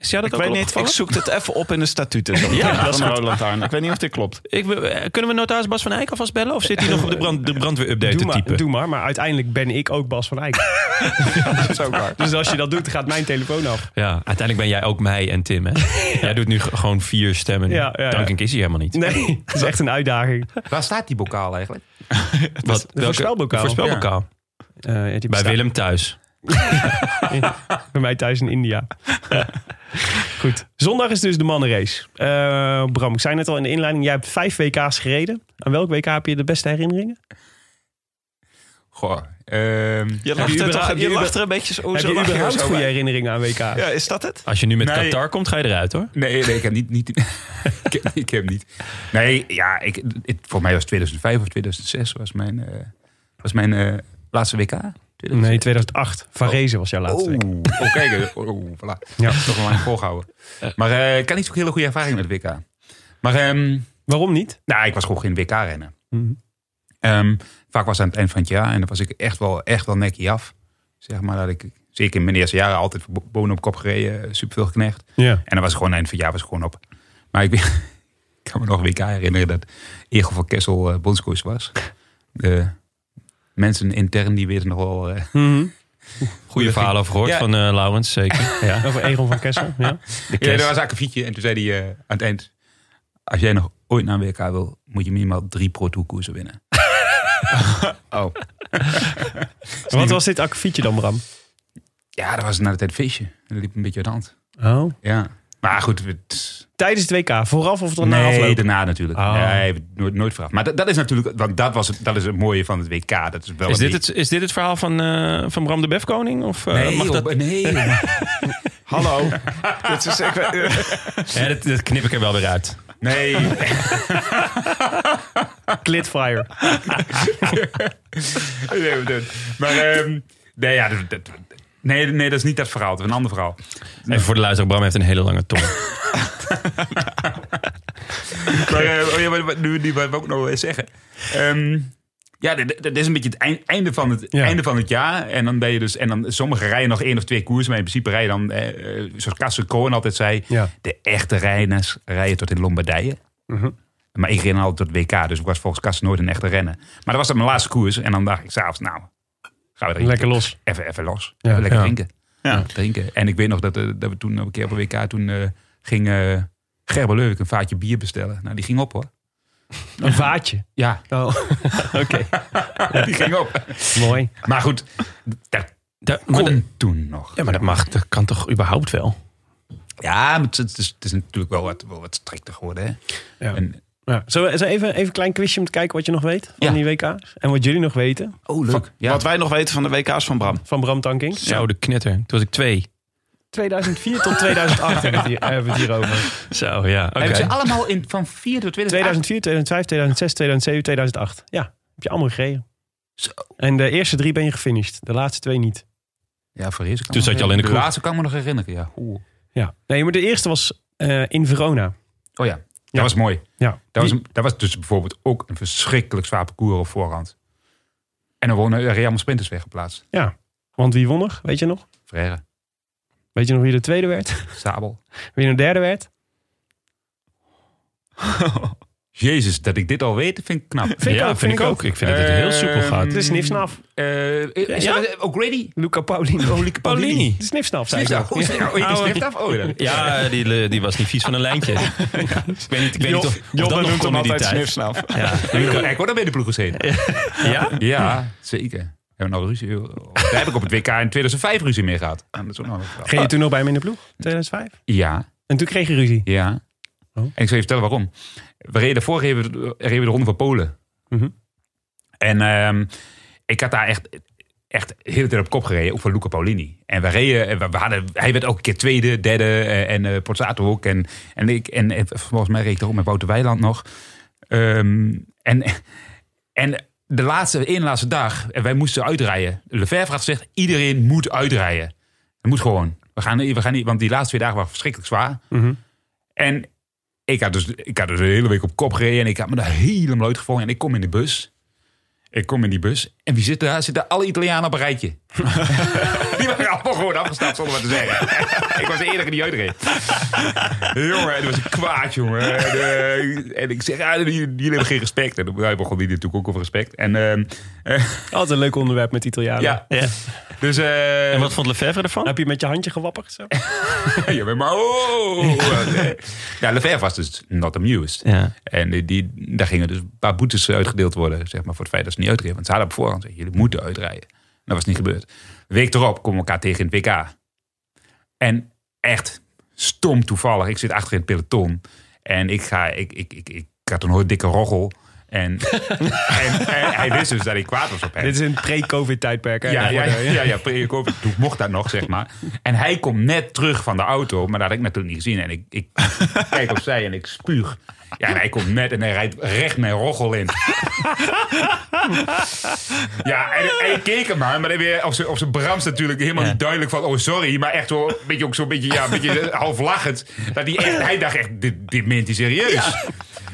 [SPEAKER 1] Is jou dat
[SPEAKER 7] Ik
[SPEAKER 1] ook
[SPEAKER 7] weet
[SPEAKER 1] al
[SPEAKER 7] niet, ik
[SPEAKER 1] opgevallen?
[SPEAKER 7] zoek het even op in de statuten.
[SPEAKER 1] Ja, dat is
[SPEAKER 7] een lantaarn. Ik weet niet of dit klopt.
[SPEAKER 1] Ik wil- eh, kunnen we notaris Bas van Eyck alvast bellen? Of zit *laughs* hij nog op de, brand, de brandweerupdate
[SPEAKER 2] Doe
[SPEAKER 1] te
[SPEAKER 2] maar,
[SPEAKER 1] typen?
[SPEAKER 2] doe maar, maar uiteindelijk ben ik ook
[SPEAKER 1] *laughs*
[SPEAKER 2] Bas van Eyck.
[SPEAKER 7] Dat is ook waar.
[SPEAKER 2] dus als je dat doet, gaat mijn telefoon
[SPEAKER 1] *laughs*
[SPEAKER 2] af.
[SPEAKER 1] Ja, uiteindelijk ben jij ook mij en *laughs* Tim, hè? Jij doet nu g- gewoon vier stemmen.
[SPEAKER 2] Ja, ja, ja.
[SPEAKER 1] Dankink is hij helemaal niet.
[SPEAKER 2] Nee, *laughs* dat is echt een uitdaging.
[SPEAKER 5] Waar staat die bokaal eigenlijk?
[SPEAKER 1] Wat,
[SPEAKER 2] De voorspelbokaal.
[SPEAKER 1] voorspelbokaal.
[SPEAKER 2] Eh, ja, die
[SPEAKER 1] Bij
[SPEAKER 2] bestaat
[SPEAKER 1] Willem thuis.
[SPEAKER 2] *laughs* Bij mij thuis in India.
[SPEAKER 1] *laughs*
[SPEAKER 2] Goed. Zondag is dus de mannenrace. Eh, Bram, ik zei net al in de inleiding, jij hebt vijf WK's gereden. Aan welk WK heb je de beste herinneringen?
[SPEAKER 5] Goh. ehm,
[SPEAKER 7] Je
[SPEAKER 2] Heb
[SPEAKER 7] lacht
[SPEAKER 2] je
[SPEAKER 7] er, toch,
[SPEAKER 2] überhaupt-
[SPEAKER 7] je
[SPEAKER 2] heb je
[SPEAKER 7] lacht er een beetje zo
[SPEAKER 2] heb
[SPEAKER 7] zo
[SPEAKER 2] je
[SPEAKER 7] lach je er
[SPEAKER 2] überhaupt
[SPEAKER 7] zo
[SPEAKER 2] goede
[SPEAKER 7] bij.
[SPEAKER 2] herinneringen aan WK's?
[SPEAKER 7] Ja, is dat het?
[SPEAKER 1] Als je nu met
[SPEAKER 5] Nee.
[SPEAKER 1] Qatar komt, ga je eruit, hoor.
[SPEAKER 5] Nee, nee, ik heb niet. niet ik, heb, ik heb niet. Nee, ja, ik, het, voor mij was 2005 of 2006 was mijn, eh, was mijn eh, laatste WK.
[SPEAKER 2] Nee, 2008. Varese was jouw laatste.
[SPEAKER 5] Oh,
[SPEAKER 2] WK.
[SPEAKER 5] oh, kijk. eh, Oh, oh, voilà.
[SPEAKER 2] Ja.
[SPEAKER 5] Toch een lang volgehouden. Maar eh, ik had niet zo'n hele goede ervaring met WK. Maar ehm,
[SPEAKER 2] Waarom niet?
[SPEAKER 5] nou, ik was gewoon geen WK-renner.
[SPEAKER 2] Mhm.
[SPEAKER 5] Ehm, vaak was het aan het eind van het jaar en dan was ik echt wel, echt wel nekkie af. Zeg maar dat ik, zeker in mijn eerste jaren, altijd voor bo- bonen op kop gereden, eh, superveel geknecht.
[SPEAKER 2] Ja.
[SPEAKER 5] En dan was het gewoon eind van het jaar was het gewoon op. Maar ik, weet- *laughs* ik kan me nog een WK herinneren dat Egel van Kessel eh bondscoach was. De mensen intern die weten nog wel... eh, *laughs*
[SPEAKER 1] Goede verhaal over gehoord
[SPEAKER 5] Ja.
[SPEAKER 1] van eh, Laurens,
[SPEAKER 2] *laughs*
[SPEAKER 1] zeker. Ja.
[SPEAKER 2] Over Egon van Kessel.
[SPEAKER 1] *laughs*
[SPEAKER 2] Ja.
[SPEAKER 1] De
[SPEAKER 5] ja, er
[SPEAKER 1] kerst.
[SPEAKER 5] was eigenlijk een fietje en toen zei hij eh, aan het eind... Als jij nog ooit naar een WK wil, moet je minimaal drie Pro Tour koersen *laughs* winnen. oh.
[SPEAKER 2] Wat was dit akkefietje dan, Bram?
[SPEAKER 5] Ja, dat was na de tijd feestje. En dat liep een beetje uit de hand.
[SPEAKER 2] Oh.
[SPEAKER 5] Ja. Maar goed, het,
[SPEAKER 2] Tijdens het WK. Vooraf of dan na
[SPEAKER 5] nee,
[SPEAKER 2] afloop?
[SPEAKER 5] daarna natuurlijk.
[SPEAKER 2] Oh.
[SPEAKER 5] Nee, nooit, nooit vraag. Maar dat, dat is natuurlijk, want dat, was het, dat is het mooie van het WK. Dat is, wel
[SPEAKER 1] Is
[SPEAKER 5] een
[SPEAKER 1] dit, het, is dit het verhaal van, eh, van Bram de Befkoning? Of, eh,
[SPEAKER 5] Nee,
[SPEAKER 1] mag
[SPEAKER 5] joh,
[SPEAKER 1] dat...
[SPEAKER 5] *laughs* nee. joh.
[SPEAKER 7] Hallo. Dit is, ik, weet- eh,
[SPEAKER 1] Ja, dat, dat knip ik er wel weer uit.
[SPEAKER 5] nee.
[SPEAKER 2] Glitfire.
[SPEAKER 5] Nee, nee. Maar ehm, nee, ja, dat, dat- nee, nee, dat is niet dat verhaal. Dat is een ander verhaal.
[SPEAKER 1] Even voor de luisteraar, Bram heeft een hele lange *laughs* tong.
[SPEAKER 2] *laughs*
[SPEAKER 5] Maar, eh, oh ja, maar, maar nu, die wou ik ook nog wel eens zeggen. Ehm, ja, dat, dat- dat is een beetje het eind- einde van het,
[SPEAKER 2] Ja.
[SPEAKER 5] einde van het jaar. En dan ben je dus, en dan sommige rijden nog één of twee koers, maar in principe rijden dan, eh, eh, zoals Kassel Cohen altijd zei,
[SPEAKER 2] Ja. Mhm.
[SPEAKER 5] de echte renners rijden tot in Lombardije. Maar ik ren altijd tot WK, dus ik was volgens Kassel nooit een echte renner. Maar dat was dan mijn laatste koers. En dan dacht ik s'avonds, nou, gaan we er
[SPEAKER 2] Lekker los.
[SPEAKER 5] even, even los.
[SPEAKER 2] Ja.
[SPEAKER 5] Even lekker
[SPEAKER 2] Ja.
[SPEAKER 5] drinken. Ja, drinken. En ik weet nog dat, eh, dat we toen op een keer op een WK toen eh, ging eh, Gerber Leuk een vaatje bier bestellen. Nou, die ging op hoor.
[SPEAKER 2] Een vaatje.
[SPEAKER 5] Ja,
[SPEAKER 2] Oh, *laughs* oké.
[SPEAKER 5] *laughs* die ging op.
[SPEAKER 2] Mooi.
[SPEAKER 5] Maar goed, dat
[SPEAKER 1] Da- maar
[SPEAKER 5] kon
[SPEAKER 1] dat-
[SPEAKER 5] toen nog.
[SPEAKER 1] ja, maar dat mag. Dat kan toch überhaupt wel?
[SPEAKER 5] Ja, maar het, is- het is, het is natuurlijk wel wat, wel wat strikter geworden. Hè?
[SPEAKER 2] Ja.
[SPEAKER 5] En,
[SPEAKER 2] Ja. Zullen we zullen we even, even een klein quizje om te kijken wat je nog weet van
[SPEAKER 5] Ja.
[SPEAKER 2] die WK's? En wat jullie nog weten
[SPEAKER 5] oh, leuk. Ja,
[SPEAKER 7] Wat wij nog weten van de WK's van Bram.
[SPEAKER 2] van Bram Tankink?
[SPEAKER 1] Zo, de knetter. Toen was ik twee.
[SPEAKER 2] 2004 tot 2008 hebben we het hier, eh, hebben we het hier over.
[SPEAKER 1] Zo, Oh, ja. Oké.
[SPEAKER 5] Hebben ze allemaal in, van 4 tot 2008?
[SPEAKER 2] 2004, 2005, 2006, 2007, 2008. Ja, heb je allemaal gereden.
[SPEAKER 5] Zo.
[SPEAKER 2] En de eerste drie ben je gefinished. De laatste twee niet.
[SPEAKER 5] Ja, voor eerst.
[SPEAKER 1] Toen zat je al in de kroeg.
[SPEAKER 5] laatste kan ik me nog herinneren, ja. Oeh.
[SPEAKER 2] Ja. Nee, maar de eerste was eh, in Verona.
[SPEAKER 5] Oh ja, dat was mooi.
[SPEAKER 2] Ja.
[SPEAKER 5] Dat was, dat was dus bijvoorbeeld ook een verschrikkelijk zwaar parcours op voorhand. En dan wonen Real Sprinters weggeplaatst.
[SPEAKER 2] Ja. Want wie won er? Weet je nog?
[SPEAKER 5] Frère,
[SPEAKER 2] Weet je nog wie de tweede werd? *laughs*
[SPEAKER 5] Sabel.
[SPEAKER 2] Wie de derde werd?
[SPEAKER 5] Jezus, dat ik dit al weet, vind ik knap.
[SPEAKER 2] Vind ik
[SPEAKER 1] ja,
[SPEAKER 2] ook,
[SPEAKER 1] vind ik ook. Eh, dus- Ik vind dat het heel
[SPEAKER 5] Ehm,
[SPEAKER 1] soepel gaat.
[SPEAKER 2] Het is Snifsnaf.
[SPEAKER 5] Eh, is
[SPEAKER 2] Ja?
[SPEAKER 5] dat- O'Grady?
[SPEAKER 2] Luca Paulini. Oh, Luca
[SPEAKER 1] Paulini.
[SPEAKER 2] De Snifsnaf, zei ik
[SPEAKER 5] Snifta.
[SPEAKER 2] nog.
[SPEAKER 5] Oh, ja. oh, je
[SPEAKER 1] Oude-
[SPEAKER 5] snift af? Oh, ja.
[SPEAKER 1] Ja, die, eh, die was niet vies van een *laughs* lijntje. Ik weet niet, ik weet niet of, of dat nog kon in die tijd.
[SPEAKER 7] snifsnaf.
[SPEAKER 1] Ja.
[SPEAKER 5] Ik word al bij de ploeg gezeten.
[SPEAKER 1] ja?
[SPEAKER 5] Ja, zeker. We hebben nou ruzie. Daar heb ik op het WK in 2005 ruzie mee gehad. En dat is ook nog een verhaal.
[SPEAKER 2] Ging je toen nog bij hem in de ploeg? 2005.
[SPEAKER 5] Ja.
[SPEAKER 2] En toen kreeg je ruzie.
[SPEAKER 5] Ja.
[SPEAKER 2] Oh.
[SPEAKER 5] En ik zal je vertellen waarom. We reden vorige keer reden we de Ronde van Polen.
[SPEAKER 2] Mhm.
[SPEAKER 5] En ehm, ik had daar echt, echt de hele tijd op kop gereden. Ook voor Luca Paulini. En we reden, en we, we hadden, hij werd ook een keer tweede, derde. eh, En eh Pozzato ook. En, en, ik, en, eh, en volgens mij reed ik er ook met Wouter Weiland nog. Ehm, en, en de laatste, één laatste dag, en wij moesten uitrijden. Lefebvre had gezegd, iedereen moet uitrijden. Het moet gewoon. We gaan, we gaan niet, want die laatste twee dagen waren verschrikkelijk zwaar. En ik had, dus, ik had dus de hele week op kop gereden. En ik had me daar helemaal uitgevonden. En ik kom in de bus. Ik kom in die bus. En wie zit daar? Zitten alle Italianen op een rijtje. *laughs* die waren allemaal gewoon afgestapt zonder wat te zeggen. *laughs* ik was de enige die uitreed. jongen, het was een kwaad, jongen. En, eh, en ik zeg, ah, jullie, jullie hebben geen respect. En dan begon die natuurlijk ook over respect. En ehm, eh,
[SPEAKER 2] Altijd een leuk onderwerp met Italianen.
[SPEAKER 5] ja,
[SPEAKER 1] Ja.
[SPEAKER 5] dus... eh,
[SPEAKER 1] En wat vond Lefebvre ervan?
[SPEAKER 2] Heb je met je handje gewapperd? Zo?
[SPEAKER 5] *laughs* ja,
[SPEAKER 1] *laughs*
[SPEAKER 5] maar oh! ja, Lefebvre was dus not amused.
[SPEAKER 1] Ja.
[SPEAKER 5] En die, die- daar gingen dus een paar boetes uitgedeeld worden, zeg maar, voor het feit dat ze niet uitreden. Want ze hadden op voorhand gezegd, jullie moeten uitrijden. Dat was niet gebeurd. De week erop komen we elkaar tegen in het WK. En echt stom toevallig, ik zit achter in het peloton. En ik ga, ik, ik, ik, ik had een hoor dikke roggel. En, *laughs* en, en hij wist dus dat ik kwaad was op hem.
[SPEAKER 2] Dit is een pre-covid tijdperk. hè?
[SPEAKER 5] Ja, ja,
[SPEAKER 2] Daarvoor, hè?
[SPEAKER 5] ja, ja, pre-COVID. Toen mocht dat nog, zeg maar. En hij komt net terug van de auto, maar dat had ik natuurlijk niet gezien. En ik,
[SPEAKER 2] *laughs*
[SPEAKER 5] ik kijk opzij en ik spuug. Ja, en hij komt net en hij rijdt recht mijn roggel in. *laughs* Ja, en, en ik keek hem aan, maar dan weer op zijn, op zijn brams natuurlijk helemaal niet duidelijk van... oh, sorry, maar echt zo, een beetje, ook zo'n beetje, ja, een beetje *laughs* half lachend. Dat hij, echt, hij dacht echt, dit, dit meent hij serieus.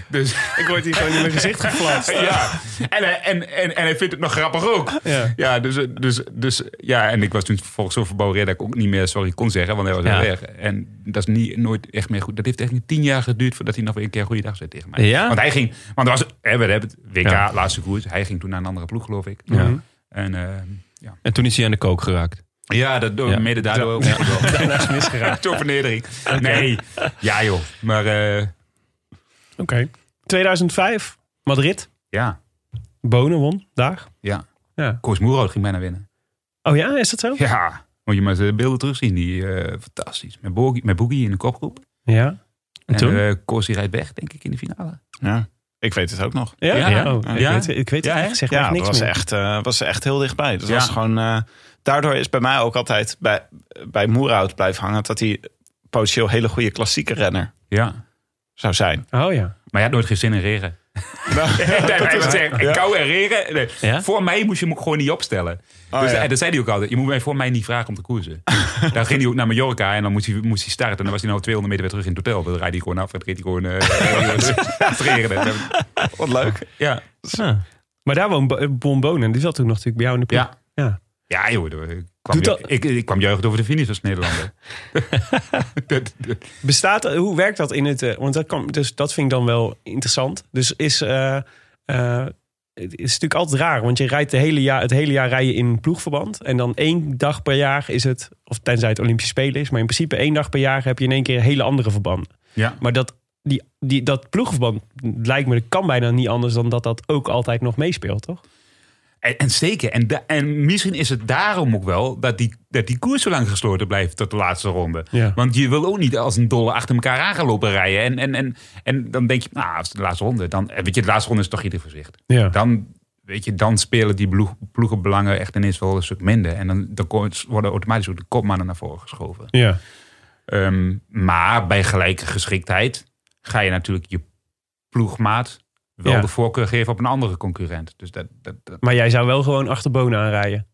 [SPEAKER 5] Dus...
[SPEAKER 2] Ik word hier gewoon in mijn gezicht geflast.
[SPEAKER 5] *laughs* Ja, en hij, en, en, en hij vindt het nog grappig ook.
[SPEAKER 2] Ja.
[SPEAKER 5] dus, dus, dus ja, en ik was toen vervolgens zo verbouwereerd dat ik ook niet meer sorry kon zeggen, want hij was
[SPEAKER 1] Ja.
[SPEAKER 5] al weg. En dat is niet, nooit echt meer goed. Dat heeft echt niet tien jaar geduurd voordat hij nog weer een keer goeiedag zei tegen mij.
[SPEAKER 1] Ja?
[SPEAKER 5] Want hij ging, want er was, hè, we hebben het WK,
[SPEAKER 1] Ja.
[SPEAKER 5] laatste koers. Hij ging toen naar een andere ploeg, geloof ik.
[SPEAKER 1] Ja.
[SPEAKER 5] En ehm, ja.
[SPEAKER 1] En toen is hij aan de kook geraakt.
[SPEAKER 5] ja, dat door,
[SPEAKER 1] Ja.
[SPEAKER 5] mede daardoor ook.
[SPEAKER 2] Daarna is misgeraakt.
[SPEAKER 5] *laughs* Door vernedering. Nee, ja joh. Maar eh,
[SPEAKER 2] *laughs* Oké. 2005, Madrid.
[SPEAKER 5] ja,
[SPEAKER 2] Bonen won, daar.
[SPEAKER 5] ja.
[SPEAKER 2] Ja.
[SPEAKER 5] Koos Moerhout ging bijna winnen.
[SPEAKER 2] Oh ja, is dat zo?
[SPEAKER 5] Ja, moet je maar eens de beelden terugzien. Die, eh, fantastisch. Met Boogie, met Boogie in de kopgroep.
[SPEAKER 2] Ja.
[SPEAKER 1] En toen?
[SPEAKER 5] eh, Corsi rijdt weg, denk ik, in de finale.
[SPEAKER 7] Ja. Ik weet het ook nog.
[SPEAKER 2] Ja?
[SPEAKER 5] Ja.
[SPEAKER 2] Oh, ik,
[SPEAKER 5] Ja?
[SPEAKER 2] Weet, ik weet het
[SPEAKER 5] Ja,
[SPEAKER 2] echt,
[SPEAKER 5] hè?
[SPEAKER 2] zeg maar
[SPEAKER 7] Ja,
[SPEAKER 2] echt
[SPEAKER 7] dat
[SPEAKER 2] niks
[SPEAKER 7] was
[SPEAKER 2] meer.
[SPEAKER 7] echt, eh, was echt heel dichtbij. Dat
[SPEAKER 5] Ja.
[SPEAKER 7] was gewoon, eh, daardoor is bij mij ook altijd bij, bij Moerhout blijven hangen... dat hij potentieel hele goede klassieke renner
[SPEAKER 5] Ja.
[SPEAKER 7] zou zijn.
[SPEAKER 2] Oh ja.
[SPEAKER 5] Maar je had nooit geen zin in regen. *laughs* Kou en regen. Nee.
[SPEAKER 1] Ja?
[SPEAKER 5] Voor mij moest je hem ook gewoon niet opstellen. dus,
[SPEAKER 7] ja.
[SPEAKER 5] eh, Dat zei hij ook altijd. Je moet mij voor mij niet vragen om te koersen. dan ging hij ook naar Mallorca en dan moest hij, moest hij starten. En dan was hij nou 200 meter weer terug in het hotel. Dan rijdt hij gewoon af. Dan reed hij gewoon... eh, het regende.
[SPEAKER 7] Wat leuk.
[SPEAKER 5] Ja.
[SPEAKER 1] Ah.
[SPEAKER 2] Maar daar woon Bo- Bon Bonen. Die zat toen nog natuurlijk bij jou in de ploeg.
[SPEAKER 5] Ja.
[SPEAKER 2] Ja.
[SPEAKER 5] Ja, joh. dat- Ik kwam,
[SPEAKER 2] Doet dat-
[SPEAKER 5] ju- ik, ik kwam juichend over de finish
[SPEAKER 2] *laughs*
[SPEAKER 5] als Nederlander. Dat- dat-
[SPEAKER 2] Bestaat, hoe werkt dat in het... eh, want dat, kan, dus dat vind ik dan wel interessant. Dus is... eh, eh, het is natuurlijk altijd raar, want je rijdt de hele jaar, het hele jaar rij je in ploegverband. En dan één dag per jaar is het, of tenzij het Olympische Spelen is, maar in principe één dag per jaar heb je in één keer hele andere verbanden.
[SPEAKER 5] ja.
[SPEAKER 2] Maar dat, die, die, dat ploegverband lijkt me, dat kan bijna niet anders dan dat dat ook altijd nog meespeelt, toch?
[SPEAKER 5] En, en zeker. En, da- en misschien is het daarom ook wel dat die, dat die koers zo lang gesloten blijft tot de laatste ronde.
[SPEAKER 2] Ja.
[SPEAKER 5] Want je wil ook niet als een dolle achter elkaar aan gaan lopen rijden. En, en, en, en dan denk je, nou, als de laatste ronde. Dan, eh, weet je, de laatste ronde is toch ieder voor zich.
[SPEAKER 2] Ja.
[SPEAKER 5] Dan, weet je, dan spelen die ploeg, ploegenbelangen echt ineens wel een stuk minder. En dan, dan ko- worden automatisch ook de kopmannen naar voren geschoven.
[SPEAKER 2] Ja.
[SPEAKER 5] Ehm, maar bij gelijke geschiktheid ga je natuurlijk je ploegmaat wel
[SPEAKER 2] Ja.
[SPEAKER 5] de voorkeur geven op een andere concurrent. Dus dat, dat, dat-
[SPEAKER 2] Maar jij zou wel gewoon achter Bonen aanrijden.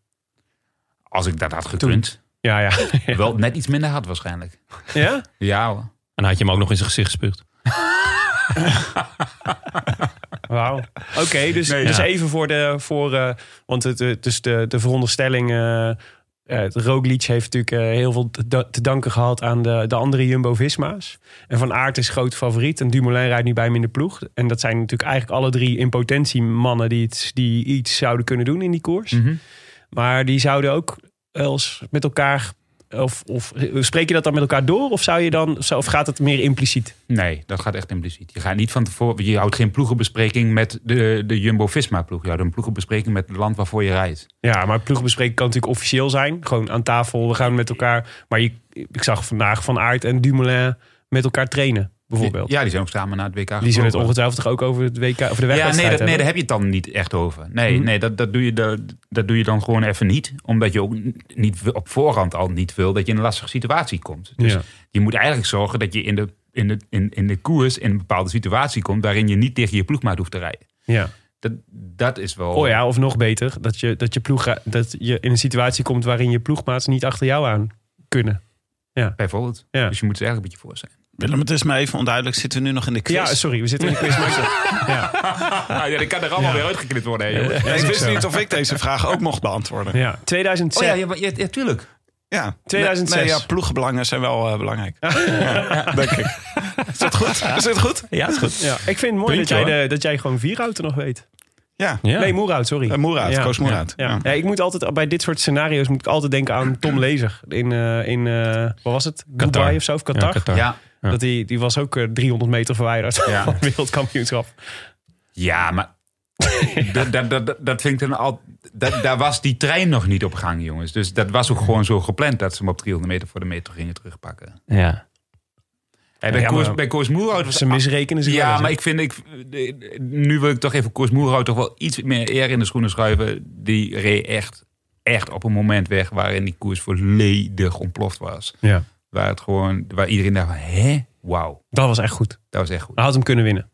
[SPEAKER 5] als ik dat had gekund...
[SPEAKER 2] Ja, ja.
[SPEAKER 5] *laughs* Wel net iets minder hard waarschijnlijk.
[SPEAKER 2] ja?
[SPEAKER 5] Ja
[SPEAKER 1] En dan had je hem ook nog in zijn gezicht gespuugd.
[SPEAKER 2] Wauw. Oké, dus,
[SPEAKER 5] Nee,
[SPEAKER 2] dus
[SPEAKER 1] ja.
[SPEAKER 2] even voor de... Voor, eh, want het, eh, dus de, de veronderstelling... eh eh, het Roglic heeft natuurlijk eh, heel veel te, da- te danken gehad aan de, de andere Jumbo-Visma's. En Van Aert is groot favoriet. En Dumoulin rijdt nu bij hem in de ploeg. En dat zijn natuurlijk eigenlijk alle drie in potentie mannen... die, iets- die iets zouden kunnen doen in die koers. Maar die zouden ook wel eens met elkaar... Of, of spreek je dat dan met elkaar door? Of, zou je dan, of gaat het meer impliciet?
[SPEAKER 5] Nee, dat gaat echt impliciet. Je gaat niet van tevoren. Je houdt geen ploegenbespreking met de, de Jumbo Visma ploeg. Je houdt een ploegenbespreking met het land waarvoor je rijdt.
[SPEAKER 2] Ja, maar ploegbespreking kan natuurlijk officieel zijn. Gewoon aan tafel, we gaan met elkaar. Maar je, ik zag vandaag Van Aert en Dumoulin met elkaar trainen, bijvoorbeeld.
[SPEAKER 5] Ja, die zijn ook samen naar het WK.
[SPEAKER 2] Die zullen het
[SPEAKER 5] gevlogen.
[SPEAKER 2] ongetwijfeld toch ook over, het WK, over de
[SPEAKER 5] Ja,
[SPEAKER 2] wegwedstrijd
[SPEAKER 5] nee, dat, nee,
[SPEAKER 2] hebben? Mhm.
[SPEAKER 5] daar heb je het dan niet echt over. Nee, nee dat, dat, doe je, dat, dat doe je dan gewoon even niet. Omdat je ook niet, wil- op voorhand al niet wil dat je in een lastige situatie komt. Dus
[SPEAKER 2] Ja.
[SPEAKER 5] je moet eigenlijk zorgen dat je in de, in, de, in, in de koers in een bepaalde situatie komt... waarin je niet tegen je ploegmaat hoeft te rijden.
[SPEAKER 2] Ja.
[SPEAKER 5] Dat, dat is wel...
[SPEAKER 2] Oh ja, of nog beter, dat je, dat, je ploeg, dat je in een situatie komt waarin je ploegmaats niet achter jou aan kunnen.
[SPEAKER 5] Bijvoorbeeld.
[SPEAKER 2] Ja.
[SPEAKER 5] Dus je moet er eigenlijk een beetje voor zijn.
[SPEAKER 7] Willem, het is me even onduidelijk. Zitten we nu nog in de quiz?
[SPEAKER 2] Ja, sorry, we zitten
[SPEAKER 5] *laughs*
[SPEAKER 2] in de quiz. maar ik zeg-
[SPEAKER 5] Ah, ja, dat kan er allemaal weer uitgeknipt worden, hè, jongens.
[SPEAKER 7] Nee, ik wist
[SPEAKER 2] zo.
[SPEAKER 7] niet of ik deze vraag ook mocht beantwoorden.
[SPEAKER 2] Ja, 2006.
[SPEAKER 5] Oh ja, ja, maar- ja, ja, tuurlijk.
[SPEAKER 7] Ja.
[SPEAKER 2] 2006.
[SPEAKER 7] Nee, ja, ploegenbelangen zijn wel eh, belangrijk. Denk ik. Is dat goed? Is dit goed?
[SPEAKER 1] Ja, is goed.
[SPEAKER 2] Ja, ik vind het mooi dat
[SPEAKER 1] Puntje,
[SPEAKER 2] jij, de, dat jij gewoon Vierhouten nog weet.
[SPEAKER 7] Ja.
[SPEAKER 1] Ja.
[SPEAKER 2] Nee, Moerhout, sorry.
[SPEAKER 7] Eh, Moerhout,
[SPEAKER 2] Ja.
[SPEAKER 7] Koos Moerhout.
[SPEAKER 2] Ja.
[SPEAKER 7] Ja.
[SPEAKER 2] Ja, ik moet altijd, bij dit soort scenario's moet ik altijd denken aan Tom Lezer. In, eh, in eh, wat was het?
[SPEAKER 1] Qatar.
[SPEAKER 2] Dubai of zo, of Qatar.
[SPEAKER 1] Ja, Qatar.
[SPEAKER 5] Ja.
[SPEAKER 1] Ja.
[SPEAKER 2] Dat die, die was ook eh, 300 meter verwijderd
[SPEAKER 5] Ja.
[SPEAKER 2] van het wereldkampioenschap. *laughs*
[SPEAKER 5] Ja, maar dat, dat, dat, dat vind ik dan al. Dat, daar was die trein nog niet op gang, jongens. Dus dat was ook gewoon zo gepland dat ze hem op 300 meter voor de metro gingen terugpakken.
[SPEAKER 1] Ja.
[SPEAKER 5] En bij,
[SPEAKER 2] Ja,
[SPEAKER 5] Koers,
[SPEAKER 2] maar-
[SPEAKER 5] bij Koers Moerhout was Ah,
[SPEAKER 2] Ze misrekenen zich wel
[SPEAKER 5] Ja,
[SPEAKER 2] eens, hè?
[SPEAKER 5] maar ik vind. Ik, nu wil ik toch even Koers Moerhout toch wel iets meer eer in de schoenen schuiven. Die reed echt, echt op een moment weg waarin die koers volledig ontploft was.
[SPEAKER 2] Ja.
[SPEAKER 5] Waar, het gewoon, waar iedereen dacht: van, hè, wauw,
[SPEAKER 2] Dat was echt goed.
[SPEAKER 5] dat was echt goed.
[SPEAKER 2] Hij had hem kunnen winnen.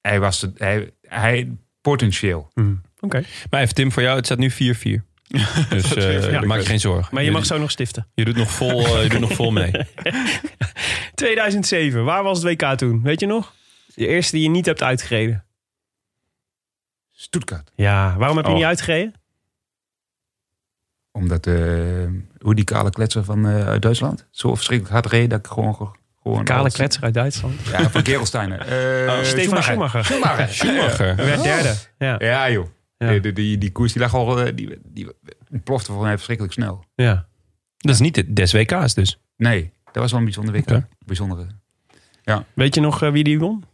[SPEAKER 5] Hij was het, hij, hij potentieel.
[SPEAKER 2] Oké.
[SPEAKER 1] Maar even Tim, voor jou, het staat nu 4-4. *laughs* Dus eh
[SPEAKER 2] Ja.
[SPEAKER 1] maak je geen zorgen.
[SPEAKER 2] Maar je mag zo nog stiften.
[SPEAKER 1] Je doet nog vol, eh, je doet nog vol mee. *laughs*
[SPEAKER 2] 2007, waar was het WK toen? Weet je nog? De eerste die je niet hebt uitgereden.
[SPEAKER 5] Stuttgart.
[SPEAKER 2] Ja, waarom heb je
[SPEAKER 5] Oh.
[SPEAKER 2] niet uitgereden?
[SPEAKER 5] Omdat eh, hoe die kale kletser van eh, uit Duitsland zo verschrikkelijk hard reed dat ik gewoon... ge- gewoon
[SPEAKER 2] Kale
[SPEAKER 5] alles-
[SPEAKER 2] kletser uit Duitsland.
[SPEAKER 5] Ja, van Gerolsteiner. *laughs* Eh,
[SPEAKER 2] Stefan Schumacher.
[SPEAKER 5] Schumacher.
[SPEAKER 1] Schumacher.
[SPEAKER 2] werd derde. Ja.
[SPEAKER 5] Ja joh.
[SPEAKER 2] Ja.
[SPEAKER 5] Die, die, die, die koers die lag al, eh, die, die plofte volgens mij verschrikkelijk snel.
[SPEAKER 2] ja.
[SPEAKER 1] Dat is niet de- des WK's dus.
[SPEAKER 5] Nee, dat was wel een bijzonder week.
[SPEAKER 1] Oké.
[SPEAKER 5] Bijzondere.
[SPEAKER 2] Weet je nog eh, wie die won?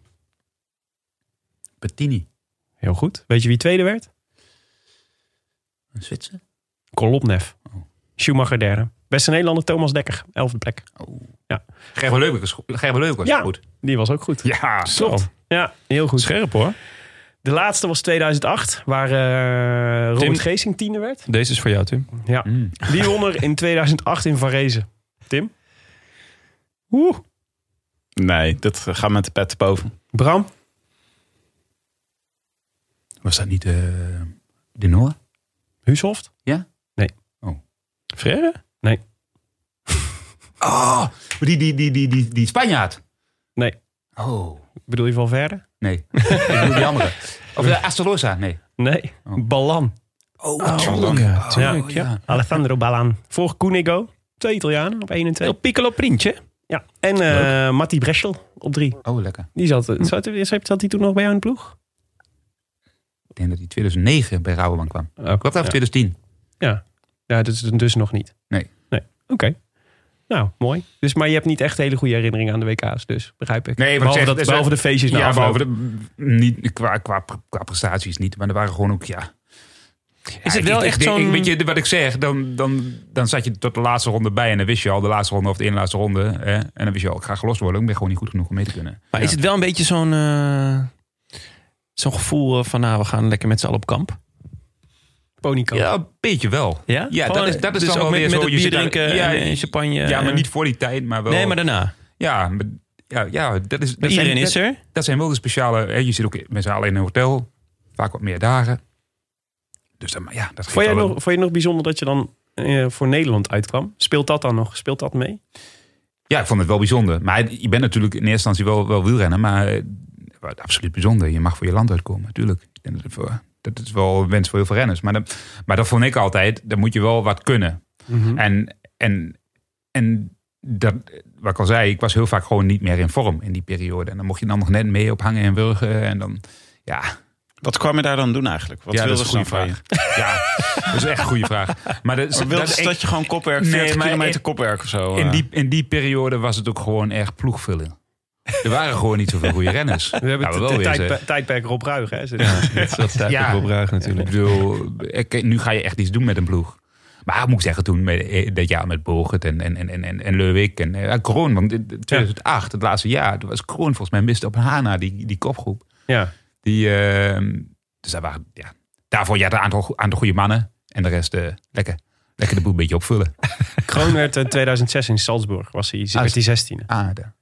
[SPEAKER 5] Bettini.
[SPEAKER 2] Heel goed. Weet je wie tweede werd?
[SPEAKER 5] Een Zwitser?
[SPEAKER 2] Kolopnev.
[SPEAKER 5] Oh.
[SPEAKER 2] Schumacher derde. Beste Nederlander Thomas Dekker. Elfde plek.
[SPEAKER 5] Oh.
[SPEAKER 2] Ja.
[SPEAKER 5] Gerber Leuk was, go- Gerber Leuk was
[SPEAKER 2] Ja.
[SPEAKER 5] goed.
[SPEAKER 2] Die was ook goed.
[SPEAKER 5] Ja.
[SPEAKER 2] Klopt. Ja, heel goed.
[SPEAKER 1] Scherp hoor.
[SPEAKER 2] De laatste was 2008, waar eh Robert
[SPEAKER 1] Tim-
[SPEAKER 2] Geesing tiende werd.
[SPEAKER 1] Deze is voor jou, Tim.
[SPEAKER 2] Ja.
[SPEAKER 5] Mm.
[SPEAKER 2] Wie won er in 2008 in Varese? Tim? Oeh.
[SPEAKER 7] Nee, dat eh, gaat met de pet te boven.
[SPEAKER 2] Bram?
[SPEAKER 5] Was dat niet eh de Noor?
[SPEAKER 2] Huushoft?
[SPEAKER 1] Oh. Frère?
[SPEAKER 5] Oh, die, die, die, die, die, die Spanjaard.
[SPEAKER 2] Nee.
[SPEAKER 5] Oh.
[SPEAKER 2] Bedoel je Valverde?
[SPEAKER 5] Nee. *laughs* ik bedoel die andere. Of de Astolosa, nee.
[SPEAKER 2] Nee. Ballan.
[SPEAKER 5] Oh,
[SPEAKER 1] ja.
[SPEAKER 2] tuurlijk, Alessandro Ballan. Voor Cunego. Twee Italianen op 1 en 2.
[SPEAKER 1] Piccolo Printje.
[SPEAKER 2] Ja. En eh Matti Breschel op Hm. 3.
[SPEAKER 5] Oh, lekker.
[SPEAKER 2] Die zat, eh, zat, zat, zat die toen nog bij jou in de ploeg?
[SPEAKER 5] Ik denk dat hij 2009 bij Rabobank kwam. Klopt dat? Of 2010?
[SPEAKER 2] Ja, dus, dus nog niet.
[SPEAKER 5] Nee.
[SPEAKER 2] Nee. Oké. Nou, mooi. Dus, maar je hebt niet echt hele goede herinneringen aan de WK's, dus begrijp ik.
[SPEAKER 5] Nee, wat ik
[SPEAKER 2] behalve,
[SPEAKER 5] zeg,
[SPEAKER 2] dat,
[SPEAKER 5] het is
[SPEAKER 2] behalve de
[SPEAKER 5] wel-
[SPEAKER 2] feestjes
[SPEAKER 1] nou
[SPEAKER 2] na
[SPEAKER 5] ja,
[SPEAKER 2] afloop.
[SPEAKER 5] behalve de, niet, qua, qua, qua prestaties niet. Maar er waren gewoon ook, ja...
[SPEAKER 1] Is
[SPEAKER 5] Ja,
[SPEAKER 1] het
[SPEAKER 5] ik-
[SPEAKER 1] wel
[SPEAKER 5] ik-
[SPEAKER 1] echt
[SPEAKER 5] ik- ik-
[SPEAKER 1] zo'n...
[SPEAKER 5] Weet je, wat ik zeg, dan, dan, dan zat je tot de laatste ronde bij. En dan wist je al, de laatste ronde of de ene laatste ronde. Hè, en dan wist je al, ik ga gelost worden. Ik ben gewoon niet goed genoeg om mee te kunnen.
[SPEAKER 1] Maar is het wel een beetje zo'n... eh, Zo'n gevoel eh, van, nou, we gaan lekker met z'n allen op kamp.
[SPEAKER 2] Ponykamp.
[SPEAKER 5] Ja, een beetje wel.
[SPEAKER 1] Ja?
[SPEAKER 5] Ja,
[SPEAKER 1] Gewoon,
[SPEAKER 5] dat is- dat is
[SPEAKER 1] dus
[SPEAKER 5] dan
[SPEAKER 1] ook
[SPEAKER 5] wel
[SPEAKER 1] met,
[SPEAKER 5] weer
[SPEAKER 1] met
[SPEAKER 5] zo,
[SPEAKER 1] het
[SPEAKER 5] je
[SPEAKER 1] bier
[SPEAKER 5] zit daar-
[SPEAKER 1] drinken
[SPEAKER 5] ja,
[SPEAKER 1] en, en champagne.
[SPEAKER 5] Ja, maar
[SPEAKER 1] en-
[SPEAKER 5] niet voor die tijd, maar wel...
[SPEAKER 1] Nee, maar daarna.
[SPEAKER 5] Ja, maar- ja, ja dat is... dat
[SPEAKER 1] Iedereen
[SPEAKER 5] zijn-
[SPEAKER 1] is er.
[SPEAKER 5] dat zijn wel de speciale. Hè, je zit ook met z'n allen in een hotel, vaak wat meer dagen. Dus dan, ja, dat
[SPEAKER 2] Vond
[SPEAKER 5] geeft
[SPEAKER 2] je,
[SPEAKER 5] wel
[SPEAKER 2] nog,
[SPEAKER 5] een-
[SPEAKER 2] vond je het nog bijzonder dat je dan eh, voor Nederland uitkwam? Speelt dat dan nog? Speelt dat mee?
[SPEAKER 5] Ja, ik vond het wel bijzonder. Maar je bent natuurlijk in eerste instantie wel, wel wielrenner, maar eh, wat absoluut bijzonder. Je mag voor je land uitkomen, natuurlijk. En dat, voor- dat is wel een wens voor heel veel renners. Maar dat, maar dat vond ik altijd, dan moet je wel wat kunnen.
[SPEAKER 2] Mhm.
[SPEAKER 5] En, en, en dat, wat ik al zei, ik was heel vaak gewoon niet meer in vorm in die periode. En dan mocht je dan nog net mee op hangen en wurgen. En dan, ja,
[SPEAKER 7] Wat kwam je daar dan doen eigenlijk? Wat
[SPEAKER 5] Ja,
[SPEAKER 7] wilde
[SPEAKER 5] dat is
[SPEAKER 7] ze
[SPEAKER 5] een
[SPEAKER 7] dan
[SPEAKER 5] goede
[SPEAKER 7] van
[SPEAKER 5] ja, dat is echt een goede vraag.
[SPEAKER 7] *laughs*
[SPEAKER 5] Maar dat,
[SPEAKER 7] je? Wilde
[SPEAKER 5] dat- e-
[SPEAKER 7] ze dat je gewoon kopwerk,
[SPEAKER 5] Nee,
[SPEAKER 7] 40
[SPEAKER 5] maar
[SPEAKER 7] kilometer
[SPEAKER 5] in-
[SPEAKER 7] kopwerk of zo?
[SPEAKER 5] in,
[SPEAKER 7] eh?
[SPEAKER 5] die, in die periode was het ook gewoon echt ploegvulling. Er waren gewoon niet zoveel goede renners. Nou,
[SPEAKER 2] We hebben
[SPEAKER 5] Ja,
[SPEAKER 2] het
[SPEAKER 5] wel weer,
[SPEAKER 2] tijdpe-
[SPEAKER 5] zeg.
[SPEAKER 2] tijdperk Rob Ruig. *laughs* Hè? Ze-
[SPEAKER 1] Dat is dat
[SPEAKER 5] Ja.
[SPEAKER 1] ja. Ruig
[SPEAKER 5] Ik
[SPEAKER 1] natuurlijk.
[SPEAKER 5] bedoel, ik- nu ga je echt iets doen met een ploeg. Maar ik moet zeggen, toen met, eh, dat jaar met Bogert en, en, en, en, en Leuwik en eh, Kroon. Want in 2008, het laatste jaar, toen was Kroon volgens mij miste op Hana, die, die kopgroep.
[SPEAKER 2] Ja.
[SPEAKER 5] Die, eh, dus daar waren, ja, daarvoor je had een aantal, go- aantal goede mannen. En de rest, eh, lekker, lekker de boel een beetje opvullen.
[SPEAKER 2] eh, Kroon werd in 2006 in Salzburg. Was hij, werd hij 16e.
[SPEAKER 5] Ah, daar.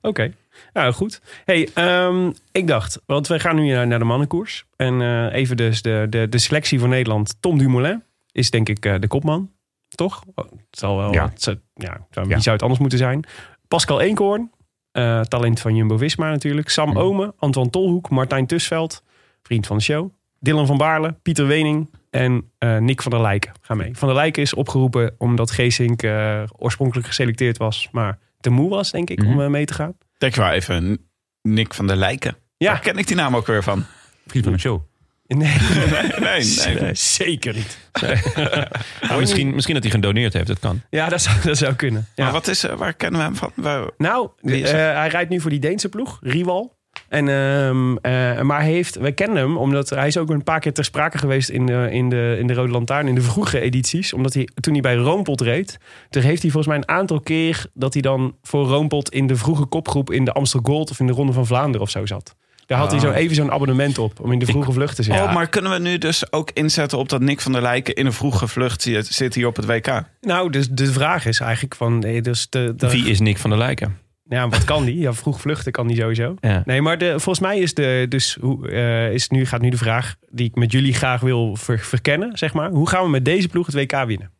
[SPEAKER 2] Oké. Nou, goed. hey, ehm, ik dacht, want we gaan nu naar, naar de mannenkoers. En eh, even dus de, de, de selectie voor Nederland. Tom Dumoulin is denk ik eh, de kopman, toch? Oh, het zal wel,
[SPEAKER 5] Ja.
[SPEAKER 2] het zou, ja, het zou,
[SPEAKER 5] Ja.
[SPEAKER 2] Wie zou het anders moeten zijn? Pascal Eenkhoorn, eh, talent van Jumbo-Visma natuurlijk. Sam
[SPEAKER 5] Mhm.
[SPEAKER 2] Omen, Antoine Tolhoek, Martijn Tusveld, vriend van de show. Dylan van Baarle, Pieter Wening en eh, Nick van der Lijken gaan mee. Van der Lijken is opgeroepen omdat Geesink eh, oorspronkelijk geselecteerd was, maar te moe was, denk ik, om
[SPEAKER 5] Mhm.
[SPEAKER 2] eh, mee te gaan.
[SPEAKER 7] Denk maar even, Nick van der Lijken.
[SPEAKER 2] Ja.
[SPEAKER 7] Daar ken ik die naam ook weer van.
[SPEAKER 5] Vriend van de show.
[SPEAKER 2] *laughs* Nee,
[SPEAKER 7] *laughs* Nee,
[SPEAKER 2] *laughs*
[SPEAKER 7] nee.
[SPEAKER 2] zeker niet.
[SPEAKER 1] Ah, misschien, misschien dat hij gedoneerd heeft, dat kan.
[SPEAKER 2] Ja, dat zou, dat zou kunnen. Ja.
[SPEAKER 7] Maar wat is, eh, waar kennen we hem van? Waar-
[SPEAKER 2] Nou,
[SPEAKER 7] Wie is
[SPEAKER 2] eh,
[SPEAKER 7] dat?
[SPEAKER 2] hij rijdt nu voor die Deense ploeg, Rival. En, ehm, eh, maar hij heeft, wij kennen hem omdat hij is ook een paar keer ter sprake geweest in de, in de, in de Rode Lantaarn, in de vroege edities. Omdat hij toen hij bij Roompot reed, toen heeft hij volgens mij een aantal keer dat hij dan voor Roompot in de vroege kopgroep in de Amstel Gold of in de Ronde van Vlaanderen of zo zat. Daar had hij zo even zo'n abonnement op om in de vroege vlucht te zitten.
[SPEAKER 7] Oh, Ah. maar kunnen we nu dus ook inzetten op dat Nick van der Lijken in een vroege vlucht zit zit hier op het WK?
[SPEAKER 2] Nou, dus de vraag is eigenlijk van, eh, dus de, de,
[SPEAKER 1] Wie is Nick van der Lijken?
[SPEAKER 2] Ja, wat kan die? Ja, vroeg vluchten kan die sowieso.
[SPEAKER 1] Ja.
[SPEAKER 2] Nee, maar de, volgens mij is, de, dus, hoe, eh, is nu, gaat nu de vraag die ik met jullie graag wil ver- verkennen. Zeg maar. Hoe gaan we met deze ploeg het WK winnen?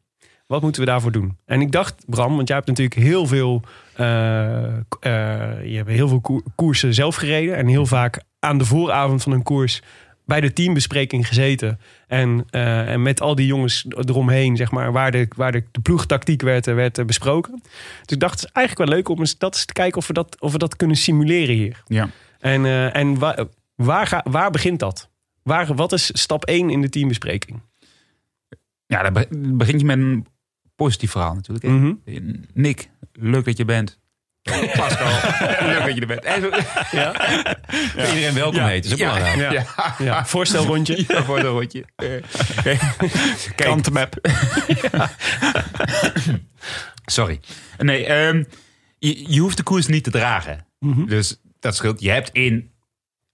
[SPEAKER 2] Wat moeten we daarvoor doen? En ik dacht, Bram, want jij hebt natuurlijk heel veel, eh, k- eh, je hebt heel veel koer- koersen zelf gereden. En heel vaak aan de vooravond van een koers bij de teambespreking gezeten. En, eh, en met al die jongens eromheen, zeg maar, waar de, waar de, de ploegtactiek werd, eh, werd eh, besproken. Dus ik dacht, het is eigenlijk wel leuk om eens, dat eens te kijken of we dat, of we dat kunnen simuleren hier.
[SPEAKER 5] Ja.
[SPEAKER 2] En, eh, en waar, waar, ga, waar begint dat? Waar, wat is stap 1 in de teambespreking?
[SPEAKER 5] Ja, dan be- begint je met een positief verhaal natuurlijk. hè.
[SPEAKER 2] Mhm.
[SPEAKER 5] Nick, leuk dat je bent. Pascal, *laughs* leuk dat je er bent. En zo-
[SPEAKER 1] Iedereen welkom heet, is ook
[SPEAKER 5] Ja.
[SPEAKER 1] belangrijk.
[SPEAKER 2] Ja. Ja, voorstelrondje.
[SPEAKER 5] Ja, voor een
[SPEAKER 2] *laughs*
[SPEAKER 5] rondje.
[SPEAKER 7] Krantenmap.
[SPEAKER 5] Sorry. Nee, ehm, je, je hoeft de koers niet te dragen.
[SPEAKER 2] Mhm.
[SPEAKER 5] Dus dat scheelt. Je hebt één,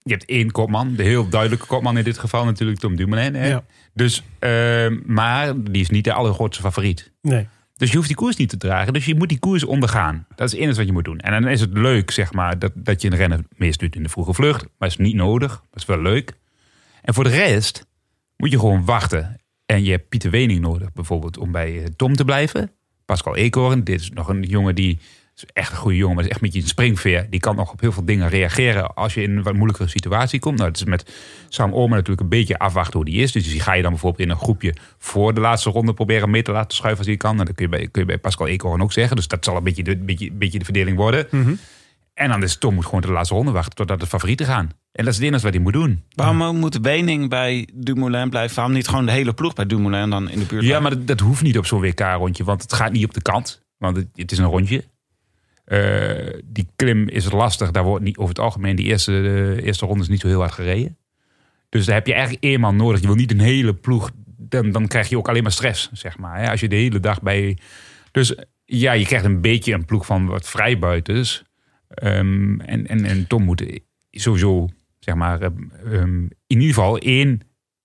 [SPEAKER 5] je hebt één kopman. De heel duidelijke kopman in dit geval natuurlijk Tom Dumoulin. Hè?
[SPEAKER 2] Ja.
[SPEAKER 5] Dus, ehm, maar die is niet de allergrootste favoriet.
[SPEAKER 2] Nee.
[SPEAKER 5] Dus je hoeft die koers niet te dragen. Dus je moet die koers ondergaan. Dat is het enige wat je moet doen. En dan is het leuk, zeg maar, dat, dat je een renner misdoet in de vroege vlucht. Maar is niet nodig. Dat is wel leuk. En voor de rest moet je gewoon wachten. En je hebt Pieter Wening nodig, bijvoorbeeld, om bij eh, Tom te blijven. Pascal Eekhoorn, dit is nog een jongen die... is echt een goede jongen, maar is echt met je een springveer. Die kan nog op heel veel dingen reageren als je in een wat moeilijkere situatie komt. Nou, het is met Sam Omer natuurlijk een beetje afwachten hoe die is. Dus die ga je dan bijvoorbeeld in een groepje voor de laatste ronde proberen mee te laten schuiven als die kan. En dat kun je bij, kun je bij Pascal Eekhoorn ook zeggen. Dus dat zal een beetje de, beetje, beetje de verdeling worden. En dan is Tom moet gewoon tot de laatste ronde wachten totdat de favorieten gaan. En dat is het enige wat hij moet doen.
[SPEAKER 7] Waarom moet Wening bij Dumoulin blijven? Waarom niet gewoon de hele ploeg bij Dumoulin dan in de buurt?
[SPEAKER 5] Ja, maar dat, dat hoeft niet op zo'n WK-rondje, want het gaat niet op de kant. Want het, het is een rondje. Eh, die klim is lastig. Daar wordt niet, over het algemeen die eerste, eh, eerste ronde is niet zo heel hard gereden. Dus daar heb je eigenlijk één man nodig. Je wil niet een hele ploeg. Dan, dan krijg je ook alleen maar stress, zeg maar. Hè? Als je de hele dag bij... Dus ja, je krijgt een beetje een ploeg van wat vrijbuiters. Ehm en, en, en Tom moet sowieso, zeg maar... ehm, ehm, in ieder geval één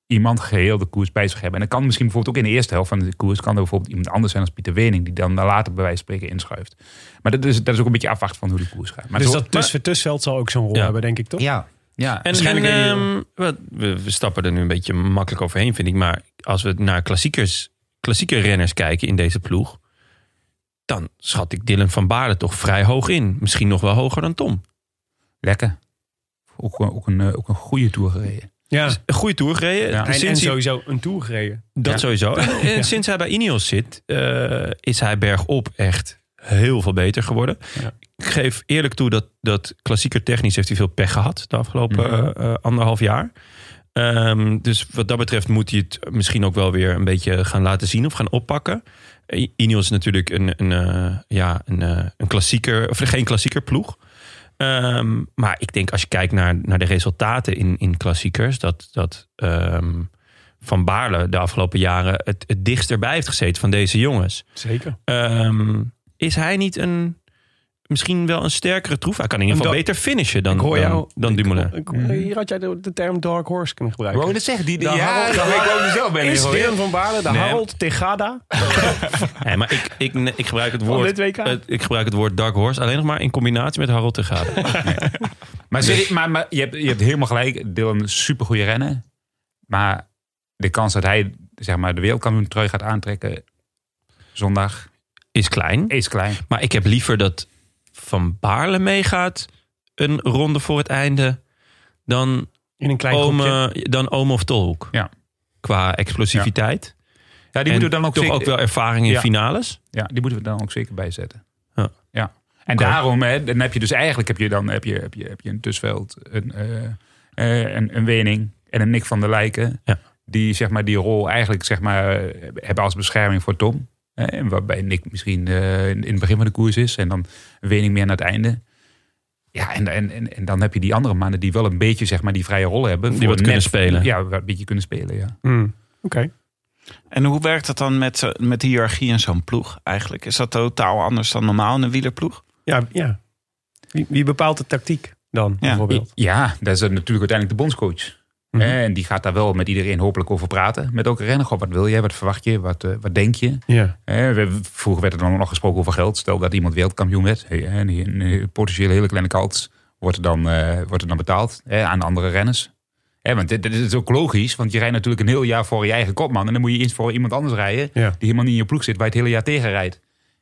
[SPEAKER 5] iemand geheel de koers bij zich hebben. En dat kan misschien bijvoorbeeld ook in de eerste helft van de koers... kan er bijvoorbeeld iemand anders zijn als Pieter Wening... die dan later bij wijze van spreken inschuift. Maar dat is, dat is ook een beetje afwachten van hoe de koers gaat. Maar
[SPEAKER 2] dus
[SPEAKER 5] zo-
[SPEAKER 2] dat tussen Tussveld zal ook zo'n rol
[SPEAKER 1] Ja.
[SPEAKER 2] hebben, denk ik toch?
[SPEAKER 5] Ja, ja.
[SPEAKER 1] En, en ehm, wat- we, we stappen er nu een beetje makkelijk overheen, vind ik. Maar als we naar klassiekers, klassieke renners kijken in deze ploeg... dan schat ik Dylan van Baarle toch vrij hoog in. Misschien nog wel hoger dan Tom.
[SPEAKER 5] Lekker. Ook, ook, een, eh, ook een goede tour gereden.
[SPEAKER 2] Ja. Dus
[SPEAKER 1] Een goede tour gereden.
[SPEAKER 2] En,
[SPEAKER 5] Ja.
[SPEAKER 1] Sinds
[SPEAKER 2] en
[SPEAKER 1] hij-
[SPEAKER 2] sowieso een tour gereden.
[SPEAKER 1] dat
[SPEAKER 5] Ja.
[SPEAKER 2] *laughs*
[SPEAKER 1] sowieso. En, en sinds hij bij Ineos zit, eh, is hij bergop echt heel veel beter geworden.
[SPEAKER 2] Ja.
[SPEAKER 1] Ik geef eerlijk toe dat, dat klassieker technisch heeft hij veel pech gehad... de afgelopen
[SPEAKER 5] Mhm.
[SPEAKER 1] eh, eh, anderhalf jaar. Ehm, dus wat dat betreft moet hij het misschien ook wel weer een beetje gaan laten zien of gaan oppakken. I- Ineos is natuurlijk een, een, eh, ja, een, eh, een klassieker, of geen klassieker ploeg. Ehm, maar ik denk als je kijkt naar, naar de resultaten in, in klassiekers, dat, dat ehm, Van Baarle de afgelopen jaren het, het dichtst erbij heeft gezeten van deze jongens.
[SPEAKER 2] Zeker.
[SPEAKER 1] Ehm, is hij niet een, misschien wel een sterkere troef. Hij kan in ieder geval
[SPEAKER 2] Ik
[SPEAKER 1] beter finishen dan,
[SPEAKER 2] ik hoor
[SPEAKER 1] dan,
[SPEAKER 2] jou.
[SPEAKER 1] dan Dumoulin.
[SPEAKER 2] Ik- Hier had jij de, de term dark horse kunnen gebruiken.
[SPEAKER 5] Wou dat zeggen? Die,
[SPEAKER 2] De
[SPEAKER 5] ja,
[SPEAKER 2] Harold-
[SPEAKER 5] dat ik woonde zelf bij
[SPEAKER 2] is
[SPEAKER 5] Nero.
[SPEAKER 2] Dylan van Baarle, de
[SPEAKER 1] Nee.
[SPEAKER 2] Harold Tegada.
[SPEAKER 1] Nee, maar ik, ik, nee, ik gebruik het woord...
[SPEAKER 2] dit WK?
[SPEAKER 1] het- ik gebruik het woord Dark Horse alleen nog maar in combinatie met Harold Tegade.
[SPEAKER 5] Maar, serie- maar, maar je, hebt, je hebt helemaal gelijk. Dylan een supergoeie rennen. Maar de kans dat hij zeg maar, de wereldkampioen trui gaat aantrekken zondag
[SPEAKER 1] *laughs* Is klein.
[SPEAKER 5] is klein.
[SPEAKER 1] Maar ik heb liever dat Van Baarle meegaat een ronde voor het einde dan
[SPEAKER 2] In een klein
[SPEAKER 1] oom,
[SPEAKER 2] groepje.
[SPEAKER 1] eh, dan oom of Tolhoek.
[SPEAKER 5] Ja.
[SPEAKER 1] Qua explosiviteit.
[SPEAKER 5] Ja, die
[SPEAKER 1] en
[SPEAKER 5] moeten we dan ook,
[SPEAKER 1] toch
[SPEAKER 5] zeker,
[SPEAKER 1] ook wel ervaring in
[SPEAKER 5] Ja.
[SPEAKER 1] finales.
[SPEAKER 5] ja, die moeten we dan ook zeker bijzetten.
[SPEAKER 1] Ja.
[SPEAKER 5] ja. En daarom hè, dan heb je dus eigenlijk heb je dan, heb je, heb je, heb je een Tussveld, een, eh, eh, een, een Wening en een Nick van der Lijken.
[SPEAKER 1] Ja.
[SPEAKER 5] Die zeg maar, die rol eigenlijk zeg maar, eh, hebben als bescherming voor Tom. Hè, en waarbij Nick misschien eh, in in het begin van de koers is en dan Wening meer naar het einde. Ja, en, en, en, en dan heb je die andere mannen die wel een beetje zeg maar, die vrije rol hebben.
[SPEAKER 1] Die
[SPEAKER 5] voor
[SPEAKER 1] wat kunnen spelen.
[SPEAKER 5] Ja, wat een beetje kunnen spelen, ja.
[SPEAKER 2] Hmm. Oké.
[SPEAKER 7] En hoe werkt dat dan met, eh, met de hiërarchie in zo'n ploeg eigenlijk? Is dat totaal anders dan normaal in een wielerploeg?
[SPEAKER 2] Ja, ja. Wie, wie bepaalt de tactiek dan, bijvoorbeeld?
[SPEAKER 5] Ja, dat is natuurlijk uiteindelijk de bondscoach.
[SPEAKER 2] Mhm.
[SPEAKER 5] En die gaat daar wel met iedereen hopelijk over praten. Met ook rennen. Goh, wat wil jij? Wat verwacht je? Wat, eh, wat denk je?
[SPEAKER 2] Ja.
[SPEAKER 5] Eh, we, vroeger werd er dan nog gesproken over geld. Stel dat iemand wereldkampioen werd. Hey, eh, en die- een eh, potentieel hele kleine kans wordt er dan, eh, wordt er dan betaald eh, aan de andere renners. Eh, want dit, dit is ook logisch. Want je rijdt natuurlijk een heel jaar voor je eigen kopman. En dan moet je eerst voor iemand anders rijden.
[SPEAKER 2] Ja.
[SPEAKER 5] Die helemaal niet in je ploeg zit. Waar je het hele jaar tegen rijdt.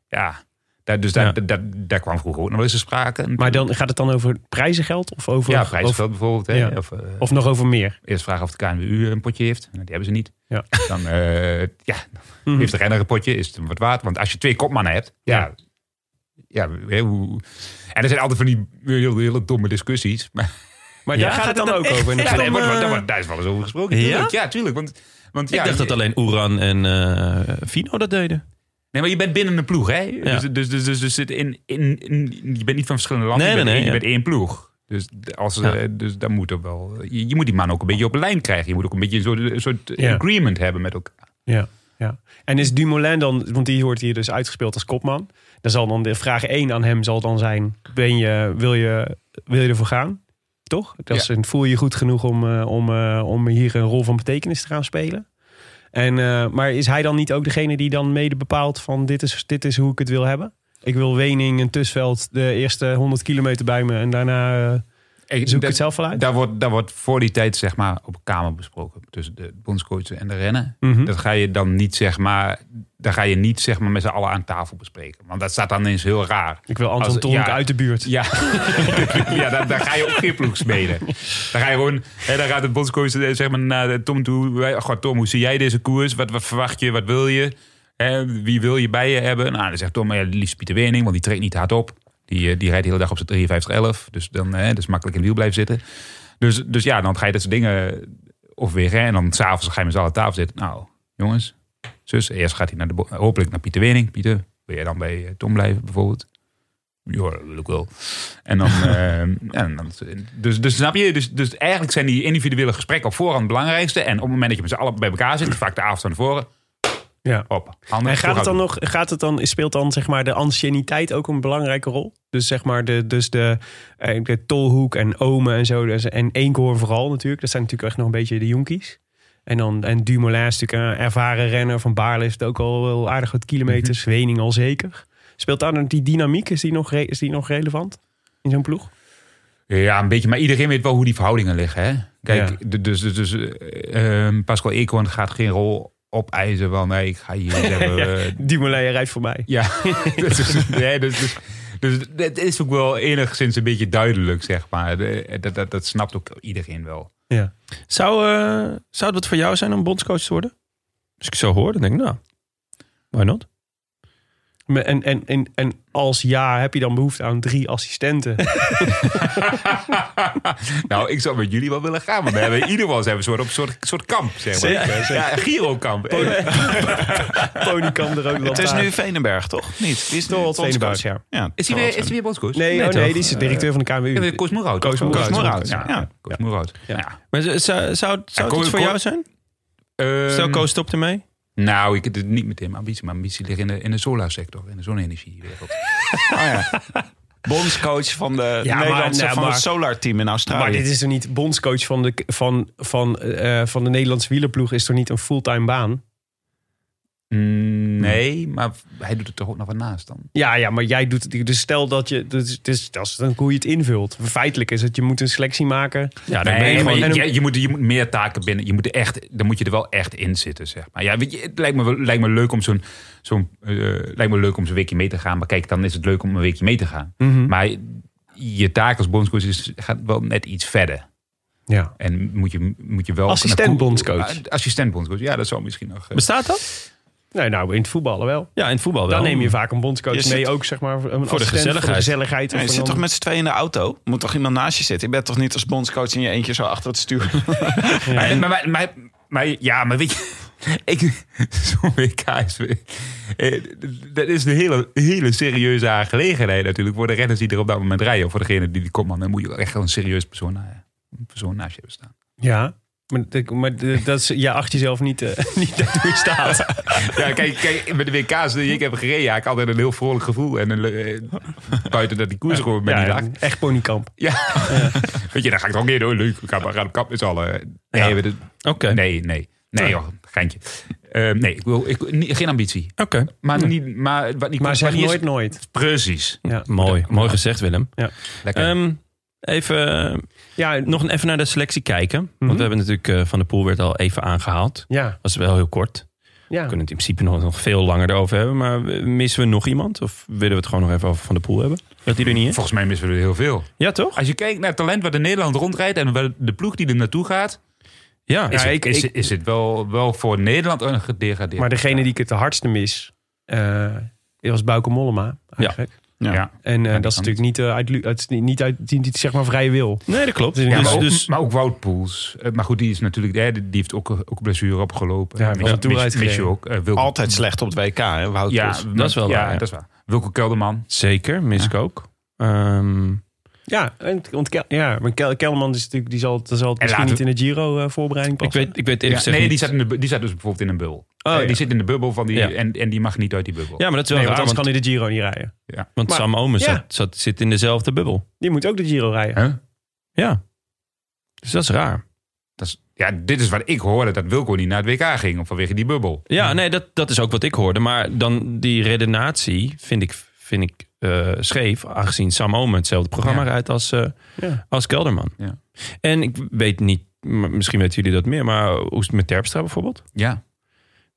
[SPEAKER 5] Ja, daar, dus daar,
[SPEAKER 1] Ja.
[SPEAKER 5] daar, daar, daar kwam vroeger ook nog wel eens een sprake.
[SPEAKER 2] Maar dan, gaat het dan over prijzengeld? Of over,
[SPEAKER 5] ja, prijsveld bijvoorbeeld. Hè?
[SPEAKER 2] Ja.
[SPEAKER 5] Of, eh,
[SPEAKER 2] Of, of nog over meer?
[SPEAKER 5] Eerst vragen of de KNWU een potje heeft. Nou, die hebben ze niet.
[SPEAKER 2] Ja.
[SPEAKER 5] *laughs* Dan eh, ja,
[SPEAKER 2] Mhm.
[SPEAKER 5] heeft de renner een potje. Is het hem wat waard? Want als je twee kopmannen hebt. Ja. ja. hè, hoe- En er zijn altijd van die hele, hele domme discussies. *laughs* Maar
[SPEAKER 2] Maar
[SPEAKER 1] Ja,
[SPEAKER 2] daar gaat het dan ook over. in de
[SPEAKER 5] ja,
[SPEAKER 2] ploeg?
[SPEAKER 5] daar, wordt-
[SPEAKER 1] eh,
[SPEAKER 5] daar wordt- daar is wel eens over gesproken.
[SPEAKER 1] Ja?
[SPEAKER 5] Tuurlijk. Ja, tuurlijk. Want, want, ja,
[SPEAKER 1] ik dacht dat alleen Oeran en eh, Fino dat deden.
[SPEAKER 5] Nee, maar je bent binnen een ploeg, hè? Dus, dus, dus, dus, dus zit in, in, in- je bent niet van verschillende landen.
[SPEAKER 1] Nee,
[SPEAKER 5] je
[SPEAKER 1] nee,
[SPEAKER 5] bent,
[SPEAKER 1] nee,
[SPEAKER 5] één, je
[SPEAKER 1] ja.
[SPEAKER 5] bent één ploeg. Dus, d- als,
[SPEAKER 1] Ja.
[SPEAKER 5] eh, dus dan moet er wel. Je, je moet die man ook een beetje op een lijn krijgen. Je moet ook een beetje een soort, een soort
[SPEAKER 2] Ja.
[SPEAKER 5] agreement hebben met elkaar.
[SPEAKER 2] Ja, ja. En is Dumoulin dan, want die wordt hier dus uitgespeeld als kopman. Dan zal dan de vraag 1 aan hem zal dan zijn: ben je, wil, je, wil je ervoor gaan? Toch? Dat is een, voel je je goed genoeg om, eh, om, eh, om hier een rol van betekenis te gaan spelen? En, eh, maar is hij dan niet ook degene die dan mede bepaalt van dit is, dit is hoe ik het wil hebben? Ik wil Wening en Tussveld de eerste 100 kilometer bij me en daarna eh,
[SPEAKER 5] Ik-
[SPEAKER 2] zoek ik
[SPEAKER 5] dat-
[SPEAKER 2] het zelf wel uit.
[SPEAKER 5] Daar wordt, daar wordt voor die tijd zeg maar, op kamer besproken. Tussen de bondscoach en de rennen.
[SPEAKER 2] Mhm.
[SPEAKER 5] Dat ga je dan niet, zeg maar, daar ga je niet zeg maar, met z'n allen aan tafel bespreken. Want dat staat dan eens heel raar.
[SPEAKER 2] Ik wil Anton
[SPEAKER 5] Als-
[SPEAKER 2] Tolk
[SPEAKER 5] ja.
[SPEAKER 2] uit de buurt.
[SPEAKER 5] Ja, *laughs* ja daar, daar ga je ook geen ploeg spelen. Daar ga je gewoon, hè, daar gaat de bondscoach eh, zeg maar, naar de Tom toe. Wij- Goh, Tom, hoe zie jij deze koers? Wat, wat verwacht je? Wat wil je? Hè, wie wil je bij je hebben? Nou, dan zegt Tom, ja, liefst Pieter Wening, want die trekt niet hard op. Die, eh, die rijdt de hele dag op zijn 5311. Dus dan hè, dus makkelijk in het wiel blijven zitten. Dus, dus ja, dan ga je dat soort dingen of weer. Hè, en dan s'avonds ga je met z'n allen aan tafel zitten. Nou, jongens, zus, eerst gaat hij naar de, bo- hopelijk naar Pieter Wening. Pieter, wil jij dan bij eh, Tom blijven bijvoorbeeld? Ja, dat wil ik wel.
[SPEAKER 2] *laughs*
[SPEAKER 5] En dan, eh, en dan dus, dus snap je, dus, dus eigenlijk zijn die individuele gesprekken op voorhand het belangrijkste. En op het moment dat je met z'n allen bij elkaar zit, vaak de avond van tevoren,
[SPEAKER 2] Ja.
[SPEAKER 5] op. Handen
[SPEAKER 2] En gaat het dan
[SPEAKER 5] vooruit.
[SPEAKER 2] nog, gaat het dan, speelt dan zeg maar de anciëniteit ook een belangrijke rol? Dus zeg maar de, dus de, eh, de Tolhoek en Omen en zo. Dus, en Eekhoorn vooral natuurlijk. Dat zijn natuurlijk echt nog een beetje de jonkies. En, dan, en Dumoulin is natuurlijk een ervaren renner. Van Baarle heeft ook al wel aardig wat kilometers.
[SPEAKER 1] Mhm.
[SPEAKER 2] Wening al zeker. Speelt daar dan die dynamiek, is die nog, re- is die nog relevant in zo'n ploeg?
[SPEAKER 5] Ja, een beetje. Maar iedereen weet wel hoe die verhoudingen liggen. Hè? Kijk,
[SPEAKER 2] Ja.
[SPEAKER 5] d- dus, dus, dus eh, eh, Pascal Eekhoorn gaat geen rol opeisen van... Nee, ik ga hier... niet
[SPEAKER 2] *laughs*
[SPEAKER 5] hebben, eh,
[SPEAKER 2] Dumoulin, jij rijdt voor mij.
[SPEAKER 5] Ja, *laughs* dus, dus- nee, dus, dus, dus het is ook wel enigszins een beetje duidelijk, zeg maar. De- Dat, dat, dat snapt ook iedereen wel.
[SPEAKER 2] Ja.
[SPEAKER 1] Zou, eh, zou het wat voor jou zijn om bondscoach te worden? Als ik het zo hoor, dan denk ik, nou, why not?
[SPEAKER 2] Maar En, en, en, en als ja, heb je dan behoefte aan drie assistenten?
[SPEAKER 5] *laughs* nou, ik zou met jullie wel willen gaan, want we hebben in ieder geval zijn we een soort, op een soort, soort kamp, zeg maar. Ja, een Giro-kamp.
[SPEAKER 2] *laughs* Ponykamp, de rode
[SPEAKER 7] Het is
[SPEAKER 2] lantaarn.
[SPEAKER 7] nu Veenenberg, toch? Niet? Die is nu
[SPEAKER 2] Torwald
[SPEAKER 7] bondscoach.
[SPEAKER 2] Venenboud, ja.
[SPEAKER 7] Ja,
[SPEAKER 5] Is hij weer, is hij weer bondscoach?
[SPEAKER 2] Nee,
[SPEAKER 1] Nee,
[SPEAKER 2] oh, nee,
[SPEAKER 1] toch?
[SPEAKER 2] die is de directeur van de
[SPEAKER 5] Ja,
[SPEAKER 2] KMU.
[SPEAKER 5] weer Koos Moerout.
[SPEAKER 2] Koos
[SPEAKER 5] toch?
[SPEAKER 2] Moerout.
[SPEAKER 5] Ja,
[SPEAKER 7] Ja.
[SPEAKER 5] Koos Moerout.
[SPEAKER 2] Ja.
[SPEAKER 5] Ja.
[SPEAKER 1] Maar zou, zou, Eh, zou het
[SPEAKER 5] Ko-
[SPEAKER 1] iets voor
[SPEAKER 5] Ko-
[SPEAKER 1] jou zijn?
[SPEAKER 5] Ehm,
[SPEAKER 1] Stel, Koos stopt ermee.
[SPEAKER 5] Nou, ik het niet meteen mijn ambitie. Mijn ambitie ligt in de, in de solarsector, in de zonne-energiewereld.
[SPEAKER 7] bondscoach Oh van de
[SPEAKER 2] Ja, maar-
[SPEAKER 7] Nederlandse
[SPEAKER 2] nou,
[SPEAKER 7] van
[SPEAKER 2] maar-
[SPEAKER 7] het Solar Team in Australië.
[SPEAKER 2] Maar dit is toch niet bondscoach van de, van, van, eh, van de Nederlandse wielerploeg? Is toch niet een fulltime baan?
[SPEAKER 5] Mm, Nee, maar hij doet het toch ook nog wat naast dan.
[SPEAKER 2] Ja, ja, maar jij doet het. Dus stel dat je. Dus, dus, dat is dan hoe je het invult. Feitelijk is het. Je moet een selectie maken.
[SPEAKER 1] Ja, dan
[SPEAKER 5] Nee,
[SPEAKER 1] ben je
[SPEAKER 5] maar
[SPEAKER 1] gewoon...
[SPEAKER 5] je,
[SPEAKER 2] en dan-
[SPEAKER 5] je, je moet, je moet meer taken binnen. Je moet er echt, dan moet je er wel echt in zitten, zeg maar. Ja, weet je, het lijkt me, wel- lijkt me leuk om zo'n... zo'n eh, lijkt me leuk om zo'n weekje mee te gaan. Maar kijk, dan is het leuk om een weekje mee te gaan.
[SPEAKER 1] Mhm.
[SPEAKER 5] Maar je taak als bondscoach is, gaat wel net iets verder.
[SPEAKER 2] Ja.
[SPEAKER 5] En moet je, moet je wel...
[SPEAKER 2] Assistent bondscoach.
[SPEAKER 5] Ah, Assistent bondscoach, ja, dat zou misschien nog... eh,
[SPEAKER 1] Bestaat dat?
[SPEAKER 2] Nee, nou, in het voetballen wel.
[SPEAKER 1] Ja, in het voetbal wel.
[SPEAKER 2] Dan neem je vaak een bondscoach
[SPEAKER 7] Je
[SPEAKER 2] mee.
[SPEAKER 7] zit-
[SPEAKER 2] Ook zeg maar. Een assistent Voor de
[SPEAKER 1] gezelligheid.
[SPEAKER 2] gezelligheid of
[SPEAKER 7] Nee, je
[SPEAKER 2] een
[SPEAKER 7] zit toch
[SPEAKER 2] ander-
[SPEAKER 7] met z'n tweeën in de auto? Moet toch iemand naast je zitten? Je bent toch niet als bondscoach in je eentje zo achter het stuur?
[SPEAKER 5] Maar, maar, maar, maar- maar- ja, maar weet je... *laughs* Ik, zo'n WK is... eh, Dat is een hele, hele serieuze aangelegenheid natuurlijk. Voor de renners die er op dat moment rijden. Of voor degene die die komt. man, Dan moet je wel echt wel een serieus persoon, na- een persoon naast je hebben staan.
[SPEAKER 2] Ja. Maar, dat- maar dat dat is, je acht jezelf niet, eh, *laughs* niet dat je
[SPEAKER 1] *laughs*
[SPEAKER 2] staat.
[SPEAKER 5] Ja, kijk, kijk met de WK's die ik heb gereden... Ja, ik had altijd een heel vrolijk gevoel. En een, le- eh, buiten dat die koers gewoon met die
[SPEAKER 2] Ja,
[SPEAKER 5] lag.
[SPEAKER 2] echt ponykamp.
[SPEAKER 5] Ja. *laughs* Weet je, dan ga ik er ook in door. Leuk, we gaan, we gaan op kap met z'n allen. Nee,
[SPEAKER 1] Ja.
[SPEAKER 5] we- dat-
[SPEAKER 1] Oké.
[SPEAKER 5] nee, nee. Nee, joh, geintje. Eh, nee, ik wil, ik, niet- geen ambitie.
[SPEAKER 1] Oké.
[SPEAKER 5] Maar, niet, maar wat niet
[SPEAKER 2] Maar zeg
[SPEAKER 5] niet is-
[SPEAKER 2] nooit nooit.
[SPEAKER 5] Precies.
[SPEAKER 2] Ja.
[SPEAKER 1] Mooi. Mooi gezegd, Willem.
[SPEAKER 5] Lekker.
[SPEAKER 1] Ehm, even, eh,
[SPEAKER 2] Ja.
[SPEAKER 1] nog een- even naar de selectie kijken. Want we hebben natuurlijk eh, Van de Poel werd al even aangehaald.
[SPEAKER 2] Ja.
[SPEAKER 1] Was wel heel kort.
[SPEAKER 2] Ja.
[SPEAKER 1] We kunnen het in principe nog, nog veel langer erover hebben. Maar missen we nog iemand? Of willen we het gewoon nog even over Van de Poel hebben? Dat die er niet is?
[SPEAKER 5] Volgens mij missen we er heel veel.
[SPEAKER 1] Ja, toch?
[SPEAKER 5] Als je kijkt naar het talent waar de Nederland rondrijdt en waar de ploeg die er naartoe gaat,
[SPEAKER 1] Ja.
[SPEAKER 5] is,
[SPEAKER 2] Ja,
[SPEAKER 5] het,
[SPEAKER 2] ik-
[SPEAKER 5] is,
[SPEAKER 2] ik-
[SPEAKER 5] is het wel, wel voor Nederland een gedegradeerd.
[SPEAKER 2] Maar degene die ik het de hardste mis, eh was Bauke Mollema eigenlijk.
[SPEAKER 5] ja. Ja.
[SPEAKER 2] En eh,
[SPEAKER 5] die
[SPEAKER 2] dat is
[SPEAKER 5] kan
[SPEAKER 2] natuurlijk niet, eh, uit, lu- uit, niet uit die- die, zeg maar, vrije wil.
[SPEAKER 1] Nee, dat klopt.
[SPEAKER 2] Ja,
[SPEAKER 1] dus,
[SPEAKER 5] maar, ook,
[SPEAKER 1] dus,
[SPEAKER 5] maar ook Wout Poels. Eh, Maar goed, die is natuurlijk. eh, Die die heeft ook, ook een blessure opgelopen.
[SPEAKER 2] Ja, hij was een
[SPEAKER 5] mis,
[SPEAKER 2] toerrijd
[SPEAKER 5] mis je
[SPEAKER 2] gereden.
[SPEAKER 5] ook. Eh, Wilco-
[SPEAKER 7] Altijd slecht op het WK, hè, Wout
[SPEAKER 5] Ja,
[SPEAKER 7] Poels.
[SPEAKER 1] Dat is wel
[SPEAKER 5] ja,
[SPEAKER 1] waar, ja.
[SPEAKER 5] Dat is waar. Wilco Kelderman.
[SPEAKER 1] zeker, mis ik ook. Ehm,
[SPEAKER 2] Ja, en, want Kel- ja maar Kel, Kelman is natuurlijk, die zal, die zal het misschien
[SPEAKER 5] laten
[SPEAKER 2] niet in de Giro-voorbereiding
[SPEAKER 1] ik,
[SPEAKER 2] passen.
[SPEAKER 1] weet, ik weet
[SPEAKER 5] Ja,
[SPEAKER 1] eerlijk gezegd
[SPEAKER 5] nee,
[SPEAKER 1] niet-
[SPEAKER 5] die zat, in de, bu- die zat dus bijvoorbeeld in een bubbel.
[SPEAKER 2] Oh,
[SPEAKER 5] Eh,
[SPEAKER 2] ja.
[SPEAKER 5] Die zit in de bubbel van die.
[SPEAKER 1] Ja.
[SPEAKER 5] En, en die mag niet uit die bubbel.
[SPEAKER 1] ja, maar dat is wel
[SPEAKER 2] nee, want
[SPEAKER 1] raar,
[SPEAKER 2] anders
[SPEAKER 1] want,
[SPEAKER 2] kan hij de Giro niet rijden.
[SPEAKER 1] want
[SPEAKER 2] maar-
[SPEAKER 1] Sam Omen
[SPEAKER 2] Ja.
[SPEAKER 1] zat, zat, zit in dezelfde bubbel.
[SPEAKER 2] Die moet ook de Giro rijden.
[SPEAKER 5] Huh?
[SPEAKER 1] Ja. Dus dat is raar.
[SPEAKER 5] Dat is, ja, dit is wat ik hoorde, dat Wilco niet naar het WK ging om vanwege die bubbel.
[SPEAKER 1] Ja, nee, dat, dat is ook wat ik hoorde. Maar dan die redenatie vind ik, vind ik eh, scheef. Aangezien Sam Omen hetzelfde programma
[SPEAKER 5] Ja.
[SPEAKER 1] rijdt als, eh,
[SPEAKER 2] Ja.
[SPEAKER 1] als Kelderman.
[SPEAKER 5] Ja.
[SPEAKER 1] En ik weet niet, m- misschien weten jullie dat meer. Maar hoe is het met Terpstra bijvoorbeeld?
[SPEAKER 5] Ja.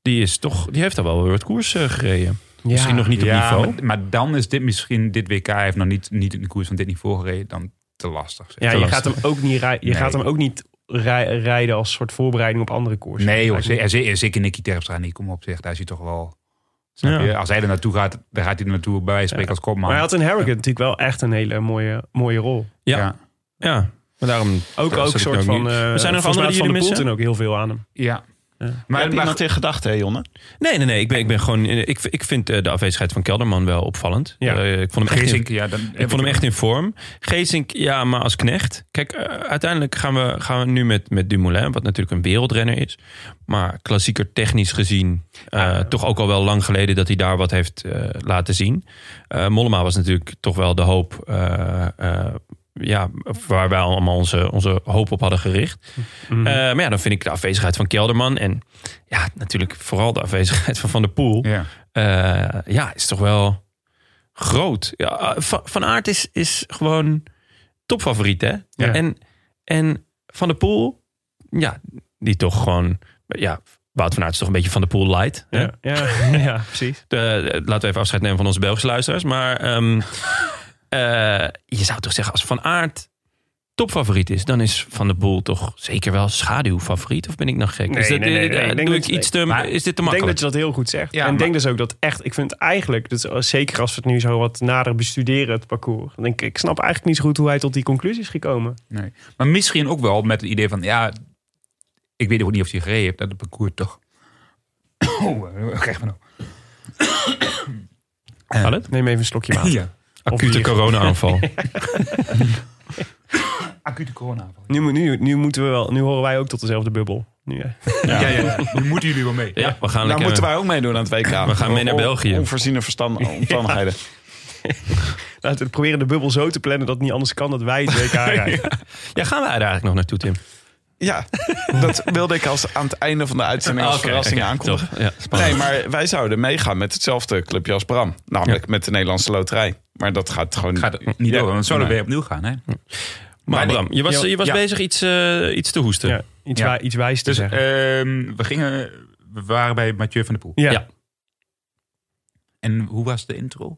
[SPEAKER 1] Die, is toch, die heeft al wel weer wat koers eh, gereden. Misschien nog niet op niveau.
[SPEAKER 5] Maar, maar dan is dit misschien, dit WK heeft nog niet, niet in de koers van dit niveau gereden, dan te lastig. zeg.
[SPEAKER 2] Ja,
[SPEAKER 5] Te
[SPEAKER 2] je
[SPEAKER 5] lastig.
[SPEAKER 2] gaat hem ook niet, rij, je
[SPEAKER 5] Nee.
[SPEAKER 2] gaat hem ook niet rij- rijden als soort voorbereiding op andere koersen.
[SPEAKER 5] Nee hoor,
[SPEAKER 2] Lijkt me-
[SPEAKER 5] ze- ze- zeker Nicky Terpstra niet, kom op zeg, daar is hij toch wel... snap
[SPEAKER 1] Ja.
[SPEAKER 5] je? Als hij er naartoe gaat, dan gaat hij er naartoe bij wijze van spreken als kopman.
[SPEAKER 2] Maar hij had in Harrogate natuurlijk wel echt een hele mooie, mooie rol.
[SPEAKER 1] Ja. ja. Maar daarom
[SPEAKER 2] Ook
[SPEAKER 1] dat
[SPEAKER 2] ook
[SPEAKER 1] zat
[SPEAKER 2] een
[SPEAKER 1] ik
[SPEAKER 2] soort
[SPEAKER 1] ook
[SPEAKER 2] van...
[SPEAKER 1] niet.
[SPEAKER 2] eh,
[SPEAKER 1] er nog
[SPEAKER 2] volgens
[SPEAKER 1] andere
[SPEAKER 2] mij had
[SPEAKER 1] die
[SPEAKER 2] Van
[SPEAKER 1] jullie
[SPEAKER 2] de Poel
[SPEAKER 1] missen?
[SPEAKER 2] toen ook heel veel aan hem.
[SPEAKER 5] Ja.
[SPEAKER 7] Maar
[SPEAKER 5] Maar,
[SPEAKER 7] heb je
[SPEAKER 5] maar,
[SPEAKER 7] iemand in gedachten, hè, Jonne?
[SPEAKER 1] Nee, nee, nee. Ik ben, ik ben gewoon. Ik, ik vind eh, de afwezigheid van Kelderman wel opvallend.
[SPEAKER 2] Ja.
[SPEAKER 1] Eh, ik vond hem echt. In,
[SPEAKER 5] Geesink, ja, dan
[SPEAKER 1] ik vond hem echt in vorm. Geesink, ja, maar als knecht. Kijk, eh, uiteindelijk gaan we, gaan we nu met, met Dumoulin, wat natuurlijk een wereldrenner is. Maar klassieker technisch gezien, eh, toch ook al wel lang geleden dat hij daar wat heeft eh, laten zien. Eh, Mollema was natuurlijk toch wel de hoop eh, eh, ja, waar wij allemaal onze, onze hoop op hadden gericht. Eh, maar ja, dan vind ik de afwezigheid van Kelderman en ja, natuurlijk vooral de afwezigheid van Van der Poel.
[SPEAKER 5] Ja.
[SPEAKER 1] Eh, ja, is toch wel groot. Ja, van, van Aert is, is gewoon topfavoriet, hè?
[SPEAKER 2] Ja.
[SPEAKER 1] En, en Van der Poel, ja, die toch gewoon... Ja, Wout van Aert is toch een beetje Van der Poel light. hè?
[SPEAKER 2] Ja, ja, *laughs* ja precies.
[SPEAKER 1] Eh, eh, laten we even afscheid nemen van onze Belgische luisteraars. Maar
[SPEAKER 2] *laughs*
[SPEAKER 1] ehm, eh, je zou toch zeggen, als Van Aert topfavoriet is... dan is Van der Poel toch zeker wel schaduwfavoriet? Of ben ik nog gek?
[SPEAKER 2] Nee,
[SPEAKER 1] is
[SPEAKER 2] nee, nee, nee,
[SPEAKER 1] eh,
[SPEAKER 2] ik denk
[SPEAKER 1] doe
[SPEAKER 2] dat-
[SPEAKER 1] ik iets te...
[SPEAKER 5] maar
[SPEAKER 1] is dit te
[SPEAKER 2] Ik denk
[SPEAKER 1] makkelijk?
[SPEAKER 2] dat je dat heel goed zegt.
[SPEAKER 5] Ja,
[SPEAKER 2] en ik
[SPEAKER 5] maar-
[SPEAKER 2] denk dus ook dat echt, ik vind eigenlijk, dus zeker als we het nu zo wat nader bestuderen, het parcours. Dan denk ik, ik snap eigenlijk niet zo goed hoe hij tot die conclusie is gekomen.
[SPEAKER 5] Nee. Maar misschien ook wel met het idee van, ja, ik weet ook niet of hij gereden heeft, dat het parcours toch. *coughs* Oh, *coughs* eh, krijg me nou.
[SPEAKER 1] Kan het?
[SPEAKER 2] Neem even een slokje
[SPEAKER 5] *laughs*
[SPEAKER 2] water.
[SPEAKER 5] Ja.
[SPEAKER 1] Acute
[SPEAKER 2] hier.
[SPEAKER 1] corona-aanval.
[SPEAKER 5] *laughs* Acute corona.
[SPEAKER 2] Nu, moet- nu, nu, moeten we wel, nu horen wij ook tot dezelfde bubbel. Nu, eh, ja.
[SPEAKER 5] Ja, ja, *laughs* Nu moeten jullie wel mee.
[SPEAKER 1] Ja, we
[SPEAKER 2] Nou,
[SPEAKER 1] gaan
[SPEAKER 7] Daar
[SPEAKER 1] lekker...
[SPEAKER 7] moeten wij ook meedoen aan het WK.
[SPEAKER 1] We gaan mee naar België.
[SPEAKER 7] Onvoorziene verstand, omstandigheden.
[SPEAKER 2] *laughs* laten we proberen de bubbel zo te plannen dat het niet anders kan dat wij het
[SPEAKER 5] *laughs*
[SPEAKER 2] WK rijden.
[SPEAKER 1] Ja, gaan wij daar eigenlijk nog naartoe, Tim?
[SPEAKER 7] Ja, dat wilde ik als aan het einde van de uitzending als verrassing aankondigen.
[SPEAKER 1] Toch? Ja, spannend.
[SPEAKER 7] Nee, maar wij zouden meegaan met hetzelfde clubje als Bram. Namelijk met de Nederlandse Loterij. Maar dat gaat gewoon
[SPEAKER 5] Gaat het niet
[SPEAKER 7] Ja.
[SPEAKER 5] door, want zo dan
[SPEAKER 7] Nee.
[SPEAKER 5] weer opnieuw gaan. Hè?
[SPEAKER 1] maar
[SPEAKER 5] nee.
[SPEAKER 1] Bram, je was, je was
[SPEAKER 5] Ja.
[SPEAKER 1] bezig iets, eh, iets te hoesten.
[SPEAKER 2] Ja, iets,
[SPEAKER 5] Ja.
[SPEAKER 2] wij- iets wijs te
[SPEAKER 5] Dus
[SPEAKER 2] zeggen.
[SPEAKER 5] ehm, we gingen, we waren bij Mathieu van der Poel.
[SPEAKER 2] ja.
[SPEAKER 1] ja.
[SPEAKER 5] En hoe was de intro? *laughs*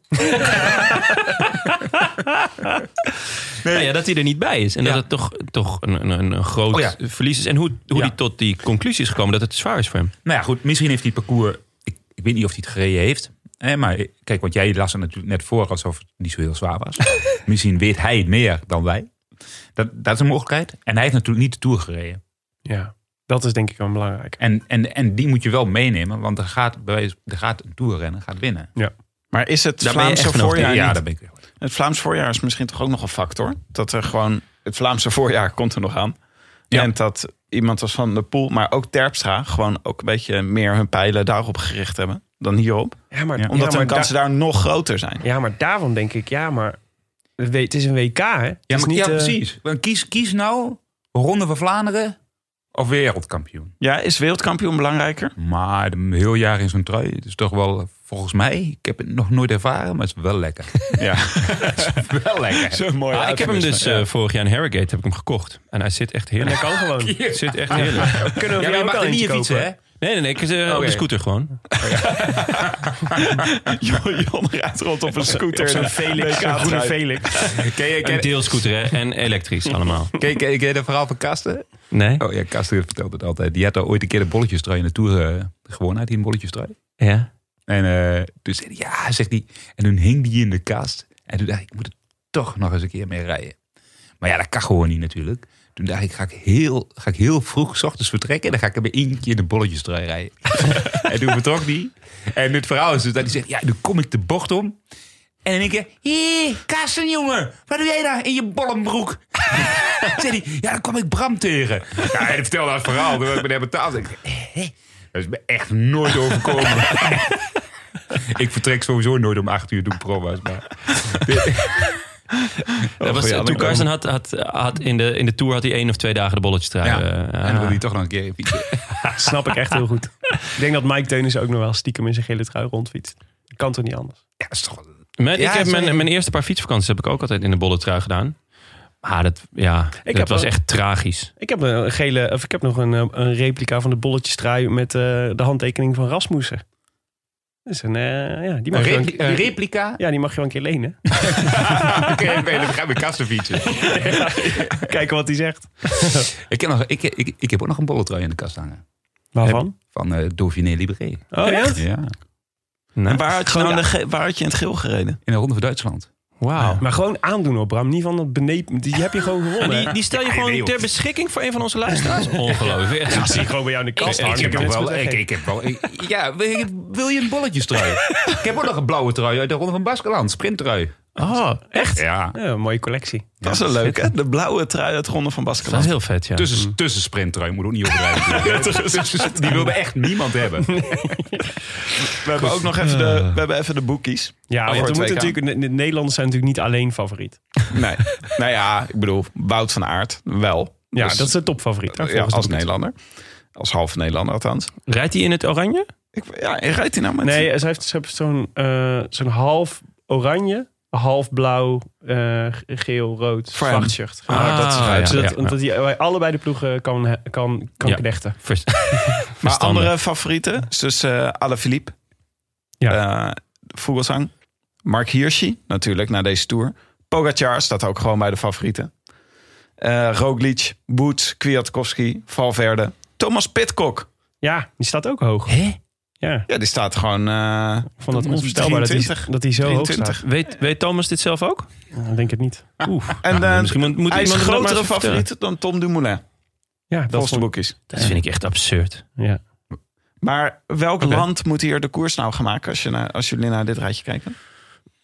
[SPEAKER 1] Nou ja, dat hij er niet bij is. En dat
[SPEAKER 5] Ja.
[SPEAKER 1] het toch, toch een, een- een, een groot
[SPEAKER 5] Oh ja.
[SPEAKER 1] verlies is. En hoe, hoe
[SPEAKER 5] Ja.
[SPEAKER 1] hij tot die conclusie is gekomen dat het zwaar is voor hem.
[SPEAKER 5] Nou ja, goed, misschien heeft hij het parcours. Ik, ik weet niet of hij het gereden heeft. Hè, maar kijk, want jij las het natuurlijk net voor alsof het niet zo heel zwaar was. misschien weet hij het meer dan wij. Dat, dat is een mogelijkheid. En hij heeft natuurlijk niet de tour gereden.
[SPEAKER 2] ja, dat is denk ik wel belangrijk.
[SPEAKER 5] En, en, en die moet je wel meenemen, want er gaat, bij wijze- er gaat een tourrennen gaat winnen.
[SPEAKER 7] Maar is het
[SPEAKER 1] ben je echt
[SPEAKER 7] Vlaamse
[SPEAKER 1] van overtuigd.
[SPEAKER 7] voorjaar
[SPEAKER 5] ja,
[SPEAKER 7] niet-
[SPEAKER 5] daar ben ik weer.
[SPEAKER 7] Het Vlaams voorjaar is misschien toch ook nog een factor. Dat er gewoon... Het Vlaamse voorjaar komt er nog aan.
[SPEAKER 5] Ja.
[SPEAKER 7] En dat iemand als Van der Poel, maar ook Terpstra... gewoon ook een beetje meer hun pijlen daarop gericht hebben dan hierop.
[SPEAKER 2] Ja, maar, ja,
[SPEAKER 7] Omdat
[SPEAKER 2] maar
[SPEAKER 7] hun kansen
[SPEAKER 2] da-
[SPEAKER 7] daar nog groter zijn.
[SPEAKER 2] ja, maar daarvan denk ik, ja, maar het we- het is een WK, hè? Het
[SPEAKER 5] Ja,
[SPEAKER 2] is
[SPEAKER 5] maar,
[SPEAKER 2] niet,
[SPEAKER 5] ja
[SPEAKER 2] eh,
[SPEAKER 5] precies. Want Kies, kies nou Ronde van Vlaanderen of wereldkampioen.
[SPEAKER 7] Ja, is wereldkampioen belangrijker?
[SPEAKER 5] Maar een heel jaar in zo'n trui, het is toch wel, volgens mij, ik heb het nog nooit ervaren, maar het is wel lekker.
[SPEAKER 7] Ja.
[SPEAKER 5] wel lekker.
[SPEAKER 7] Zo'n mooie
[SPEAKER 1] Ah, ik heb hem
[SPEAKER 7] eufemisme.
[SPEAKER 1] dus eh, vorig jaar in Harrogate heb ik hem gekocht. En hij zit echt
[SPEAKER 5] *laughs*
[SPEAKER 2] Dat
[SPEAKER 1] heerlijk.
[SPEAKER 2] kan gewoon. Kunnen
[SPEAKER 1] Hij zit echt heerlijk.
[SPEAKER 2] we voor
[SPEAKER 5] Ja, maar
[SPEAKER 2] jou
[SPEAKER 5] je
[SPEAKER 2] ook
[SPEAKER 5] mag
[SPEAKER 2] al
[SPEAKER 5] er niet
[SPEAKER 2] eentje
[SPEAKER 5] in fietsen,
[SPEAKER 2] kopen?
[SPEAKER 5] hè?
[SPEAKER 1] Nee, nee, nee. Ik, eh, Op
[SPEAKER 5] Oké.
[SPEAKER 1] de scooter gewoon.
[SPEAKER 7] Jon rijdt rond *laughs* op een scooter.
[SPEAKER 2] Zo'n
[SPEAKER 1] *laughs*
[SPEAKER 2] Felix, zo'n groene Felix.
[SPEAKER 5] Ken je, ken,
[SPEAKER 1] Een deelscooter hè? en elektrisch allemaal.
[SPEAKER 5] *laughs* ken, ken, ken je dat verhaal van Kasten?
[SPEAKER 1] Nee?
[SPEAKER 5] Oh ja, Kasten vertelt het altijd. Die had al ooit een keer de bolletjes in de Tour eh, gewonnen. Had hij een bolletjes
[SPEAKER 1] Ja.
[SPEAKER 5] En eh, toen zei hij, ja, zegt hij. En toen hing die in de kast. En toen dacht ik, ik moet er toch nog eens een keer mee rijden. Maar ja, dat kan gewoon niet natuurlijk. Toen dacht ik, ga ik heel, ga ik heel vroeg 's ochtends vertrekken. En dan ga ik er bij één keer de bolletjes rijden. *laughs* en toen vertrok die. En het verhaal is dus dat hij zegt, ja, dan kom ik de bocht om. En in één keer, hé, Karsten jongen, wat doe jij daar in je bollenbroek? *laughs* zei hij, ja, dan kwam ik Bram tegen. Ja, hij vertelde dat verhaal, toen ik me daar betaald. Ik zei, "Hè? dat is me echt nooit overkomen. *laughs* ik vertrek sowieso nooit om acht uur, doe ik proba's. Maar Oh,
[SPEAKER 1] dat was, toen
[SPEAKER 5] anekdote.
[SPEAKER 1] Carsten had, had, had in, de, in de Tour had hij één of twee dagen de bolletjes trui.
[SPEAKER 5] ja,
[SPEAKER 1] eh,
[SPEAKER 5] en dan wil hij toch nog een keer fietsen.
[SPEAKER 1] *laughs*
[SPEAKER 2] Snap ik echt heel
[SPEAKER 5] *laughs*
[SPEAKER 2] goed. Ik denk dat Mike Teunis ook nog wel stiekem in zijn gele trui rondfietst. Dat kan toch niet anders?
[SPEAKER 5] Ja, is toch wel-
[SPEAKER 1] Mijn,
[SPEAKER 5] Ja,
[SPEAKER 1] ik heb
[SPEAKER 5] sorry.
[SPEAKER 1] mijn, mijn eerste paar fietsvakanties heb ik ook altijd in de bolletrui gedaan. Maar dat, ja,
[SPEAKER 2] heb
[SPEAKER 1] dat was
[SPEAKER 2] ook-
[SPEAKER 1] echt tragisch.
[SPEAKER 2] Ik heb een gele, of ik heb nog een, eh, een replica van de bolletjes trui met eh, de handtekening van Rasmussen. Dat is een, eh, ja, die mag
[SPEAKER 5] Een,
[SPEAKER 2] je wel een
[SPEAKER 5] repli- een
[SPEAKER 2] keer-
[SPEAKER 5] replica?
[SPEAKER 2] ja, die mag je wel een keer lenen.
[SPEAKER 5] *laughs* *laughs* Oké, oké, dan ga ik met Karsten fietsen.
[SPEAKER 2] *laughs* Kijken wat hij zegt.
[SPEAKER 5] ik, heb nog, ik, ik, ik heb ook nog een bolletrui in de kast hangen.
[SPEAKER 2] Waarvan?
[SPEAKER 5] Van eh Dauphiné Libéré.
[SPEAKER 2] Oh ja?
[SPEAKER 5] Ja,
[SPEAKER 7] En
[SPEAKER 1] Nou,
[SPEAKER 7] waar had, je nou in de ge- waar had je in het geel gereden?
[SPEAKER 5] in de Ronde van Duitsland.
[SPEAKER 1] Wauw.
[SPEAKER 2] Maar gewoon aandoen op Bram. Niet van dat beneep. Die heb je gewoon
[SPEAKER 1] En
[SPEAKER 2] gewonnen.
[SPEAKER 1] die, die stel je gewoon
[SPEAKER 5] nee, joh.
[SPEAKER 1] ter beschikking voor een van onze luisteraars? Ongelooflijk. Echt.
[SPEAKER 2] zie gewoon bij jou in de
[SPEAKER 5] Ik, ik, heb nog wel, ik, ik heb wel. ik- ja, wil je, wil je een bolletjes *laughs* trui? ik heb ook nog een blauwe trui uit de Ronde van Baskeland. Sprinttrui.
[SPEAKER 1] Oh, echt?
[SPEAKER 5] Ja.
[SPEAKER 2] Ja, mooie collectie.
[SPEAKER 7] *laughs* Dat is wel leuk, hè? De blauwe trui uit Ronde van
[SPEAKER 1] Dat is
[SPEAKER 7] *laughs* Baskeland.
[SPEAKER 1] heel vet, ja.
[SPEAKER 5] Tussen, tussen sprinttrui, moet ook niet *laughs* overdrijven. Tussen- die wilde echt niemand *laughs* hebben.
[SPEAKER 7] We hebben ook nog even de, we hebben even de boekies.
[SPEAKER 2] Ja,
[SPEAKER 7] Oh,
[SPEAKER 2] want
[SPEAKER 7] voor
[SPEAKER 2] we moeten
[SPEAKER 7] het WK.
[SPEAKER 2] natuurlijk, de, de Nederlanders zijn natuurlijk niet alleen favoriet.
[SPEAKER 7] Nee. nou ja, ik bedoel, Wout van Aert wel.
[SPEAKER 2] Ja,
[SPEAKER 7] Dus,
[SPEAKER 2] dat is de topfavoriet. hè,
[SPEAKER 7] ja,
[SPEAKER 2] volgens
[SPEAKER 7] als
[SPEAKER 2] de-
[SPEAKER 7] Nederlander. Als half Nederlander althans.
[SPEAKER 1] Rijdt hij in het oranje?
[SPEAKER 7] Ik, ja, en rijdt hij nou met...
[SPEAKER 2] Nee, ze heeft, ze heeft zo'n eh, zo'n half oranje, half blauw, eh, geel, rood,
[SPEAKER 7] Voor hem.
[SPEAKER 2] vrachtshirt.
[SPEAKER 7] Ah, dat is
[SPEAKER 1] Ah,
[SPEAKER 7] rijdt.
[SPEAKER 1] ja.
[SPEAKER 2] Zodat omdat die bij allebei de ploegen kan, kan, kan
[SPEAKER 1] Ja.
[SPEAKER 2] knechten.
[SPEAKER 1] Vers-
[SPEAKER 7] Maar
[SPEAKER 1] *laughs* Verstandig.
[SPEAKER 7] andere favorieten? is Dus eh Alaphilippe.
[SPEAKER 2] Ja.
[SPEAKER 7] Ja. Vogelsang. Mark Hirschi, natuurlijk, na deze Tour. Pogacar staat ook gewoon bij de favorieten. Eh Roglic, Boots, Kwiatkowski, Valverde. Thomas Pitcock.
[SPEAKER 2] Ja, die staat ook hoog.
[SPEAKER 1] Hè?
[SPEAKER 2] Ja,
[SPEAKER 7] Ja, die staat gewoon... eh,
[SPEAKER 2] ik vond dat onvoorstelbaar dat hij
[SPEAKER 7] 23.
[SPEAKER 2] dat hij zo hoog
[SPEAKER 7] 23.
[SPEAKER 2] staat.
[SPEAKER 1] Weet, weet Thomas dit zelf ook?
[SPEAKER 2] Ja, ik denk het niet.
[SPEAKER 5] Ah.
[SPEAKER 1] Oeh.
[SPEAKER 7] En
[SPEAKER 1] Nou,
[SPEAKER 7] eh,
[SPEAKER 1] misschien moet- moet
[SPEAKER 7] hij is
[SPEAKER 1] iemand
[SPEAKER 7] een
[SPEAKER 1] het maar
[SPEAKER 7] grotere
[SPEAKER 1] eens vertellen.
[SPEAKER 7] favoriet dan Tom Dumoulin,
[SPEAKER 2] Ja, dat
[SPEAKER 7] volgens de
[SPEAKER 2] vond-
[SPEAKER 7] boekjes.
[SPEAKER 1] Dat vind ik echt absurd.
[SPEAKER 2] ja.
[SPEAKER 7] Maar welk
[SPEAKER 1] Oké.
[SPEAKER 7] land moet hier de koers nou gaan maken als, je naar, als jullie naar dit rijtje kijken?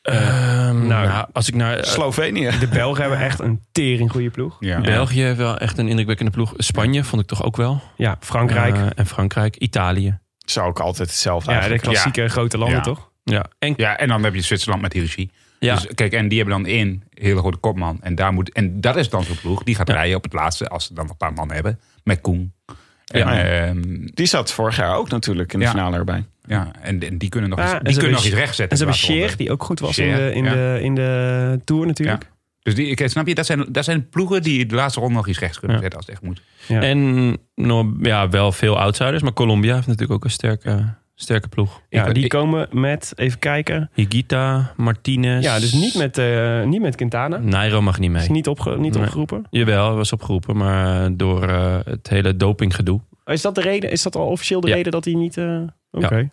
[SPEAKER 1] Ehm, nou, als ik naar... eh,
[SPEAKER 7] Slovenië.
[SPEAKER 2] De Belgen hebben echt een tering goede ploeg.
[SPEAKER 5] Ja.
[SPEAKER 1] België heeft wel echt een indrukwekkende ploeg. Spanje vond ik toch ook wel.
[SPEAKER 2] Ja, Frankrijk.
[SPEAKER 1] Eh, en Frankrijk. Italië.
[SPEAKER 7] Zou ik altijd hetzelfde
[SPEAKER 2] ja, de
[SPEAKER 7] eigenlijk.
[SPEAKER 2] klassieke grote landen,
[SPEAKER 5] Ja.
[SPEAKER 2] toch?
[SPEAKER 1] Ja, en
[SPEAKER 5] Ja, en dan heb je Zwitserland met Hiroshi.
[SPEAKER 1] Ja.
[SPEAKER 5] Dus, kijk, en die hebben dan één hele grote kopman. En, daar moet, en dat is dan zo'n ploeg. Die gaat rijden op het laatste, als ze dan nog een paar man hebben. Met Koen.
[SPEAKER 1] eh,
[SPEAKER 5] En,
[SPEAKER 1] Ja.
[SPEAKER 5] ehm,
[SPEAKER 7] Die zat vorig jaar ook natuurlijk in de
[SPEAKER 5] Ja.
[SPEAKER 7] finale erbij.
[SPEAKER 5] ja, en, en die kunnen nog,
[SPEAKER 2] Ja,
[SPEAKER 5] iets,
[SPEAKER 2] en
[SPEAKER 5] die
[SPEAKER 2] ze
[SPEAKER 5] kunnen nog
[SPEAKER 2] hebben
[SPEAKER 5] iets rechtzetten.
[SPEAKER 2] En ze hebben
[SPEAKER 5] in de laatste
[SPEAKER 2] Sheer,
[SPEAKER 5] ronde.
[SPEAKER 2] die ook goed was in,
[SPEAKER 5] Scheer,
[SPEAKER 2] de, in,
[SPEAKER 5] ja.
[SPEAKER 2] de, in de Tour natuurlijk.
[SPEAKER 5] Ja. Dus die, kijk, snap je, dat zijn, dat zijn ploegen die de laatste ronde nog iets rechts kunnen
[SPEAKER 1] Ja.
[SPEAKER 5] zetten als het echt moet.
[SPEAKER 2] Ja.
[SPEAKER 1] En nog, ja, wel veel outsiders. Maar Colombia heeft natuurlijk ook een sterke, sterke ploeg.
[SPEAKER 2] Ja,
[SPEAKER 5] Ik-
[SPEAKER 2] die
[SPEAKER 5] ik-
[SPEAKER 2] komen met, even kijken.
[SPEAKER 1] Higuita, Martinez.
[SPEAKER 2] Ja, dus niet met, eh, niet met Quintana.
[SPEAKER 1] Nairo mag niet
[SPEAKER 2] Is
[SPEAKER 1] mee.
[SPEAKER 2] niet, opge, niet
[SPEAKER 1] Nee.
[SPEAKER 2] opgeroepen.
[SPEAKER 1] Jawel, hij was opgeroepen. Maar eh, door eh, het hele dopinggedoe.
[SPEAKER 2] Is dat de reden? Is dat al officieel de
[SPEAKER 1] Ja.
[SPEAKER 2] reden dat hij niet... eh, Oké.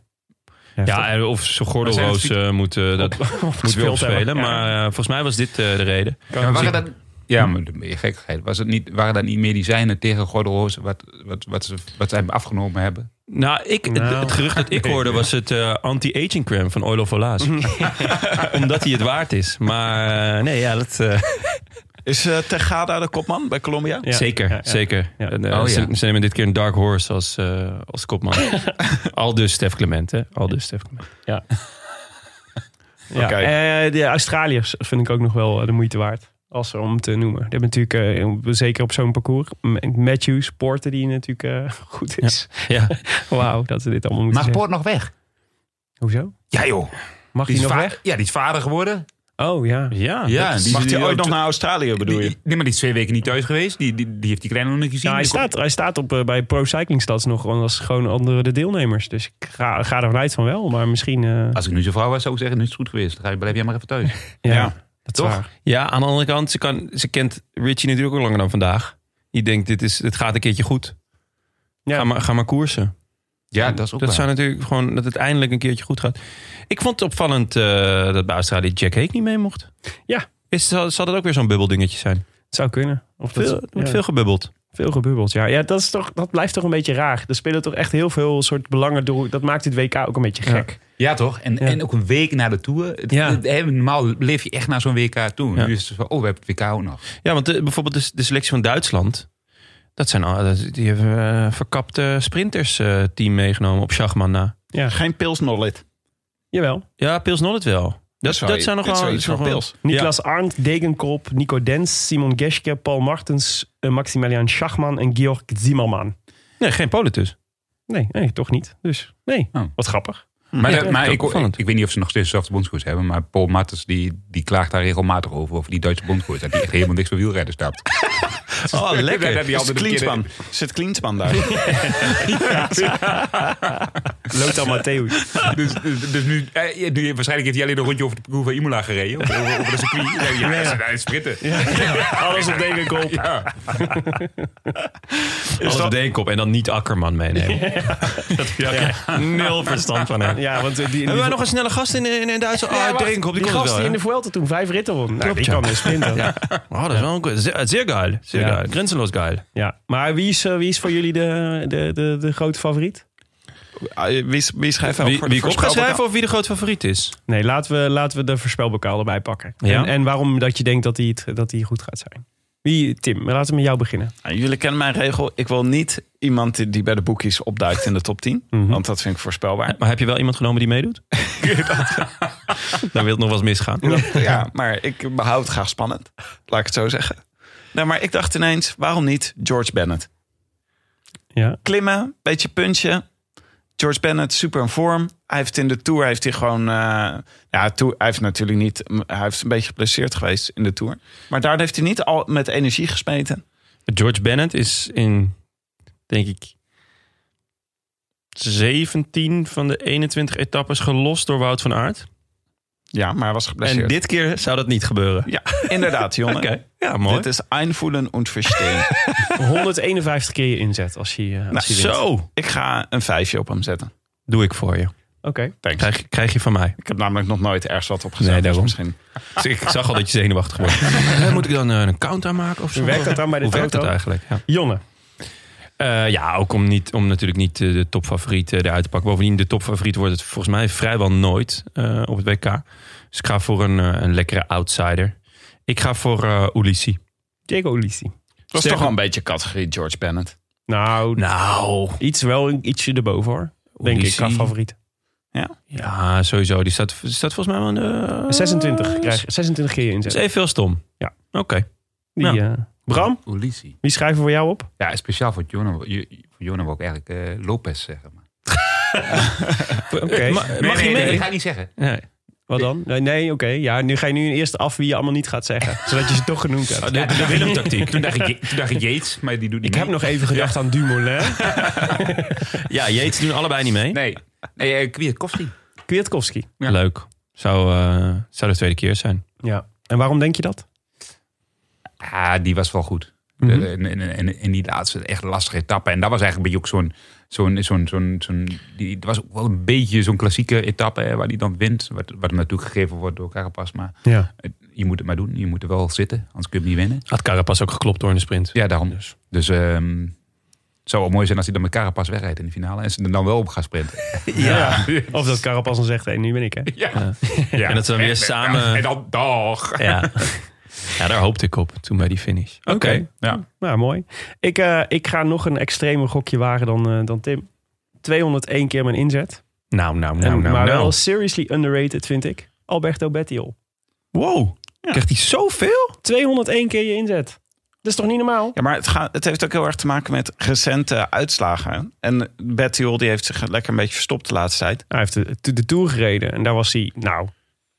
[SPEAKER 2] Heftig.
[SPEAKER 1] Ja, en of ze
[SPEAKER 5] Maar zijn
[SPEAKER 1] gordelroos
[SPEAKER 5] het-
[SPEAKER 1] eh, moet, eh,
[SPEAKER 2] *laughs*
[SPEAKER 1] dat, moet weer
[SPEAKER 2] gespeeld
[SPEAKER 1] opspelen.
[SPEAKER 2] hebben. Ja.
[SPEAKER 1] Maar eh, volgens mij was dit eh, de reden.
[SPEAKER 5] Ja, maar waren dat, ja, maar de- meer gekkigheid. Was het niet, waren dat niet medicijnen tegen Gordelroos wat, wat, wat, ze, wat ze hem afgenomen hebben?
[SPEAKER 1] Nou, ik, het-
[SPEAKER 2] Nou.
[SPEAKER 1] Het, gerucht dat
[SPEAKER 2] *laughs*
[SPEAKER 1] ik hoorde was het eh, anti-aging crème van Oilo Volaas. *laughs* Omdat hij het waard is. Maar eh, nee, ja, dat... eh,
[SPEAKER 7] Is eh Tegada de kopman bij Colombia?
[SPEAKER 2] Ja.
[SPEAKER 1] Zeker,
[SPEAKER 2] Ja, ja.
[SPEAKER 1] zeker.
[SPEAKER 2] Ja.
[SPEAKER 1] En, eh,
[SPEAKER 5] Oh,
[SPEAKER 1] ze,
[SPEAKER 5] ja.
[SPEAKER 1] ze nemen dit keer een Dark Horse als, eh, als
[SPEAKER 2] *laughs*
[SPEAKER 1] kopman. Al dus Stef Clement, hè? Al dus Stef Clement.
[SPEAKER 2] Ja.
[SPEAKER 7] Oké.
[SPEAKER 2] eh, de Australiërs vind ik ook nog wel eh, de moeite waard. Als ze om te noemen. Die hebben natuurlijk, eh, zeker op zo'n parcours, M- Matthews, Porter, die natuurlijk eh, *laughs* goed is.
[SPEAKER 1] Ja.
[SPEAKER 2] *laughs* Wauw, dat ze dit allemaal moeten
[SPEAKER 5] Mag
[SPEAKER 2] zeggen.
[SPEAKER 5] Poort nog weg?
[SPEAKER 2] Hoezo?
[SPEAKER 5] Ja joh.
[SPEAKER 2] Mag hij
[SPEAKER 5] is
[SPEAKER 2] nog
[SPEAKER 5] va-
[SPEAKER 2] weg?
[SPEAKER 5] Ja, die is vader geworden.
[SPEAKER 2] Oh ja.
[SPEAKER 1] Ja,
[SPEAKER 5] Ja, die,
[SPEAKER 7] Mag
[SPEAKER 5] die-
[SPEAKER 7] hij ooit nog naar Australië, bedoel
[SPEAKER 5] die,
[SPEAKER 7] je?
[SPEAKER 5] Nee, maar die is twee weken niet thuis geweest. Die, die, die heeft die kleine nog niet gezien.
[SPEAKER 2] Ja, hij,
[SPEAKER 5] Die
[SPEAKER 2] staat, hij staat op, eh, bij Pro Cycling Stats nog als gewoon andere de deelnemers. Dus ik ga, ga er vanuit van wel, maar misschien... eh,
[SPEAKER 5] komt- Als ik nu zijn vrouw was, zou ik zeggen, nu is het goed geweest. Dan ga je- blijf jij maar even thuis.
[SPEAKER 2] ja,
[SPEAKER 7] ja,
[SPEAKER 2] dat is
[SPEAKER 5] toch?
[SPEAKER 2] waar.
[SPEAKER 1] ja, aan de andere kant, ze, kan, ze kent Richie natuurlijk ook langer dan vandaag. Die denkt, dit, is, dit gaat een keertje goed.
[SPEAKER 2] Ja.
[SPEAKER 1] Ga, maar, ga maar koersen.
[SPEAKER 5] Ja, dat is ook
[SPEAKER 1] Dat
[SPEAKER 5] waar.
[SPEAKER 1] zou natuurlijk gewoon, dat het eindelijk een keertje goed gaat. Ik vond het opvallend eh, dat bij Australië Jack Hake niet mee mocht.
[SPEAKER 2] Ja.
[SPEAKER 1] Is, zal, zal dat ook weer zo'n bubbeldingetje zijn?
[SPEAKER 2] Het zou kunnen. Of dat,
[SPEAKER 1] Veel, er wordt
[SPEAKER 2] ja.
[SPEAKER 1] veel gebubbeld.
[SPEAKER 2] Veel gebubbeld, ja. Ja, dat, is toch, dat blijft toch een beetje raar. Er spelen toch echt heel veel soort belangen door. Dat maakt dit WK ook een beetje gek.
[SPEAKER 5] Ja, toch? En, en ook een week na de Tour. Het-
[SPEAKER 2] Ja.
[SPEAKER 5] het- hè, normaal leef je echt naar zo'n WK toe.
[SPEAKER 1] Ja.
[SPEAKER 5] Nu is het zo van, oh, we hebben het WK ook nog.
[SPEAKER 1] Ja, want de- bijvoorbeeld de, de selectie van Duitsland. Dat zijn al, dat- die hebben eh, verkapte sprinters eh, team meegenomen op Schachman na.
[SPEAKER 2] Ja.
[SPEAKER 7] Geen pilsnollet.
[SPEAKER 2] Jawel.
[SPEAKER 1] Ja, Pils Nol het wel. Dat, dat,
[SPEAKER 7] zou je-
[SPEAKER 1] zijn nog
[SPEAKER 7] dit
[SPEAKER 1] wel...
[SPEAKER 7] zou
[SPEAKER 1] dat
[SPEAKER 7] iets
[SPEAKER 1] zijn
[SPEAKER 7] van
[SPEAKER 1] nog wel-
[SPEAKER 7] Pils.
[SPEAKER 2] Niklas Arndt, Degenkolb, Nico Dens, Simon Geschke, Paul Martens, eh, Maximilian Schachman en Georg Zimmerman.
[SPEAKER 1] Nee, geen Polen dus.
[SPEAKER 2] Nee, nee, toch niet. Dus nee,
[SPEAKER 5] Oh.
[SPEAKER 2] wat grappig.
[SPEAKER 5] Maar,
[SPEAKER 1] Hm. Ja,
[SPEAKER 5] dat- maar
[SPEAKER 1] dat is
[SPEAKER 5] ik,
[SPEAKER 1] ook opvallend.
[SPEAKER 5] ik, weet niet of ze nog steeds dezelfde bondscoach hebben. Maar Paul Matters die, die klaagt daar regelmatig over. Over die Duitse bondscoach. Dat die echt helemaal niks van wielrennen stapt.
[SPEAKER 1] *laughs* Oh,
[SPEAKER 5] *laughs* Dat
[SPEAKER 1] lekker.
[SPEAKER 5] heb je
[SPEAKER 7] Is
[SPEAKER 5] altijd een
[SPEAKER 7] Klinsman.
[SPEAKER 5] keer-
[SPEAKER 7] Zit
[SPEAKER 1] *laughs*
[SPEAKER 7] Klinsman daar?
[SPEAKER 2] Lothar
[SPEAKER 1] *laughs*
[SPEAKER 2] Matthäus.
[SPEAKER 5] *laughs* Dus, dus, dus nu, eh, ja, nu- waarschijnlijk heeft hij alleen een rondje over de parcours van Imola gereden. Of over, over de
[SPEAKER 1] *laughs*
[SPEAKER 5] circuit. Ja, ja, ze zijn aan het sprinten. *laughs*
[SPEAKER 2] Alles op Degenkolb.
[SPEAKER 5] Ja.
[SPEAKER 1] Alles op de één kop en dan niet Akkerman meenemen. Nul verstand van hem.
[SPEAKER 2] Ja, want eh, die,
[SPEAKER 1] Hebben wij
[SPEAKER 2] die-
[SPEAKER 1] nog een snelle gast in, in, in Duitsland?
[SPEAKER 2] Ja,
[SPEAKER 1] Ah,
[SPEAKER 2] wacht,
[SPEAKER 1] de één kop, die,
[SPEAKER 2] die
[SPEAKER 1] komt
[SPEAKER 2] gast
[SPEAKER 1] wel.
[SPEAKER 2] die in
[SPEAKER 1] hè?
[SPEAKER 2] de Vuelta toen vijf ritten won. Ja,
[SPEAKER 1] *laughs*
[SPEAKER 2] die
[SPEAKER 1] ja.
[SPEAKER 2] kan weer sprinten. Ja.
[SPEAKER 1] Oh, dat is wel een goeie. Zeer, zeer geil. Zeer
[SPEAKER 2] Ja.
[SPEAKER 1] geil. Grenzeloos geil.
[SPEAKER 2] Maar wie is, eh, wie is voor jullie de, de, de, de grote favoriet?
[SPEAKER 7] Ah, Wie, is- wie schrijft hij
[SPEAKER 1] Wie,
[SPEAKER 7] voor
[SPEAKER 1] wie ik op ga
[SPEAKER 7] voorspelbokaal?
[SPEAKER 1] schrijven of wie de groot favoriet is?
[SPEAKER 2] Nee, laten we, laten we de voorspelbokaal erbij pakken.
[SPEAKER 1] Ja.
[SPEAKER 2] En, en waarom dat je denkt dat die, het- dat die goed gaat zijn. Wie, Tim, laten we met jou beginnen.
[SPEAKER 7] Nou, jullie kennen mijn regel. Ik wil niet iemand die- die bij de boekies opduikt in de top 10.
[SPEAKER 2] Mhm.
[SPEAKER 7] Want dat vind ik voorspelbaar.
[SPEAKER 1] Maar Oh, heb je wel iemand genomen die meedoet? Daar wil het nog wel eens misgaan.
[SPEAKER 7] Ja, maar ik behoud het graag spannend. Laat ik het zo zeggen. Nou, maar ik dacht ineens, waarom niet George Bennett?
[SPEAKER 2] Ja.
[SPEAKER 7] Klimmen, beetje punchen. George Bennett, super in vorm. Hij heeft in de Tour, heeft hij gewoon... eh, ja, tour, hij heeft natuurlijk niet... Hij heeft een beetje geblesseerd geweest in de Tour. Maar daar heeft hij niet al met energie gesmeten.
[SPEAKER 1] George Bennett is in, denk ik, 17 van de 21 etappes gelost door Wout van Aert.
[SPEAKER 7] Ja, maar hij was
[SPEAKER 1] En
[SPEAKER 7] geblesseerd.
[SPEAKER 1] dit keer zou dat niet gebeuren.
[SPEAKER 7] Ja,
[SPEAKER 1] *laughs*
[SPEAKER 7] inderdaad, jongen.
[SPEAKER 1] Ja, mooi.
[SPEAKER 7] Dit is einvoelen und
[SPEAKER 1] *laughs*
[SPEAKER 7] verstehen. Nou,
[SPEAKER 2] 151 keer je inzet als je, eh, als je wint.
[SPEAKER 1] Nou, Zo,
[SPEAKER 7] ik ga een vijfje op hem zetten.
[SPEAKER 1] doe ik voor je.
[SPEAKER 2] Oké.
[SPEAKER 7] Thanks.
[SPEAKER 1] Krijg, krijg je van *laughs* mij.
[SPEAKER 7] Ik heb namelijk nog nooit ergens wat opgezet.
[SPEAKER 1] Nee, daarom.
[SPEAKER 7] misschien.
[SPEAKER 1] Dus ik zag al dat je zenuwachtig wordt. Eh, Moet ik dan eh, een count aanmaken of zo?
[SPEAKER 2] Hoe werkt dat dan bij de
[SPEAKER 1] Hoe werkt dat
[SPEAKER 2] Toto?
[SPEAKER 1] eigenlijk? Ja.
[SPEAKER 2] Jonne.
[SPEAKER 1] Eh, ja, ook om, niet, om natuurlijk niet eh, de topfavoriet eh, eruit te pakken. Bovendien, de topfavoriet wordt het volgens mij vrijwel nooit eh, op het WK. Dus ik ga voor een, eh, een lekkere outsider. Ik ga voor eh Ulissi.
[SPEAKER 2] Diego Lisi.
[SPEAKER 7] Dat is
[SPEAKER 1] Sterker-
[SPEAKER 7] toch wel een beetje categorie George Bennett.
[SPEAKER 2] Nou,
[SPEAKER 1] Nou,
[SPEAKER 2] iets wel een- ietsje erboven hoor. Denk ik,
[SPEAKER 1] Ulissi.
[SPEAKER 2] qua favoriet.
[SPEAKER 1] Ja, sowieso. Die staat, die staat volgens mij wel in de...
[SPEAKER 2] 26, krijg, 26 keer je
[SPEAKER 1] Dat
[SPEAKER 2] inzet.
[SPEAKER 1] is even veel stom.
[SPEAKER 2] Ja.
[SPEAKER 1] Oké.
[SPEAKER 2] Die,
[SPEAKER 1] nou.
[SPEAKER 2] eh, Bram,
[SPEAKER 5] Ulissi.
[SPEAKER 2] wie schrijven we voor jou op?
[SPEAKER 5] Ja, speciaal voor Jonah, voor Jonah wil ik eigenlijk eh, Lopez zeggen. Maar.
[SPEAKER 2] Oké.
[SPEAKER 1] Ma- Mag je mee?
[SPEAKER 5] dat ga ik niet zeggen.
[SPEAKER 1] Nee.
[SPEAKER 2] Wat dan? Nee, nee oké. Ja, nu ga je nu eerst af wie je allemaal niet gaat
[SPEAKER 1] *laughs*
[SPEAKER 2] zeggen. zodat je ze toch genoemd hebt.
[SPEAKER 1] De, de, de Willem-tactiek.
[SPEAKER 5] Toen dacht, ik, Je- toen dacht ik Yates, maar die doet niet
[SPEAKER 2] Ik heb
[SPEAKER 5] mee.
[SPEAKER 2] nog even gedacht aan Dumoulin.
[SPEAKER 1] *laughs* Ja, Jeets doen allebei niet mee.
[SPEAKER 5] Nee, nee eh, Kwiatkowski.
[SPEAKER 2] Kwiatkowski.
[SPEAKER 5] Ja.
[SPEAKER 1] Leuk. Zou, eh, zou de tweede keer zijn.
[SPEAKER 2] Ja. En waarom denk je dat?
[SPEAKER 5] Ah, die was wel goed.
[SPEAKER 2] Mhm.
[SPEAKER 5] De- en, en, en, en die laatste echt lastige etappe. En dat was eigenlijk een beetje ook zo'n... zo'n zo'n zo'n zo'n die, het was ook wel een beetje zo'n klassieke etappe hè, waar die dan wint. Wat, wat hem natuurlijk gegeven wordt door Carapaz. Maar
[SPEAKER 2] Ja.
[SPEAKER 5] het- je moet het maar doen. Je moet er wel zitten, anders kun je hem niet winnen.
[SPEAKER 1] Had Carapaz ook geklopt door in de sprint.
[SPEAKER 5] Ja, daarom dus. Dus ehm, het zou wel mooi zijn als hij dan met Carapaz wegrijdt in de finale. En ze er dan wel op gaan sprinten.
[SPEAKER 2] ja. *laughs* Of dat Carapaz dan zegt, hé, nu ben ik hè.
[SPEAKER 5] Ja.
[SPEAKER 1] En dat ze dan weer
[SPEAKER 5] En-
[SPEAKER 1] samen-
[SPEAKER 5] En dan dag.
[SPEAKER 1] Ja. *laughs* ja, daar hoopte ik op toen bij die finish. Oké.
[SPEAKER 5] Ja.
[SPEAKER 2] Nou, mooi. Ik, eh, ik ga nog een extremer gokje wagen dan, eh, dan Tim. 201 keer mijn inzet.
[SPEAKER 1] Nou, nou,
[SPEAKER 2] En-
[SPEAKER 1] nou, nou,
[SPEAKER 2] maar wel
[SPEAKER 1] nou.
[SPEAKER 2] seriously underrated, vind ik. Alberto Bettiol.
[SPEAKER 1] Wow. Krijgt hij zoveel?
[SPEAKER 2] 201 keer je inzet. Dat is toch niet normaal?
[SPEAKER 7] Ja, maar het, gaat, het heeft ook heel erg te maken met recente uitslagen. En Bettiol die heeft zich lekker een beetje verstopt de laatste tijd.
[SPEAKER 2] Hij heeft de, de Tour gereden en daar was hij, nou,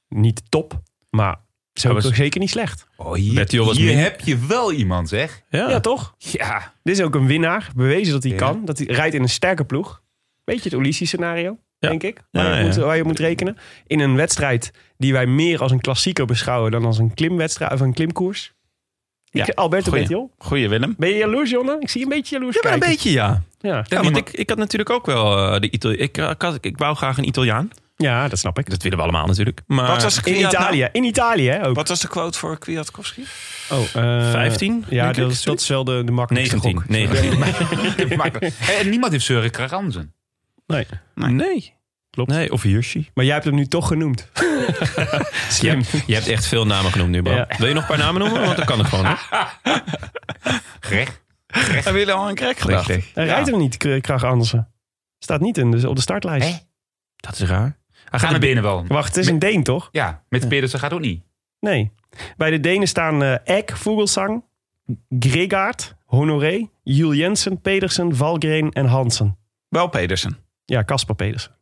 [SPEAKER 2] niet top. Maar zo
[SPEAKER 1] Hij was-
[SPEAKER 2] toch zeker niet slecht.
[SPEAKER 5] Oh, hier
[SPEAKER 1] Bettiol was
[SPEAKER 5] hier
[SPEAKER 1] min.
[SPEAKER 5] heb je wel iemand, zeg.
[SPEAKER 1] Ja.
[SPEAKER 2] Ja, toch?
[SPEAKER 5] Ja.
[SPEAKER 2] Dit is ook een winnaar. Bewezen dat hij
[SPEAKER 5] Ja.
[SPEAKER 2] kan. Dat hij rijdt in een sterke ploeg. Beetje het Ulysse-scenario,
[SPEAKER 1] Ja.
[SPEAKER 2] denk ik. Waar,
[SPEAKER 1] Ja,
[SPEAKER 2] je Moet,
[SPEAKER 1] ja.
[SPEAKER 2] waar je moet rekenen. In een wedstrijd die wij meer als een klassieker beschouwen... dan als een klimwedstrijd of een klimkoers. Ik,
[SPEAKER 7] Ja.
[SPEAKER 2] Alberto
[SPEAKER 7] Goeie.
[SPEAKER 2] Bettiol.
[SPEAKER 7] Goeie Willem.
[SPEAKER 2] Ben je jaloers, Jonne? Ik zie je een beetje jaloers
[SPEAKER 1] Ja, maar een
[SPEAKER 2] kijken.
[SPEAKER 1] beetje ja.
[SPEAKER 2] Ja.
[SPEAKER 1] Ja, want ik, ik had natuurlijk ook wel eh, de Italiaan. Ik, eh, ik, had- ik wou graag een Italiaan.
[SPEAKER 2] ja, dat snap ik.
[SPEAKER 1] Dat willen we allemaal natuurlijk. Maar
[SPEAKER 7] Wat was de
[SPEAKER 2] In
[SPEAKER 7] Kwiat nou?
[SPEAKER 2] Italië. In Italië, hè, ook.
[SPEAKER 7] Wat was de quote voor Kwiatkowski?
[SPEAKER 2] Oh, eh,
[SPEAKER 1] 15,
[SPEAKER 2] Ja,
[SPEAKER 1] denk
[SPEAKER 2] dat
[SPEAKER 1] ik,
[SPEAKER 2] is, dat is wel de, de makkelijkste
[SPEAKER 1] 19?
[SPEAKER 2] gok.
[SPEAKER 1] *laughs* 19.
[SPEAKER 5] Makkelijk. En niemand heeft Søren Kragansen.
[SPEAKER 2] Nee.
[SPEAKER 1] Nee.
[SPEAKER 2] Klopt.
[SPEAKER 1] Nee, of Hirschi.
[SPEAKER 2] Maar jij hebt hem nu toch
[SPEAKER 1] *laughs*
[SPEAKER 2] genoemd. Slim.
[SPEAKER 1] Je hebt echt veel namen genoemd nu, Bram.
[SPEAKER 2] Ja.
[SPEAKER 1] Wil je nog een paar namen noemen? Want dan kan het gewoon. hè?
[SPEAKER 5] Greg.
[SPEAKER 7] Hebben jullie al een crack gedacht?
[SPEAKER 2] Hij rijdt hem niet, K- Krach Andersen. Staat niet in de, op de startlijst.
[SPEAKER 5] Hè?
[SPEAKER 1] Dat is raar.
[SPEAKER 5] Hij gaat naar binnen wel.
[SPEAKER 2] Wacht, het is een Deen, toch?
[SPEAKER 5] Ja, met Pedersen gaat ook niet.
[SPEAKER 2] Nee. Bij de Denen staan eh Eck, Vogelsang, Gregaard, Honoré, Jules Jensen, Pedersen, Valgren en Hansen.
[SPEAKER 7] Wel Pedersen.
[SPEAKER 2] Ja, Casper Pedersen.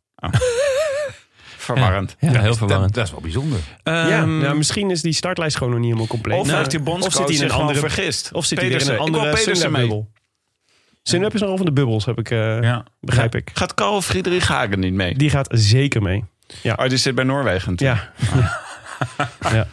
[SPEAKER 7] Verwarrend.
[SPEAKER 1] Ja, heel verwarrend.
[SPEAKER 5] Dat, dat is wel bijzonder.
[SPEAKER 2] ja,
[SPEAKER 1] Ehm,
[SPEAKER 2] nou, misschien is die startlijst gewoon nog niet helemaal compleet.
[SPEAKER 7] Of
[SPEAKER 2] Nou,
[SPEAKER 7] heeft die
[SPEAKER 2] of zit
[SPEAKER 7] bondscoach
[SPEAKER 2] hij in
[SPEAKER 7] zich
[SPEAKER 2] een
[SPEAKER 7] gewoon
[SPEAKER 2] andere...
[SPEAKER 7] vergist?
[SPEAKER 2] Of zit hij weer in
[SPEAKER 7] Pedersen.
[SPEAKER 2] een
[SPEAKER 7] Ik wil
[SPEAKER 2] andere
[SPEAKER 7] Pedersen mee.
[SPEAKER 2] Sunweb-bubbel. Sunweb is nogal van de bubbels, heb ik, eh,
[SPEAKER 5] Ja.
[SPEAKER 2] begrijp ik.
[SPEAKER 7] Gaat Carl Friedrich Hagen niet mee?
[SPEAKER 2] Die gaat zeker mee.
[SPEAKER 7] Oh, die zit bij Noorwegen natuurlijk.
[SPEAKER 2] Ja. *laughs* ja.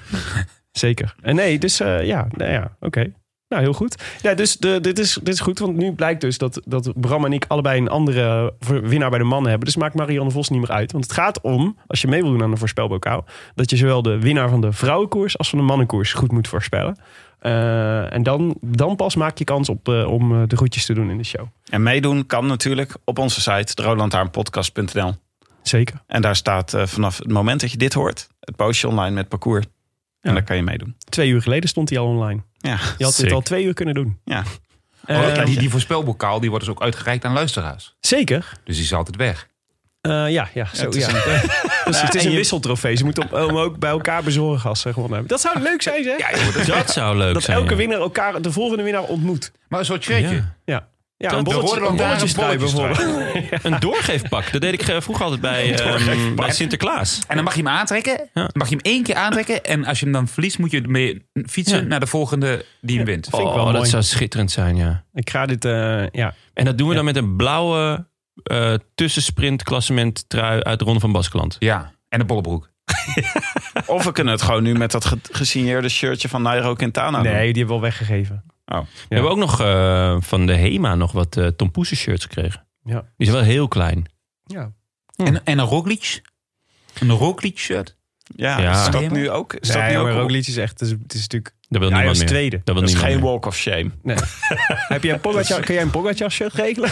[SPEAKER 2] Zeker. En nee, dus eh, ja, nou ja oké. Nou, heel goed. Ja, dus de, dit, is, dit is goed, want nu blijkt dus dat, dat Bram en ik allebei een andere voor- winnaar bij de mannen hebben. Dus maakt Marianne Vos niet meer uit. Want het gaat om, als je mee wil doen aan de voorspelbokaal, dat je zowel de winnaar van de vrouwenkoers als van de mannenkoers goed moet voorspellen. Eh, en dan, dan pas maak je kans op, eh, om eh, de groetjes te doen in de show.
[SPEAKER 7] En meedoen kan natuurlijk op onze site, rolantaarnpodcast.nl.
[SPEAKER 2] Zeker.
[SPEAKER 7] En daar staat eh, vanaf het moment dat je dit hoort, het postje online met parcours. En daar kan je meedoen.
[SPEAKER 2] Twee uur geleden stond hij al online.
[SPEAKER 7] Ja,
[SPEAKER 2] Je had dit
[SPEAKER 1] Sick.
[SPEAKER 2] al twee uur kunnen doen.
[SPEAKER 7] ja.
[SPEAKER 2] Eh,
[SPEAKER 5] die, die voorspelbokaal die wordt dus ook uitgereikt aan luisteraars.
[SPEAKER 2] zeker.
[SPEAKER 5] Dus die is altijd weg.
[SPEAKER 2] Eh, ja, ja, zo, ja. *laughs* dus het is een wisseltrofee. Ze moeten hem ook bij elkaar bezorgen als ze gewonnen hebben. Dat zou leuk zijn, zeg.
[SPEAKER 1] dat zou leuk
[SPEAKER 2] dat
[SPEAKER 1] zijn.
[SPEAKER 2] elke
[SPEAKER 1] ja.
[SPEAKER 2] winnaar elkaar, de volgende winnaar ontmoet.
[SPEAKER 5] Maar een soort shirtje.
[SPEAKER 1] Ja.
[SPEAKER 2] Ja, ja
[SPEAKER 1] Dat-
[SPEAKER 2] een bolletje,
[SPEAKER 5] horen we
[SPEAKER 2] een
[SPEAKER 5] daar een
[SPEAKER 2] bolletjestrui
[SPEAKER 5] bolletjestrui.
[SPEAKER 2] *laughs* bijvoorbeeld.
[SPEAKER 1] Een doorgeefpak. Dat deed ik eh, vroeger altijd *laughs* bij, ehm bij Sinterklaas.
[SPEAKER 5] En dan mag je hem aantrekken.
[SPEAKER 1] Ja.
[SPEAKER 5] Dan mag je hem één keer aantrekken. En als je hem dan verliest, moet je ermee fietsen
[SPEAKER 1] Ja.
[SPEAKER 5] naar de volgende die hem wint.
[SPEAKER 2] ik wel
[SPEAKER 1] oh, dat
[SPEAKER 2] mooi.
[SPEAKER 1] zou schitterend zijn, ja.
[SPEAKER 2] Ik ga dit, eh, ja.
[SPEAKER 1] En dat doen we dan met een blauwe eh tussensprint klassement trui uit de Ronde van Baskeland.
[SPEAKER 5] Ja, en een bollebroek.
[SPEAKER 7] Of we kunnen het gewoon nu met dat ge- gesigneerde shirtje van Nairo Quintana
[SPEAKER 2] Nee,
[SPEAKER 7] doen. Oh.
[SPEAKER 2] die hebben we al weggegeven.
[SPEAKER 1] We hebben ook nog eh, van de HEMA nog wat eh Tom Poesen shirts gekregen.
[SPEAKER 2] Ja.
[SPEAKER 1] Die zijn wel heel klein.
[SPEAKER 2] Ja.
[SPEAKER 5] En, en een Roglic. Een Roglic *laughs* shirt.
[SPEAKER 7] Ja,
[SPEAKER 1] Ja.
[SPEAKER 7] is dat nu ook? Is dat
[SPEAKER 2] Nee,
[SPEAKER 7] nu ook,
[SPEAKER 2] maar
[SPEAKER 7] op?
[SPEAKER 2] Roglic is echt, het is, het is natuurlijk...
[SPEAKER 1] Dat wil
[SPEAKER 2] Ja, hij
[SPEAKER 1] niemand
[SPEAKER 2] was
[SPEAKER 1] meer.
[SPEAKER 2] tweede.
[SPEAKER 1] Dat wil
[SPEAKER 7] Dat is
[SPEAKER 1] niemand
[SPEAKER 7] geen
[SPEAKER 1] meer.
[SPEAKER 7] walk of shame.
[SPEAKER 2] Heb je een Pogacar, kun jij een Pogacar shirt regelen?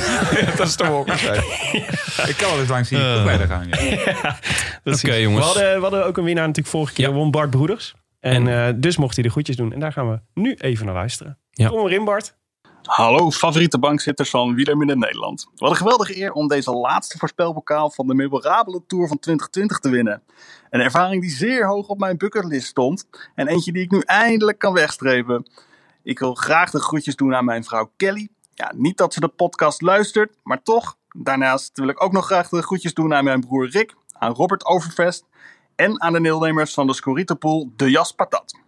[SPEAKER 7] dat is de walk of shame.
[SPEAKER 5] Ik kan wel eens langs die uh. verder gaan. ja.
[SPEAKER 2] Precies.
[SPEAKER 1] Oké, jongens.
[SPEAKER 2] We hadden, we hadden ook een winnaar natuurlijk vorige keer.
[SPEAKER 1] Ja.
[SPEAKER 2] Won Bart Broeders. En,
[SPEAKER 1] En-
[SPEAKER 2] eh, dus mocht hij de groetjes doen. En daar gaan we nu even naar luisteren.
[SPEAKER 1] Ja.
[SPEAKER 2] Kom erin, Bart.
[SPEAKER 8] Hallo, favoriete bankzitters van Wielermin in Nederland. Wat een geweldige eer om deze laatste voorspelbokaal van de memorabele Tour van 2020 te winnen. Een ervaring die zeer hoog op mijn bucketlist stond en eentje die ik nu eindelijk kan wegstrepen. Ik wil graag de groetjes doen aan mijn vrouw Kelly. Ja, niet dat ze de podcast luistert, maar toch. Daarnaast wil ik ook nog graag de groetjes doen aan mijn broer Rick, aan Robert Overvest en aan de deelnemers van de Scorito-pool De Jas Patat.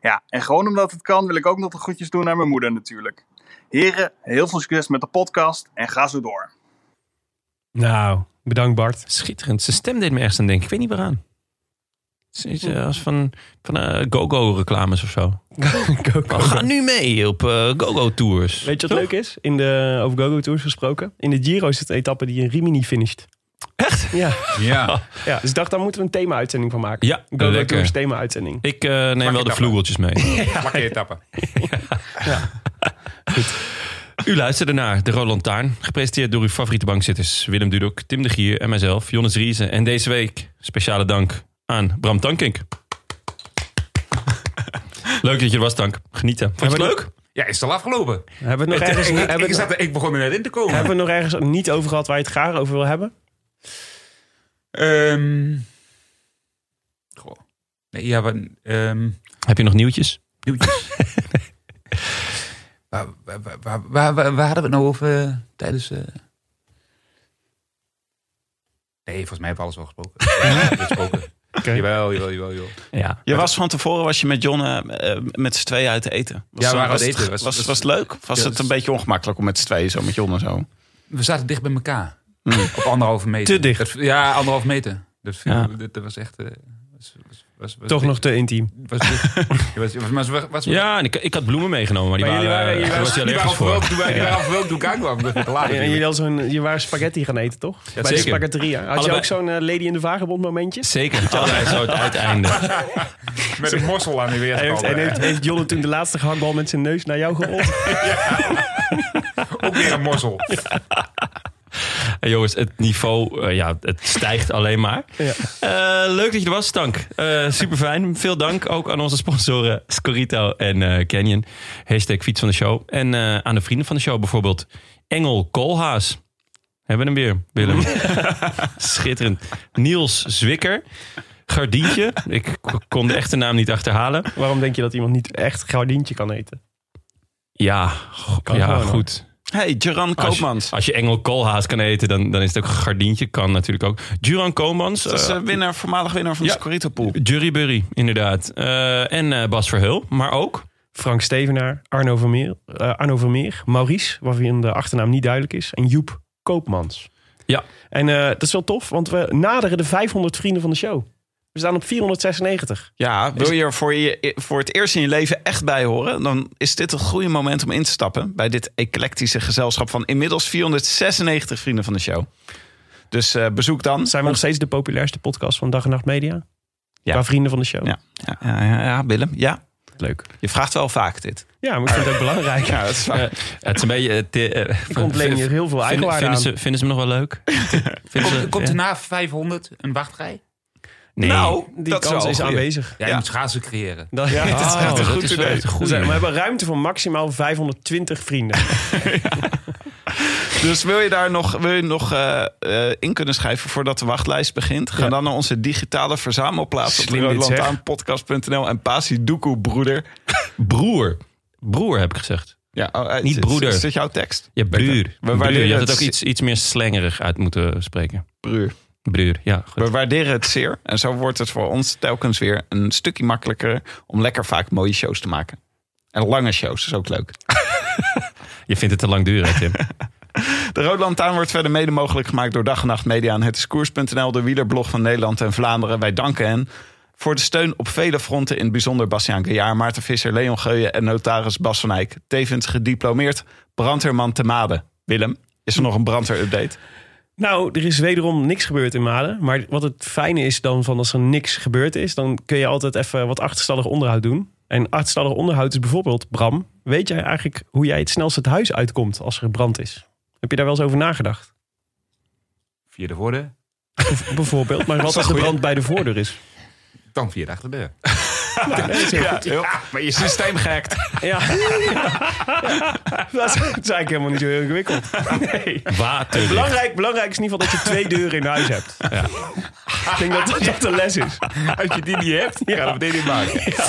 [SPEAKER 8] Ja, en gewoon omdat het kan wil ik ook nog de groetjes doen aan mijn moeder natuurlijk. Heren, heel veel succes met de podcast en ga zo door.
[SPEAKER 1] Oh.
[SPEAKER 2] Nou, bedankt Bart.
[SPEAKER 1] Schitterend. Zijn stem deed me ergens aan denken. Ik weet niet waaraan. Het is iets eh, als van, van eh, go-go-reclames of zo. Oh, ga nu mee op eh, go-go-tours.
[SPEAKER 2] Weet je wat leuk is? In de, over GoGo Tours gesproken. In de Giro is het een etappe die in Rimini finisht. Echt? Ja.
[SPEAKER 5] Ja.
[SPEAKER 2] ja. Dus ik dacht, daar moeten we een thema-uitzending van maken.
[SPEAKER 1] Ja,
[SPEAKER 2] GoGo
[SPEAKER 1] lekker.
[SPEAKER 2] Tours thema-uitzending.
[SPEAKER 1] Ik eh, neem wel de
[SPEAKER 5] etappe.
[SPEAKER 1] vloegeltjes mee.
[SPEAKER 5] Plakken etappen.
[SPEAKER 1] U luisterde naar De Roland Taarn, gepresenteerd door uw favoriete bankzitters Willem Dudok, Tim de Gier en mijzelf, Jonas Riese. En deze week speciale dank aan Bram Tankink. Leuk dat je er was, Tank. Genieten. Vond je het leuk?
[SPEAKER 5] Ja, is het al afgelopen?
[SPEAKER 2] Hebben we het nog
[SPEAKER 5] Ik,
[SPEAKER 2] ergens,
[SPEAKER 5] ik,
[SPEAKER 2] hebben we
[SPEAKER 5] ik,
[SPEAKER 2] het
[SPEAKER 5] zat er- ik begon er net in te
[SPEAKER 2] nog-
[SPEAKER 5] komen.
[SPEAKER 2] hebben we het nog ergens niet over gehad waar je het graag over wil hebben?
[SPEAKER 5] Ehm, goh. Nee, ja, wat, ehm,
[SPEAKER 1] Heb je nog nieuwtjes?
[SPEAKER 5] nieuwtjes. waar, waar, waar, waar, waar- waar hadden we het nou over eh, tijdens... eh? Nee, volgens mij hebben we alles wel *laughs* gesproken. Ja, we hebben gesproken. Jawel, jawel, jawel. jawel.
[SPEAKER 1] Ja.
[SPEAKER 7] Je was van tevoren was je met John eh, eh, met z'n tweeën uit eten. Was,
[SPEAKER 5] Ja, we waren
[SPEAKER 7] was,
[SPEAKER 5] uit
[SPEAKER 7] het-
[SPEAKER 5] eten.
[SPEAKER 7] Was,
[SPEAKER 5] Was-
[SPEAKER 7] was,
[SPEAKER 5] was-
[SPEAKER 7] het leuk? Of Was
[SPEAKER 5] Ja,
[SPEAKER 7] het
[SPEAKER 5] dus-
[SPEAKER 7] een beetje ongemakkelijk om met z'n tweeën zo met John en zo?
[SPEAKER 5] We zaten dicht bij elkaar. Op anderhalve meter.
[SPEAKER 2] Te dicht.
[SPEAKER 5] Dat- ja, anderhalve meter. Hmm. Dat, viel-
[SPEAKER 1] Ja.
[SPEAKER 5] dat, dat was echt... eh, was, was, was, was
[SPEAKER 2] Toch nog te intiem.
[SPEAKER 5] Was, was, was, was, was, was,
[SPEAKER 1] Ja, en ik, ik had bloemen meegenomen, maar die
[SPEAKER 2] Maar
[SPEAKER 1] waren,
[SPEAKER 2] jullie waren-
[SPEAKER 1] *laughs*
[SPEAKER 2] jullie
[SPEAKER 1] daar was hij
[SPEAKER 2] waren-
[SPEAKER 5] Die waren
[SPEAKER 1] allergisch voor.
[SPEAKER 5] verwelkt toen wij- die waren verwelkt toen ik aankwam. Dat werd te
[SPEAKER 2] En
[SPEAKER 5] laat natuurlijk.
[SPEAKER 2] jullie hadden zo'n, je waren spaghetti gaan eten, toch? Bij de
[SPEAKER 1] zeker.
[SPEAKER 2] spaghetteria. Had je
[SPEAKER 1] Allebei.
[SPEAKER 2] ook zo'n eh, Lady in de Vagebond momentje?
[SPEAKER 1] Zeker, altijd zo het uiteinde.
[SPEAKER 5] Met een mossel aan die weer.
[SPEAKER 2] Hij heeft, en heeft, heeft Jolle toen de laatste gehaktbal met zijn neus naar jou gerold?
[SPEAKER 5] *laughs* Ook weer een mossel.
[SPEAKER 1] Hey, jongens, het niveau eh, ja, het stijgt alleen maar.
[SPEAKER 2] Ja.
[SPEAKER 1] Eh, leuk dat je er was, Tank. super fijn. Veel dank ook aan onze sponsoren Scorito en eh, Canyon. Hashtag fiets van de show. En eh, aan de vrienden van de show bijvoorbeeld Engel Koolhaas. Hebben we hem weer,
[SPEAKER 2] *laughs*
[SPEAKER 1] Willem. Schitterend. Niels Zwikker. Gardientje. Ik k- kon de echte naam niet achterhalen.
[SPEAKER 2] *laughs* Waarom denk je dat iemand niet echt gardientje kan eten?
[SPEAKER 1] Ja, ja
[SPEAKER 2] gewoon, hoor.
[SPEAKER 1] goed.
[SPEAKER 7] Hey, Jaran
[SPEAKER 1] Als je,
[SPEAKER 7] Koopmans.
[SPEAKER 1] als je Engel Koolhaas kan eten, dan, dan is het ook Gardientje. Kan natuurlijk ook. Duran Koolmans.
[SPEAKER 7] Dat is
[SPEAKER 1] eh,
[SPEAKER 7] eh, winnaar, voormalig winnaar van
[SPEAKER 1] ja.
[SPEAKER 7] de Scorito Pool.
[SPEAKER 1] Jury Burry, inderdaad. Eh, en eh, Bas Verheul, maar ook.
[SPEAKER 2] Frank Stevenaar, Arno Vermeer, eh, Arno Vermeer Maurice, waarvan de achternaam niet duidelijk is, en Joep Koopmans.
[SPEAKER 1] Ja.
[SPEAKER 2] En eh, dat is wel tof, want we naderen de 500 vrienden van de show. We staan op 496.
[SPEAKER 7] Ja, wil je er voor, je eh, voor het eerst in je leven echt bij horen? Dan is dit het goede moment om in te stappen bij dit eclectische gezelschap van inmiddels 496 vrienden van de show. Dus eh, bezoek dan.
[SPEAKER 2] Zijn we nog steeds de populairste podcast van Dag en Nacht Media?
[SPEAKER 7] Ja.
[SPEAKER 2] Qua vrienden van de show.
[SPEAKER 7] Ja, ja, ja, ja, ja, Willem. Ja,
[SPEAKER 2] Leuk.
[SPEAKER 7] je vraagt wel vaak dit.
[SPEAKER 2] Ja, maar ik vind het ook belangrijk.
[SPEAKER 7] Ja, dat is waar.
[SPEAKER 1] Eh, het is een beetje. eh, te- eh,
[SPEAKER 2] Ah. Ik ontleen hier heel veel
[SPEAKER 1] vinden,
[SPEAKER 2] eigenwaarde
[SPEAKER 1] vinden ze,
[SPEAKER 2] aan.
[SPEAKER 1] vinden ze me nog wel
[SPEAKER 2] *laughs*
[SPEAKER 1] leuk? vinden ze,
[SPEAKER 5] Komt, komt
[SPEAKER 1] ja.
[SPEAKER 5] er na 500 een wachtrij?
[SPEAKER 1] Nee.
[SPEAKER 7] nou,
[SPEAKER 2] Die
[SPEAKER 7] dat is,
[SPEAKER 2] kans
[SPEAKER 7] wel
[SPEAKER 2] is
[SPEAKER 7] goed.
[SPEAKER 2] aanwezig.
[SPEAKER 5] Ja, je
[SPEAKER 7] Ja.
[SPEAKER 5] moet schaatsen creëren.
[SPEAKER 2] *laughs* Dat, ja,
[SPEAKER 1] Oh,
[SPEAKER 2] dat is echt een nou- Ah, goed
[SPEAKER 1] is wel
[SPEAKER 2] idee.
[SPEAKER 1] echt een
[SPEAKER 2] We
[SPEAKER 1] goede.
[SPEAKER 2] zijn- we hebben ruimte voor maximaal 520 vrienden.
[SPEAKER 7] Dus wil je daar nog, wil je nog eh, eh, in kunnen schrijven voordat de wachtlijst begint? Ga dan naar onze digitale verzamelplaats op
[SPEAKER 2] Slim dit, zeg.
[SPEAKER 7] roodlantaarnpodcast.nl en Pasi Doekoe, broeder.
[SPEAKER 1] Broer. Broer heb ik gezegd.
[SPEAKER 7] Ja, oh, eh,
[SPEAKER 1] Niet
[SPEAKER 7] is-
[SPEAKER 1] broeder.
[SPEAKER 7] Is dit jouw tekst?
[SPEAKER 1] Ja, buur.
[SPEAKER 7] We
[SPEAKER 1] Buur.
[SPEAKER 7] waarderen
[SPEAKER 1] Je had het
[SPEAKER 7] het
[SPEAKER 1] ook iets, iets meer slengerig uit moeten spreken.
[SPEAKER 7] Broer.
[SPEAKER 1] Bruur, ja. Goed.
[SPEAKER 7] We waarderen het zeer. En zo wordt het voor ons telkens weer een stukje makkelijker om lekker vaak mooie shows te maken. En lange shows is ook leuk.
[SPEAKER 1] Je vindt het te lang duren,
[SPEAKER 2] *laughs*
[SPEAKER 1] Tim.
[SPEAKER 7] De Rode Lantaarn wordt verder mede mogelijk gemaakt door Dag en Nacht Media en Het is Koers.nl, de wielerblog van Nederland en Vlaanderen. Wij danken hen voor de steun op vele fronten, in het bijzonder Bastiaan Gejaar, Maarten Visser, Leon Geuyen en notaris Bas van Eyck. Tevens gediplomeerd brandweerman te Made. Willem, is er nog een brandweer-update?
[SPEAKER 2] Nou, er is wederom niks gebeurd in Maden. Maar wat het fijne is dan van als er niks gebeurd is, dan kun je altijd even wat achterstallig onderhoud doen. En achterstallig onderhoud is bijvoorbeeld, Bram, weet jij eigenlijk hoe jij het snelst het huis uitkomt als er brand is? Heb je daar wel eens over nagedacht?
[SPEAKER 5] Via de voordeur, *laughs*
[SPEAKER 2] Bijvoorbeeld, maar wat als de brand bij de voordeur is?
[SPEAKER 5] dan via de achterdeur.
[SPEAKER 7] Ja, heel- maar je systeem gehackt.
[SPEAKER 2] Ja. *laughs* Dat is eigenlijk helemaal niet zo heel ingewikkeld. Nee.
[SPEAKER 5] *laughs*
[SPEAKER 1] Water.
[SPEAKER 2] Belangrijk, belangrijk is in ieder geval dat je twee deuren in huis hebt. Ik denk dat dat, dat de les is.
[SPEAKER 5] Als je die niet hebt, ja. dan ben je niet
[SPEAKER 7] *laughs*
[SPEAKER 5] maken.
[SPEAKER 2] Ja,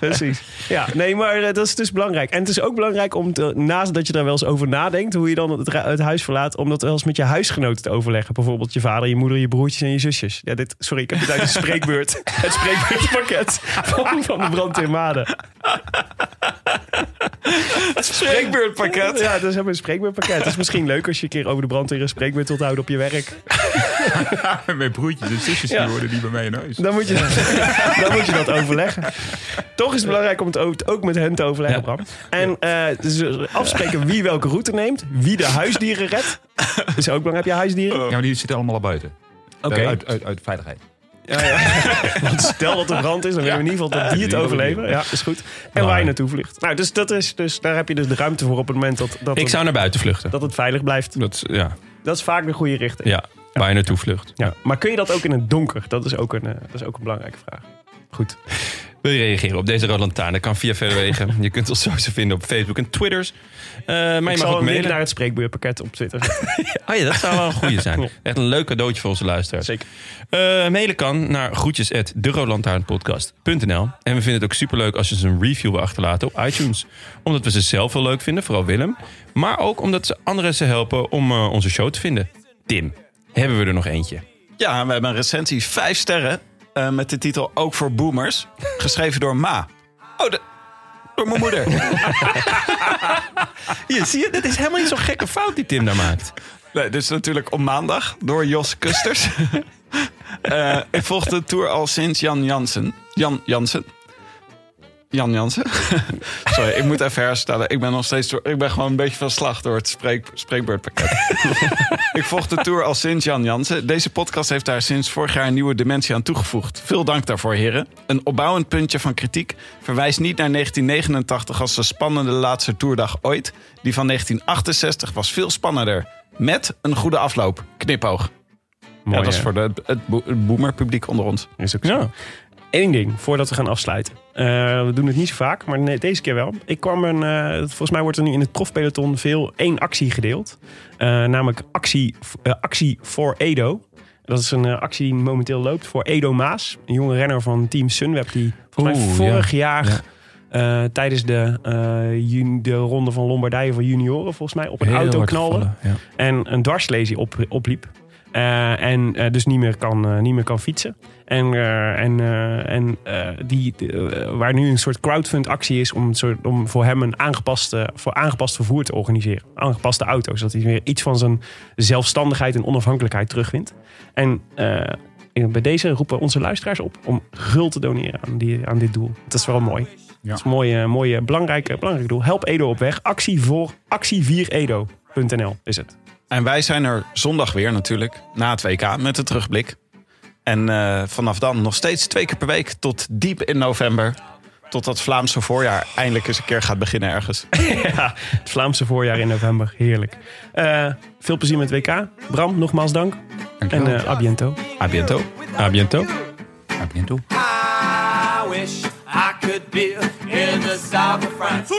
[SPEAKER 2] precies. Ja, nee, maar eh, dat is dus belangrijk. En het is ook belangrijk om, te, naast dat je daar wel eens over nadenkt, hoe je dan het, ra- het huis verlaat, om dat wel eens met je huisgenoten te overleggen. Bijvoorbeeld je vader, je moeder, je broertjes en je zusjes. Ja, dit, sorry, ik heb het uit de spreekbeurt, het spreekbeurtpakket van, van de brand in Maden.
[SPEAKER 7] Spreekbeurtpakket.
[SPEAKER 2] Ja, dat is helemaal een spreekbeurtpakket. Het is misschien leuk als je een keer over de brand in een spreekbeurt wilt houden op je werk.
[SPEAKER 5] Mijn broertjes en zusjes
[SPEAKER 2] Ja. Nou.
[SPEAKER 5] die worden niet bij mij in huis.
[SPEAKER 2] *laughs* Dan moet je, dan moet je dat *laughs* overleggen. Toch is het belangrijk om het o- het ook met hen te overleggen, Bram. En eh, dus afspreken wie welke route neemt. Wie de huisdieren redt. Dat is ook belangrijk. Heb je huisdieren?
[SPEAKER 1] Oh.
[SPEAKER 5] Ja, maar die zitten allemaal al buiten.
[SPEAKER 2] Oké.
[SPEAKER 5] Uit, uit, uit veiligheid.
[SPEAKER 2] Want stel dat er brand is, dan willen we in ieder geval dat die het
[SPEAKER 5] die
[SPEAKER 2] overleven.
[SPEAKER 5] overleven.
[SPEAKER 2] Ja, is goed. En waar je naartoe vliegt. Nou, dus, dat is, dus daar heb je dus de ruimte voor op het moment dat, dat,
[SPEAKER 1] Ik
[SPEAKER 2] het,
[SPEAKER 1] zou naar buiten vluchten.
[SPEAKER 2] dat het veilig blijft.
[SPEAKER 1] Dat, is- ja,
[SPEAKER 2] Dat is vaak de goede richting.
[SPEAKER 1] ja, waar je naartoe vlucht.
[SPEAKER 2] Ja. Maar kun je dat ook in het donker? Dat is ook een, eh, dat is ook een belangrijke vraag. Goed.
[SPEAKER 1] Wil je reageren op deze Rode Lantaarn? Dat kan via verre wegen. Je kunt ons sowieso vinden op Facebook en Twitters. Eh, maar
[SPEAKER 2] Ik
[SPEAKER 1] je mag
[SPEAKER 2] zal
[SPEAKER 1] ook
[SPEAKER 2] een link
[SPEAKER 1] mailen.
[SPEAKER 2] naar het spreekbeurpakket op Twitter zetten.
[SPEAKER 1] Oh ja, dat zou wel een goede zijn.
[SPEAKER 2] Ja.
[SPEAKER 1] Echt een leuk cadeautje voor onze luisteraars.
[SPEAKER 2] Zeker.
[SPEAKER 1] Eh, mailen kan naar groetjes at deroodlantaarnpodcast.nl. En we vinden het ook superleuk als je ze een review wil achterlaten op iTunes. Omdat we ze zelf wel leuk vinden, vooral Willem. Maar ook omdat ze anderen ze helpen om eh, onze show te vinden. Tim, hebben we er nog eentje?
[SPEAKER 7] Ja, we hebben een recensie. Vijf sterren. eh, met de titel Ook voor Boomers. Geschreven door Ma. Oh, de- door mijn *laughs* moeder.
[SPEAKER 1] Hier, zie je, dit is helemaal niet zo'n gekke fout die Tim daar maakt.
[SPEAKER 7] Nee, dit is natuurlijk op maandag door Jos Kusters. Eh, ik volg de tour al sinds Jan Jansen. Jan Jansen. Jan Jansen. *laughs* Sorry, ik moet even herstellen. Ik ben nog steeds. door- Ik ben gewoon een beetje van slag door het spreek, spreekbeurtpakket. ik volg de tour al sinds Jan Jansen. Deze podcast heeft daar sinds vorig jaar een nieuwe dimensie aan toegevoegd. Veel dank daarvoor, heren. Een opbouwend puntje van kritiek verwijst niet naar 1989 als de spannende laatste toerdag ooit. Die van 1968 was veel spannender. Met een goede afloop. Knipoog.
[SPEAKER 2] Mooi,
[SPEAKER 7] ja, dat is
[SPEAKER 2] hè?
[SPEAKER 7] voor de, het, bo- het boomerpubliek onder ons.
[SPEAKER 2] Is ook zo. Eén ding voordat we gaan afsluiten. Eh, we doen het niet zo vaak, maar nee, deze keer wel. Ik kwam een. eh, volgens mij wordt er nu in het profpeloton veel één actie gedeeld. Eh, namelijk actie, eh, actie voor Edo. Dat is een eh, actie die momenteel loopt voor Edo Maas. Een jonge renner van Team Sunweb. Die volgens mij
[SPEAKER 1] Oeh,
[SPEAKER 2] vorig jaar eh, tijdens de, eh, juni- de ronde van Lombardije voor junioren volgens mij op een auto knallen
[SPEAKER 1] Ja.
[SPEAKER 2] en een dwarslesie op, opliep. Eh, en eh, dus niet meer kan, eh, niet meer kan fietsen. En, eh, en, eh, en eh, die, de, eh, waar nu een soort crowdfund actie is om, een soort, om voor hem een aangepaste, voor aangepast vervoer te organiseren. Aangepaste auto's. Zodat hij weer iets van zijn zelfstandigheid en onafhankelijkheid terugwint. En eh, bij deze roepen onze luisteraars op om gul te doneren aan, die, aan dit doel. Dat is wel mooi. Dat is een mooie, mooie belangrijke, belangrijk doel. Help Edo op weg. Actie voor actie4edo.nl is het.
[SPEAKER 7] En wij zijn er zondag weer natuurlijk, na het WK, met de terugblik. En eh, vanaf dan nog steeds twee keer per week tot diep in november. Tot dat Vlaamse voorjaar eindelijk eens een keer gaat beginnen ergens.
[SPEAKER 2] Ja, het Vlaamse voorjaar in november. Heerlijk. Eh, veel plezier met WK. Bram, nogmaals dank. En eh a biento.
[SPEAKER 7] A biento.
[SPEAKER 1] A biento.
[SPEAKER 5] Ja, begin toe.
[SPEAKER 6] I wish I could be in the south of France.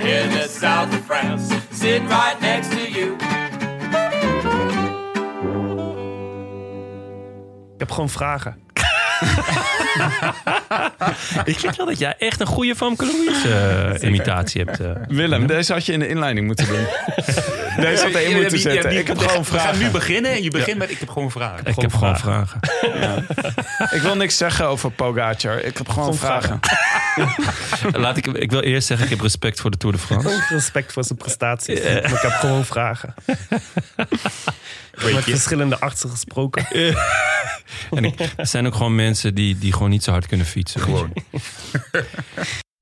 [SPEAKER 6] In the south of France, sitting right next to you.
[SPEAKER 2] Ik heb gewoon vragen.
[SPEAKER 1] Ik vind wel dat jij echt een goede Van Louise imitatie hebt. eh.
[SPEAKER 7] Willem, deze had je in de inleiding moeten *laughs* doen. deze had je in moeten zetten. eh, Ik heb gewoon
[SPEAKER 5] We gaan
[SPEAKER 7] vragen.
[SPEAKER 5] nu beginnen en je begint met ik heb gewoon vragen.
[SPEAKER 1] ik heb gewoon vragen.
[SPEAKER 7] Ik wil niks zeggen over Pogacar. Ik heb gewoon vragen.
[SPEAKER 1] Laat ik, ik wil eerst zeggen, ik heb respect voor de Tour de France.
[SPEAKER 2] Respect voor zijn prestaties. Maar ik heb gewoon *laughs* vragen. Ik heb met verschillende artsen gesproken.
[SPEAKER 1] En ik, er zijn ook gewoon mensen die, die gewoon niet zo hard kunnen fietsen. Gewoon.